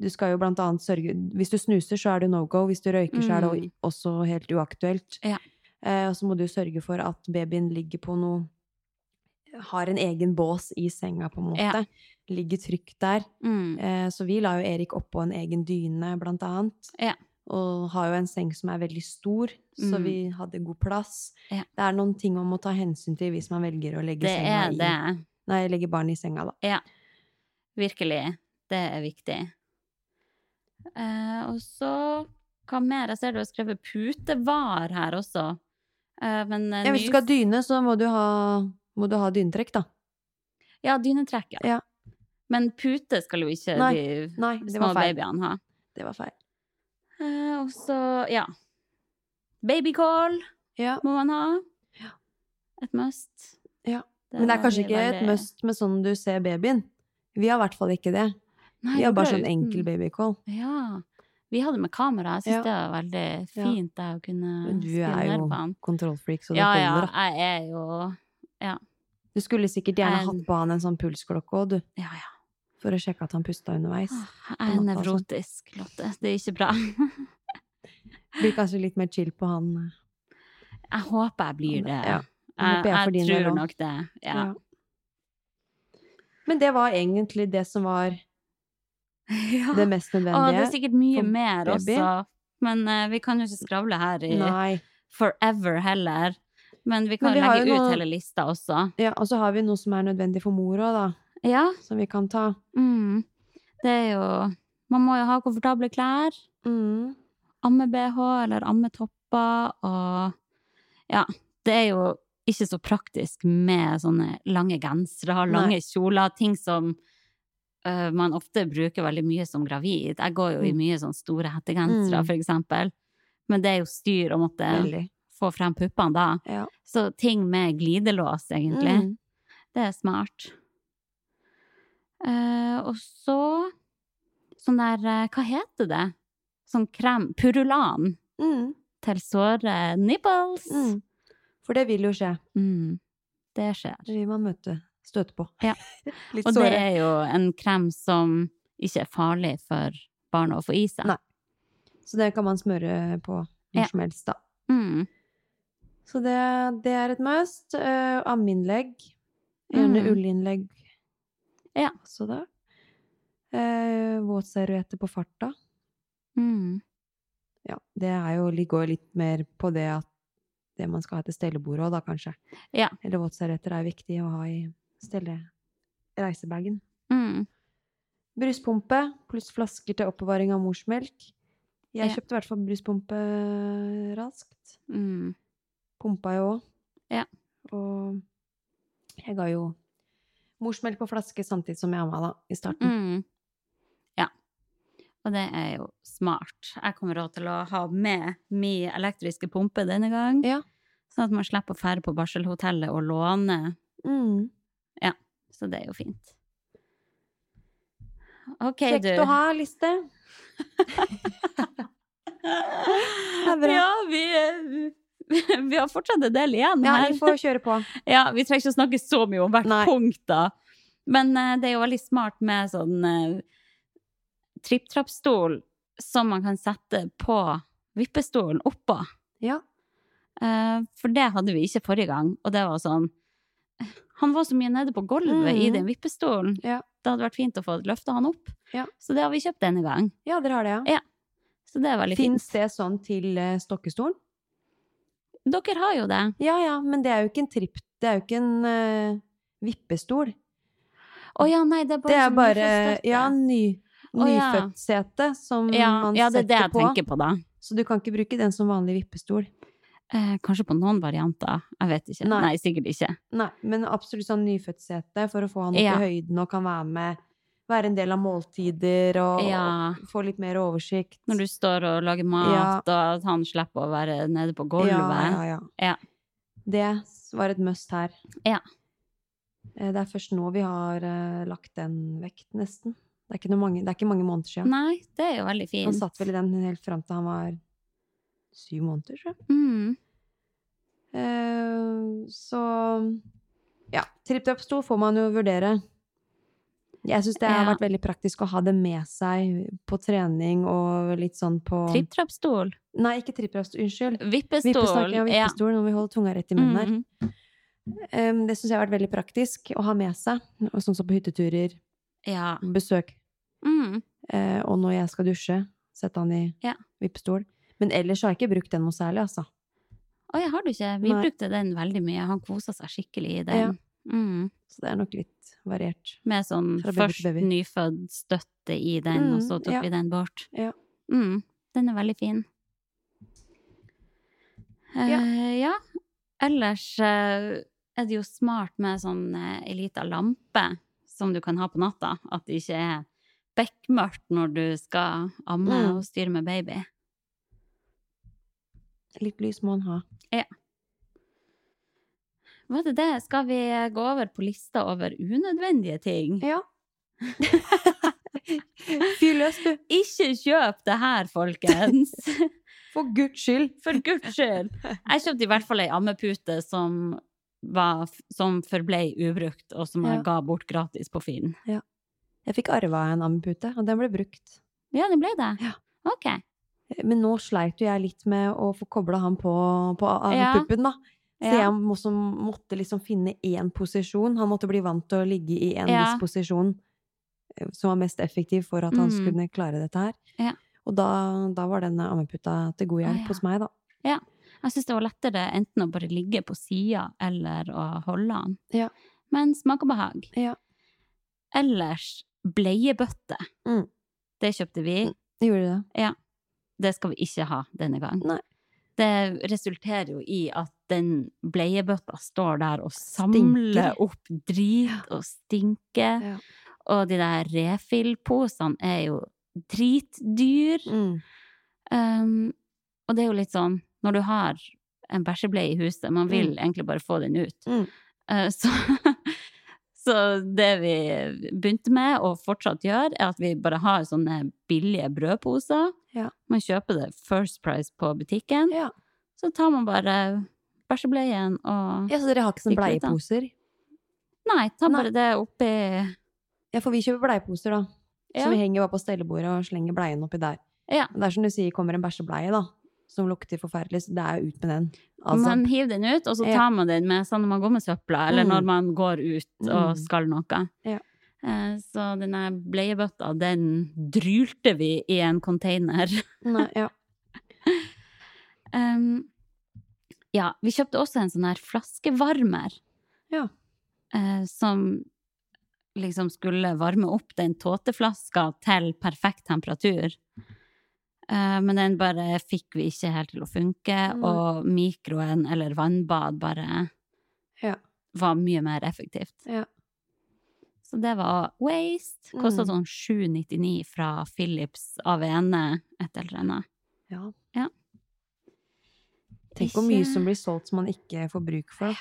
Speaker 3: Du skal jo blant annet sørge Hvis du snuser, så er det no go. Hvis du røyker, så er det
Speaker 4: Mm.
Speaker 3: o- også helt uaktuelt.
Speaker 4: Ja.
Speaker 3: Eh, og så må du sørge for at babyen ligger på noe Har en egen bås i senga, på en måte. Ligger trygt der.
Speaker 4: Mm.
Speaker 3: Eh, så vi la jo Erik oppå en egen dyne, blant annet.
Speaker 4: Ja.
Speaker 3: Og har jo en seng som er veldig stor, så
Speaker 4: Mm.
Speaker 3: vi hadde god plass.
Speaker 4: Ja.
Speaker 3: Det er noen ting man må ta hensyn til hvis man velger å legge,
Speaker 4: Det
Speaker 3: senga
Speaker 4: er
Speaker 3: i,
Speaker 4: det.
Speaker 3: nei, legge barnet i senga, da.
Speaker 4: Virkelig. Det er viktig. Eh, og så Hva mer? Jeg ser du har skrevet putevar her også. Eh, men eh,
Speaker 3: Ja, hvis du
Speaker 4: nys-
Speaker 3: skal ha dyne, så må du ha, må du ha dynetrekk, da.
Speaker 4: Ja, dynetrekk, ja.
Speaker 3: Ja.
Speaker 4: Men pute skal jo ikke
Speaker 3: Nei,
Speaker 4: de
Speaker 3: Nei, det
Speaker 4: små
Speaker 3: var feil.
Speaker 4: babyene ha.
Speaker 3: Det var feil.
Speaker 4: Eh, og så, ja Babycall
Speaker 3: Ja.
Speaker 4: må man ha. Et must.
Speaker 3: Ja. Men det er
Speaker 4: var
Speaker 3: kanskje
Speaker 4: vi
Speaker 3: ikke et
Speaker 4: veldig-
Speaker 3: must med sånn du ser babyen. Vi har i hvert fall ikke det.
Speaker 4: Nei,
Speaker 3: Vi har
Speaker 4: det
Speaker 3: bare
Speaker 4: ble
Speaker 3: sånn
Speaker 4: uten.
Speaker 3: enkel babycall.
Speaker 4: Ja. Vi hadde med kamera. Jeg
Speaker 3: Ja.
Speaker 4: syns det var veldig
Speaker 3: Ja.
Speaker 4: fint det å kunne
Speaker 3: Men du
Speaker 4: spille
Speaker 3: er jo
Speaker 4: nervene.
Speaker 3: kontrollfreak, så det
Speaker 4: Ja,
Speaker 3: holder.
Speaker 4: ja.
Speaker 3: da.
Speaker 4: Jeg er jo
Speaker 3: Du skulle sikkert gjerne
Speaker 4: Jeg-
Speaker 3: hatt på han en sånn pulsklokke òg, du.
Speaker 4: Ja, ja.
Speaker 3: For å sjekke at han pusta underveis.
Speaker 4: Jeg
Speaker 3: på
Speaker 4: er
Speaker 3: natta og sånt.
Speaker 4: nevrotisk, Lotte. Det er ikke bra. (laughs)
Speaker 3: Blir kanskje litt mer chill på han. eh,
Speaker 4: Jeg håper jeg blir det.
Speaker 3: Ja. Jeg
Speaker 4: Jeg,
Speaker 3: håper jeg får
Speaker 4: jeg
Speaker 3: din del
Speaker 4: tror
Speaker 3: også.
Speaker 4: nok det. Ja.
Speaker 3: Ja. Men det var egentlig det som var
Speaker 4: (laughs) Ja.
Speaker 3: Ah. det mest
Speaker 4: Å, det
Speaker 3: nødvendige.
Speaker 4: er sikkert mye
Speaker 3: for
Speaker 4: mer
Speaker 3: baby.
Speaker 4: også. Men eh, vi kan jo ikke skravle her i
Speaker 3: Nei.
Speaker 4: forever heller. Men vi kan
Speaker 3: Men vi har
Speaker 4: legge
Speaker 3: jo
Speaker 4: ut
Speaker 3: noe-
Speaker 4: hele lista også.
Speaker 3: Ja, og så har vi noe som er nødvendig for mor òg, da.
Speaker 4: Ja.
Speaker 3: Som vi kan ta.
Speaker 4: Mm. Det er jo Man må jo ha komfortable klær.
Speaker 3: Mm.
Speaker 4: Amme-BH eller ammetopper og Ja, det er jo ikke så praktisk med sånne lange gensere, lange kjoler, ting som øh, man ofte bruker veldig mye som gravid. Jeg går jo i
Speaker 3: Mm.
Speaker 4: mye sånn store hettegensere,
Speaker 3: Mm.
Speaker 4: for eksempel. Men det er jo styr å måtte
Speaker 3: Veldig.
Speaker 4: få frem puppene da.
Speaker 3: Ja.
Speaker 4: Så ting med glidelås, egentlig.
Speaker 3: Mm.
Speaker 4: Det er smart. Eh, og så sånn der eh, Hva heter det? Sånn krem Purulan
Speaker 3: Mm.
Speaker 4: til såre nipples.
Speaker 3: Mm. For det vil jo skje.
Speaker 4: Mm. Det skjer.
Speaker 3: Det vil man møte, støte på.
Speaker 4: Ja.
Speaker 3: (laughs) Litt
Speaker 4: Og det
Speaker 3: såre.
Speaker 4: er jo en krem som ikke er farlig for barna å få i seg.
Speaker 3: Nei. Så det kan man smøre på
Speaker 4: Ja.
Speaker 3: når som helst, da.
Speaker 4: Mm.
Speaker 3: Så det, det er et must. Uh, ammeinnlegg. Gjerne
Speaker 4: Mm.
Speaker 3: ullinnlegg
Speaker 4: Ja.
Speaker 3: også, da. Eh, Våtservietter på farta.
Speaker 4: Mm.
Speaker 3: Ja, det er jo, det går litt mer på det at det man skal ha til stellebordet òg, da kanskje.
Speaker 4: Ja.
Speaker 3: Eller våtservietter er viktig å ha i stelle reisebagen.
Speaker 4: Mm.
Speaker 3: Bruspumpe pluss flasker til oppbevaring av morsmelk. Jeg
Speaker 4: Ja.
Speaker 3: kjøpte i hvert fall bruspumpe eh, raskt.
Speaker 4: Mm.
Speaker 3: Pumpa jo òg.
Speaker 4: Ja.
Speaker 3: Og jeg ga jo morsmelk på flaske samtidig som jeg amma, da, i starten.
Speaker 4: Mm. Ja. Og det er jo smart. Jeg kommer også til å ha med min elektriske pumpe denne gang.
Speaker 3: Ja.
Speaker 4: Sånn at man slipper å fære på barselhotellet og låne.
Speaker 3: Mm.
Speaker 4: Så det er jo fint. OK,
Speaker 3: Kjekt
Speaker 4: du.
Speaker 3: å ha, Liste. er bra.
Speaker 4: Ja, vi, eh, vi har fortsatt en del igjen
Speaker 3: Ja,
Speaker 4: her.
Speaker 3: vi får kjøre
Speaker 4: (laughs)
Speaker 3: på.
Speaker 4: Ja, vi trenger ikke å snakke så mye om hvert
Speaker 3: Nei.
Speaker 4: punkt, da. Men eh, det er jo veldig smart med sånn uh, tripp-trapp-stol som man kan sette på vippestolen oppå.
Speaker 3: Ja.
Speaker 4: Eh, for det hadde vi ikke forrige gang, og det var sånn Han var så mye nede på gulvet i
Speaker 3: Mhm.
Speaker 4: den vippestolen.
Speaker 3: Ja.
Speaker 4: Det hadde vært fint å få løfta han opp.
Speaker 3: Ja.
Speaker 4: Så det har vi kjøpt denne gang.
Speaker 3: Ja, dere har det, ja.
Speaker 4: Ja, Så det er veldig
Speaker 3: Fins
Speaker 4: fint.
Speaker 3: det sånn til eh, stokkestolen?
Speaker 4: Dere har jo det.
Speaker 3: Ja ja, men det er jo ikke en tripp... Det er jo ikke en eh, vippestol.
Speaker 4: Å ja, nei, det er bare
Speaker 3: Det er
Speaker 4: sånn
Speaker 3: bare
Speaker 4: nyfødtstøtte.
Speaker 3: ja, ny,
Speaker 4: Å, ja.
Speaker 3: nyfødtsete som
Speaker 4: ja,
Speaker 3: man
Speaker 4: ja, det er det
Speaker 3: setter
Speaker 4: jeg
Speaker 3: på.
Speaker 4: tenker på, da.
Speaker 3: Så du kan ikke bruke den som vanlig vippestol.
Speaker 4: Eh, kanskje på noen varianter. Jeg vet ikke.
Speaker 3: Nei.
Speaker 4: Nei, sikkert ikke.
Speaker 3: Nei, men absolutt sånn nyfødtsete for å få han opp
Speaker 4: Ja.
Speaker 3: i høyden og kan være med. Være en del av måltider og,
Speaker 4: Ja.
Speaker 3: og få litt mer oversikt.
Speaker 4: Når du står og lager
Speaker 3: Ja.
Speaker 4: mat, og at han slipper å være nede på gulvet.
Speaker 3: Ja, ja, ja.
Speaker 4: Ja.
Speaker 3: Det var et must her.
Speaker 4: Ja.
Speaker 3: Eh, Det er først nå vi har eh, lagt den vekk, nesten. Det er ikke, noe mange, det er ikke mange måneder siden.
Speaker 4: Nei, det er jo veldig fint.
Speaker 3: Han satt vel i den helt fram til han var syv måneder, tror jeg.
Speaker 4: Mm.
Speaker 3: Eh, så ja, tripp-trapp-stol får man jo vurdere. Jeg syns det har
Speaker 4: Ja.
Speaker 3: vært veldig praktisk å ha det med seg på trening og litt sånn på
Speaker 4: Tripp-trapp-stol.
Speaker 3: Nei, ikke tripp-trapp-stol, unnskyld.
Speaker 4: Vippestol.
Speaker 3: Vippestol. Ja,
Speaker 4: ja.
Speaker 3: vippestol. Nå må vi holde tunga rett i munnen her.
Speaker 4: Mhm.
Speaker 3: Em, det syns jeg har vært veldig praktisk å ha med seg, og sånn som på hytteturer,
Speaker 4: Ja.
Speaker 3: besøk,
Speaker 4: Mm.
Speaker 3: eh, og når jeg skal dusje, sette han i
Speaker 4: Ja.
Speaker 3: vippestol. Men ellers har jeg ikke brukt den noe særlig, altså.
Speaker 4: Oi, har du ikke? Vi
Speaker 3: Nei.
Speaker 4: brukte den veldig mye. Han kosa seg skikkelig i den.
Speaker 3: Ja.
Speaker 4: Mm.
Speaker 3: Så det er nok litt variert.
Speaker 4: Med sånn
Speaker 3: Fra baby til
Speaker 4: først
Speaker 3: baby.
Speaker 4: nyfødt støtte i den, og
Speaker 3: Mm,
Speaker 4: så tok
Speaker 3: ja.
Speaker 4: vi den bort.
Speaker 3: Ja.
Speaker 4: Mm, den er veldig fin. Eh,
Speaker 3: Ja.
Speaker 4: ja. Ellers eh, er det jo smart med sånn eh, ei lita lampe som du kan ha på natta. At det ikke er bekmørkt når du skal amme
Speaker 3: Mm.
Speaker 4: og styre med baby.
Speaker 3: Litt lys må han
Speaker 4: (laughs)
Speaker 3: ha.
Speaker 4: Var det det? Skal vi gå over på lista over unødvendige ting?
Speaker 3: Ja. Fyr løs, du.
Speaker 4: Ikke kjøp det her, folkens!
Speaker 3: (laughs) For guds skyld.
Speaker 4: For guds skyld! Jeg kjøpte i hvert fall ei ammepute som, var, som forblei ubrukt, og som
Speaker 3: Ja.
Speaker 4: jeg ga bort gratis på Finn.
Speaker 3: Jeg fikk arva en ammepute, og den ble brukt.
Speaker 4: Ja, det ble det?
Speaker 3: Ja.
Speaker 4: Ok.
Speaker 3: Men nå sleit jo jeg litt med å få kobla han på, på
Speaker 4: Ja.
Speaker 3: puppen, da. Så
Speaker 4: Ja.
Speaker 3: jeg må- som måtte liksom finne én posisjon. Han måtte bli vant til å ligge i en
Speaker 4: Ja.
Speaker 3: viss posisjon eh, som var mest effektiv for at han
Speaker 4: Mm.
Speaker 3: skulle klare dette her.
Speaker 4: Ja.
Speaker 3: Og da, da var den ammeputa til god
Speaker 4: Ah,
Speaker 3: hjelp
Speaker 4: ja.
Speaker 3: hos meg, da.
Speaker 4: Jeg syns det var lettere enten å bare ligge på sida eller å holde han.
Speaker 3: Ja.
Speaker 4: Men smak og behag.
Speaker 3: Ja.
Speaker 4: Ellers bleiebøtte.
Speaker 3: Mm.
Speaker 4: Det kjøpte vi.
Speaker 3: Gjorde det?
Speaker 4: Det skal vi ikke ha denne gang.
Speaker 3: Nei.
Speaker 4: Det resulterer jo i at den bleiebøtta står der og samler
Speaker 3: Stinker.
Speaker 4: opp drit og stinker.
Speaker 3: Ja.
Speaker 4: Og de der refill-posene er jo dritdyr.
Speaker 3: Mm.
Speaker 4: Um, og det er jo litt sånn, når du har en bæsjebleie i huset, man vil
Speaker 3: Mm.
Speaker 4: egentlig bare få den ut.
Speaker 3: Mm.
Speaker 4: Uh, så, (laughs) så det vi begynte med, og fortsatt gjør, er at vi bare har sånne billige brødposer.
Speaker 3: Ja.
Speaker 4: Man kjøper det First Price på butikken.
Speaker 3: Ja.
Speaker 4: Så tar man bare bæsjebleien og
Speaker 3: ja, så dere har ikke sånne
Speaker 4: Fikk litt, da.
Speaker 3: Sånn bleieposer?
Speaker 4: Nei, ta
Speaker 3: Nei.
Speaker 4: bare det oppi
Speaker 3: Ja, for vi kjøper bleieposer, da.
Speaker 4: ja.
Speaker 3: Så vi henger bare på stellebordet og slenger bleien oppi der.
Speaker 4: Ja.
Speaker 3: Det er som du sier, kommer en bæsjebleie, da, som lukter forferdelig, så det er jo ut med den. Altså,
Speaker 4: Man hiver den ut, og så
Speaker 3: Ja.
Speaker 4: tar man den med sånn når man går med søpla, eller
Speaker 3: Mm.
Speaker 4: når man går ut
Speaker 3: Mm.
Speaker 4: og skal noe.
Speaker 3: Ja.
Speaker 4: Eh, Så denne bleiebøtta, den drylte vi i en container.
Speaker 3: (laughs) Nei, ja.
Speaker 4: Em, ja, vi kjøpte også en sånn her flaskevarmer.
Speaker 3: Ja.
Speaker 4: Eh, som liksom skulle varme opp den tåteflaska til perfekt temperatur. Eh, men den bare fikk vi ikke helt til å funke,
Speaker 3: Nei.
Speaker 4: og mikroen eller vannbad bare
Speaker 3: Ja.
Speaker 4: var mye mer effektivt.
Speaker 3: Ja.
Speaker 4: Så det var waste.
Speaker 3: Mm.
Speaker 4: Kosta sånn 7,99 fra Philips Avene, E, et eller annet.
Speaker 3: ja.
Speaker 4: Ja.
Speaker 3: Tenk hvor mye
Speaker 4: Ikke-
Speaker 3: som blir solgt som man ikke får bruk for. da.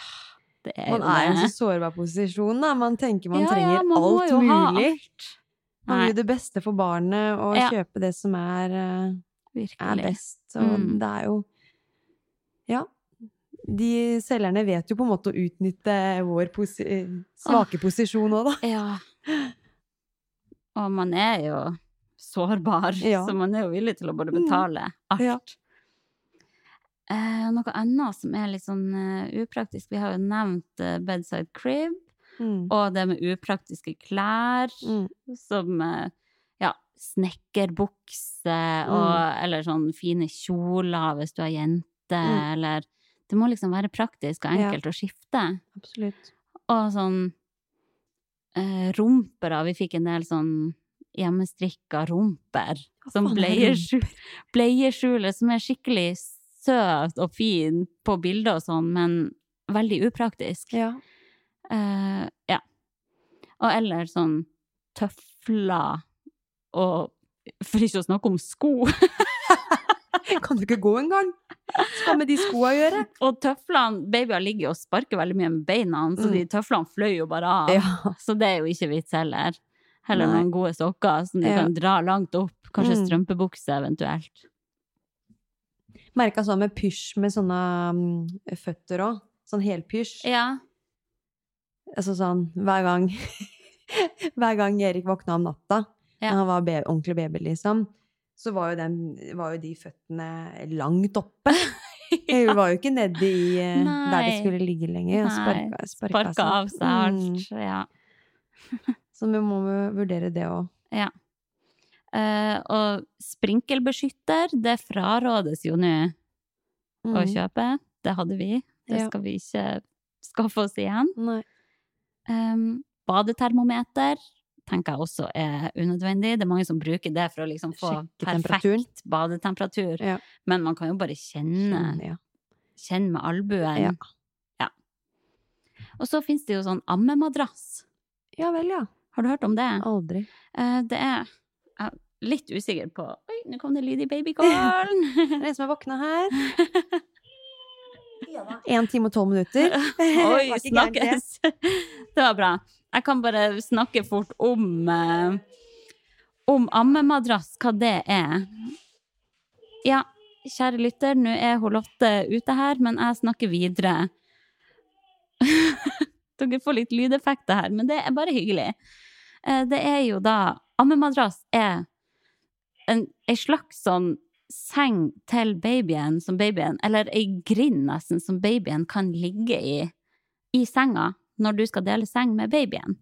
Speaker 4: Det er
Speaker 3: Man
Speaker 4: jo
Speaker 3: er i en
Speaker 4: (laughs) det.
Speaker 3: så sårbar posisjon, da. Man tenker man
Speaker 4: Ja, ja,
Speaker 3: trenger
Speaker 4: man må
Speaker 3: alt
Speaker 4: jo ha
Speaker 3: mulig.
Speaker 4: alt.
Speaker 3: Man vil
Speaker 4: Nei.
Speaker 3: jo det beste for barnet og
Speaker 4: Ja.
Speaker 3: kjøpe det som er eh, er
Speaker 4: Virkelig.
Speaker 3: best. Og
Speaker 4: Mm.
Speaker 3: det er jo Ja. De selgerne vet jo på en måte å utnytte vår posi svake posisjon òg, da.
Speaker 4: Ja. Og man er jo sårbar,
Speaker 3: Ja.
Speaker 4: så man er jo villig til å bare
Speaker 3: Mm.
Speaker 4: betale alt.
Speaker 3: Ja.
Speaker 4: Eh, noe annet som er litt sånn eh, upraktisk, vi har jo nevnt eh, bedside crib,
Speaker 3: Mm.
Speaker 4: og det med upraktiske klær,
Speaker 3: Mm.
Speaker 4: som eh, ja, snekkerbukse,
Speaker 3: Mm.
Speaker 4: og, eller sånn fine kjoler hvis du er jente,
Speaker 3: Mm.
Speaker 4: eller Det må liksom være praktisk og
Speaker 3: Ja.
Speaker 4: enkelt å skifte
Speaker 3: Absolutt.
Speaker 4: og sånn eh, rumper. da. Vi fikk en del sånn hjemmestrikka rumper. Sånn
Speaker 3: faen er
Speaker 4: bleieskjul, bleieskjule som er skikkelig søt og fin på bilder og sånn, men veldig upraktisk.
Speaker 3: Ja.
Speaker 4: Eh, ja. Og eller sånn tøfler og For ikke å snakke om sko. (laughs)
Speaker 3: Kan du ikke gå engang? Skal med de skoa gjøre?
Speaker 4: Og tøflene Babyer ligger jo og sparker veldig mye med beina, så
Speaker 3: Mm.
Speaker 4: de tøflene fløy jo bare av.
Speaker 3: Ja.
Speaker 4: Så det er jo ikke vits heller. Heller
Speaker 3: Nei.
Speaker 4: noen gode sokker som du
Speaker 3: Ja.
Speaker 4: kan dra langt opp. Kanskje
Speaker 3: Mm.
Speaker 4: strømpebukse eventuelt.
Speaker 3: Merka sånn med pysj med sånne mm, føtter òg. Sånn helpysj.
Speaker 4: (laughs) Ja.
Speaker 3: Altså sånn hver gang (laughs) Hver gang Erik våkna om natta,
Speaker 4: Ja.
Speaker 3: når han var be ordentlig baby, liksom, så var jo, den, var jo de føttene langt oppe.
Speaker 4: (laughs)
Speaker 3: Hun var jo ikke nedi i eh, der de
Speaker 4: Nei.
Speaker 3: skulle ligge lenger. og
Speaker 4: Nei,
Speaker 3: Sparka, sparka,
Speaker 4: Sparka av seg alt.
Speaker 3: Mm.
Speaker 4: Ja.
Speaker 3: Så vi må jo vurdere det òg.
Speaker 4: Eh, og sprinkelbeskytter, det frarådes jo nå
Speaker 3: Mm.
Speaker 4: å kjøpe. Det hadde vi. Det
Speaker 3: Ja.
Speaker 4: skal vi ikke skaffe oss igjen.
Speaker 3: Nei.
Speaker 4: Um, badetermometer tenker jeg også er unødvendig. Det er mange som bruker det for å liksom få
Speaker 3: Sjekke temperaturen.
Speaker 4: perfekt badetemperatur.
Speaker 3: Ja.
Speaker 4: Men man kan jo bare kjenne,
Speaker 3: Ja.
Speaker 4: kjenne med albuen.
Speaker 3: Ja.
Speaker 4: Ja. Og så finnes det jo sånn ammemadrass.
Speaker 3: ja vel, ja.
Speaker 4: Har du hørt om det?
Speaker 3: Aldri.
Speaker 4: Eh, Det er jeg er litt usikker på Oi, nå kom det lyd i babykålen!
Speaker 3: Det (laughs) er
Speaker 4: (laughs)
Speaker 3: en som har våkna her. Én time og tolv
Speaker 4: (laughs)
Speaker 3: minutter. (laughs)
Speaker 4: Oi,
Speaker 3: Var ikke gærent, det.
Speaker 4: snakkes! (laughs) Det var bra. Jeg kan bare snakke fort om eh, om ammemadrass, hva det er. Ja, kjære lytter, nå er hun Lotte ute her, men jeg snakker videre. (laughs) Dere får litt lydeffekter her, men det er bare hyggelig. Eh, Det er jo da Ammemadrass er en, en slags sånn seng til babyen som babyen Eller ei grind, nesten, som babyen kan ligge i i senga når du skal dele seng med babyen.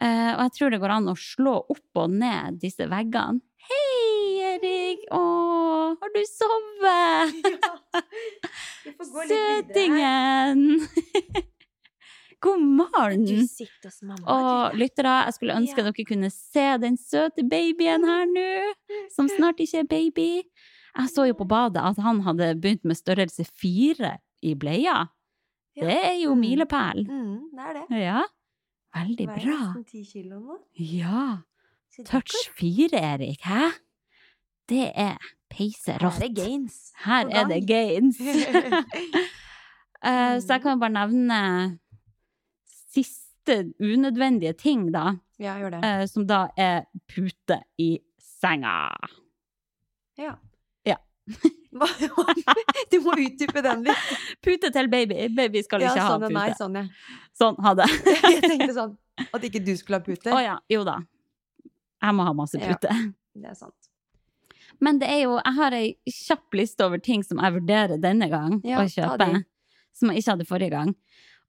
Speaker 4: Eh, og jeg tror det går an å slå opp og ned disse veggene. Hei, Erik! Å, har du sovet? Søtingen! (laughs) God morgen!
Speaker 3: sitter hos mamma.
Speaker 4: Og lyttere, jeg skulle ønske dere kunne se den søte babyen her nå, (laughs) som snart ikke er baby. Jeg så jo
Speaker 3: Ah.
Speaker 4: på badet at han hadde begynt med størrelse fire i bleia. Det er jo milepæl.
Speaker 3: Mm, det er det.
Speaker 4: Ja. Veldig
Speaker 3: Veier
Speaker 4: bra.
Speaker 3: nesten 10 kilo nå.
Speaker 4: Ja.
Speaker 3: Så det er
Speaker 4: Touch fire, Erik. Hæ? Det er peiserått.
Speaker 6: Her er gains.
Speaker 4: Her er det
Speaker 3: (laughs)
Speaker 4: gains. Eh,
Speaker 3: Mm.
Speaker 4: Så jeg kan jo bare nevne siste unødvendige ting, da.
Speaker 3: ikke- Ja, gjør (laughs) det.
Speaker 4: eh, som da er pute i senga.
Speaker 3: Ja.
Speaker 4: Ja.
Speaker 3: Hva- (laughs) du må utdype den litt.
Speaker 4: Pute til baby. Baby (laughs) skal
Speaker 3: Ja,
Speaker 4: ikke ha
Speaker 3: sånn og
Speaker 4: pute.
Speaker 3: nei,
Speaker 4: (laughs)
Speaker 3: sånn, ja. (laughs)
Speaker 4: Sånn, ha det.
Speaker 3: Jeg
Speaker 4: (laughs)
Speaker 3: tenkte sånn at ikke du skulle ha pute.
Speaker 4: Å ja, jo da. Jeg må ha masse
Speaker 3: Ja.
Speaker 4: pute.
Speaker 3: Det er sant.
Speaker 4: Men det er jo, jeg har ei kjapp liste over ting som jeg vurderer denne gang
Speaker 3: Ja,
Speaker 4: å
Speaker 3: ta
Speaker 4: kjøpe.
Speaker 3: de.
Speaker 4: Som jeg ikke hadde forrige gang.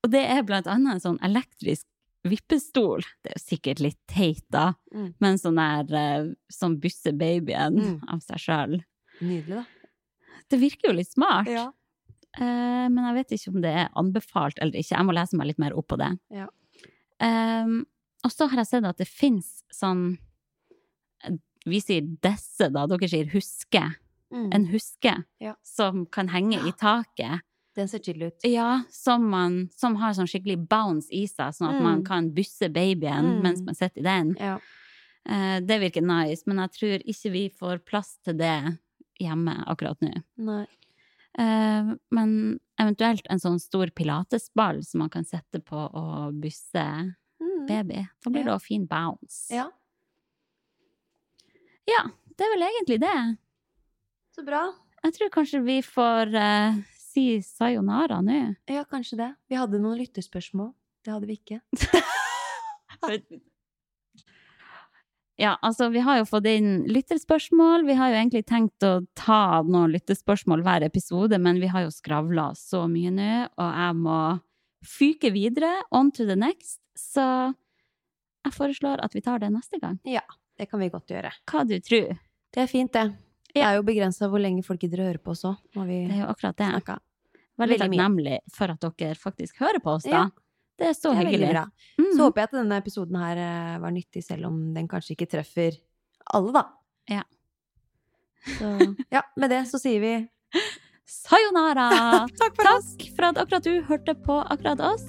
Speaker 4: Og det er blant annet en sånn elektrisk vippestol. Det er jo sikkert litt teit, da.
Speaker 3: Mm.
Speaker 4: Men sånn der eh, som bysser babyen
Speaker 3: Mm.
Speaker 4: av seg sjøl.
Speaker 3: Nydelig, da.
Speaker 4: Det virker jo litt smart. Eh, men jeg vet ikke om det er anbefalt eller ikke. Jeg må lese meg litt mer opp på det.
Speaker 3: Ja.
Speaker 4: Ehm, og så har jeg sett at det fins sånn Vi sier desse, da. Dere sier huske.
Speaker 3: Mm.
Speaker 4: En huske
Speaker 3: Ja.
Speaker 4: som kan henge i taket.
Speaker 3: Den ser chill ut.
Speaker 4: Ja, som, man, som har sånn skikkelig bounce i seg, sånn at
Speaker 3: Mm.
Speaker 4: man kan bysse babyen
Speaker 3: Mm.
Speaker 4: mens man sitter i den.
Speaker 3: Ja.
Speaker 4: Eh, det virker nice, men jeg tror ikke vi får plass til det hjemme akkurat nå.
Speaker 3: Nei.
Speaker 4: Eh, men eventuelt en sånn stor pilatesball som man kan sette på og bysse
Speaker 3: Mm.
Speaker 4: baby. Da blir det
Speaker 3: Ja.
Speaker 4: også fin bounce.
Speaker 3: Ja,
Speaker 4: Ja, det er vel egentlig det.
Speaker 3: så bra.
Speaker 4: Jeg tror kanskje vi får eh, si sayonara nå.
Speaker 3: Ja, kanskje det. Vi hadde noen lytterspørsmål. Det hadde vi ikke.
Speaker 4: Ja, altså vi har jo fått inn lytterspørsmål. Vi har jo egentlig tenkt å ta noen lytterspørsmål hver episode, men vi har jo skravla så mye nå, og jeg må fyke videre. On to the next. Så jeg foreslår at vi tar det neste gang.
Speaker 3: Det kan vi godt gjøre.
Speaker 4: Hva du tror.
Speaker 3: Det er fint, det. Det er jo begrensa hvor lenge folk gidder å høre på oss òg, når vi
Speaker 4: Det er jo akkurat det.
Speaker 3: snakker.
Speaker 4: Veldig
Speaker 3: veldig mye.
Speaker 4: takknemlig for at dere faktisk hører på oss, da.
Speaker 3: Ja.
Speaker 4: Det er så
Speaker 3: Det er
Speaker 4: hyggelig.
Speaker 3: veldig bra.
Speaker 4: Mm.
Speaker 3: Så håper jeg at denne episoden her eh, var nyttig, selv om den kanskje ikke treffer alle, da.
Speaker 4: Ja.
Speaker 3: Så, (laughs) ja, med det så sier vi
Speaker 4: Sayonara!
Speaker 3: (laughs) takk for oss!
Speaker 4: Takk for at akkurat du hørte på akkurat oss.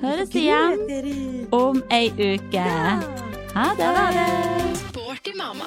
Speaker 4: Høres igjen om ei uke. Ha det! Ha det.
Speaker 2: Sporty mamma.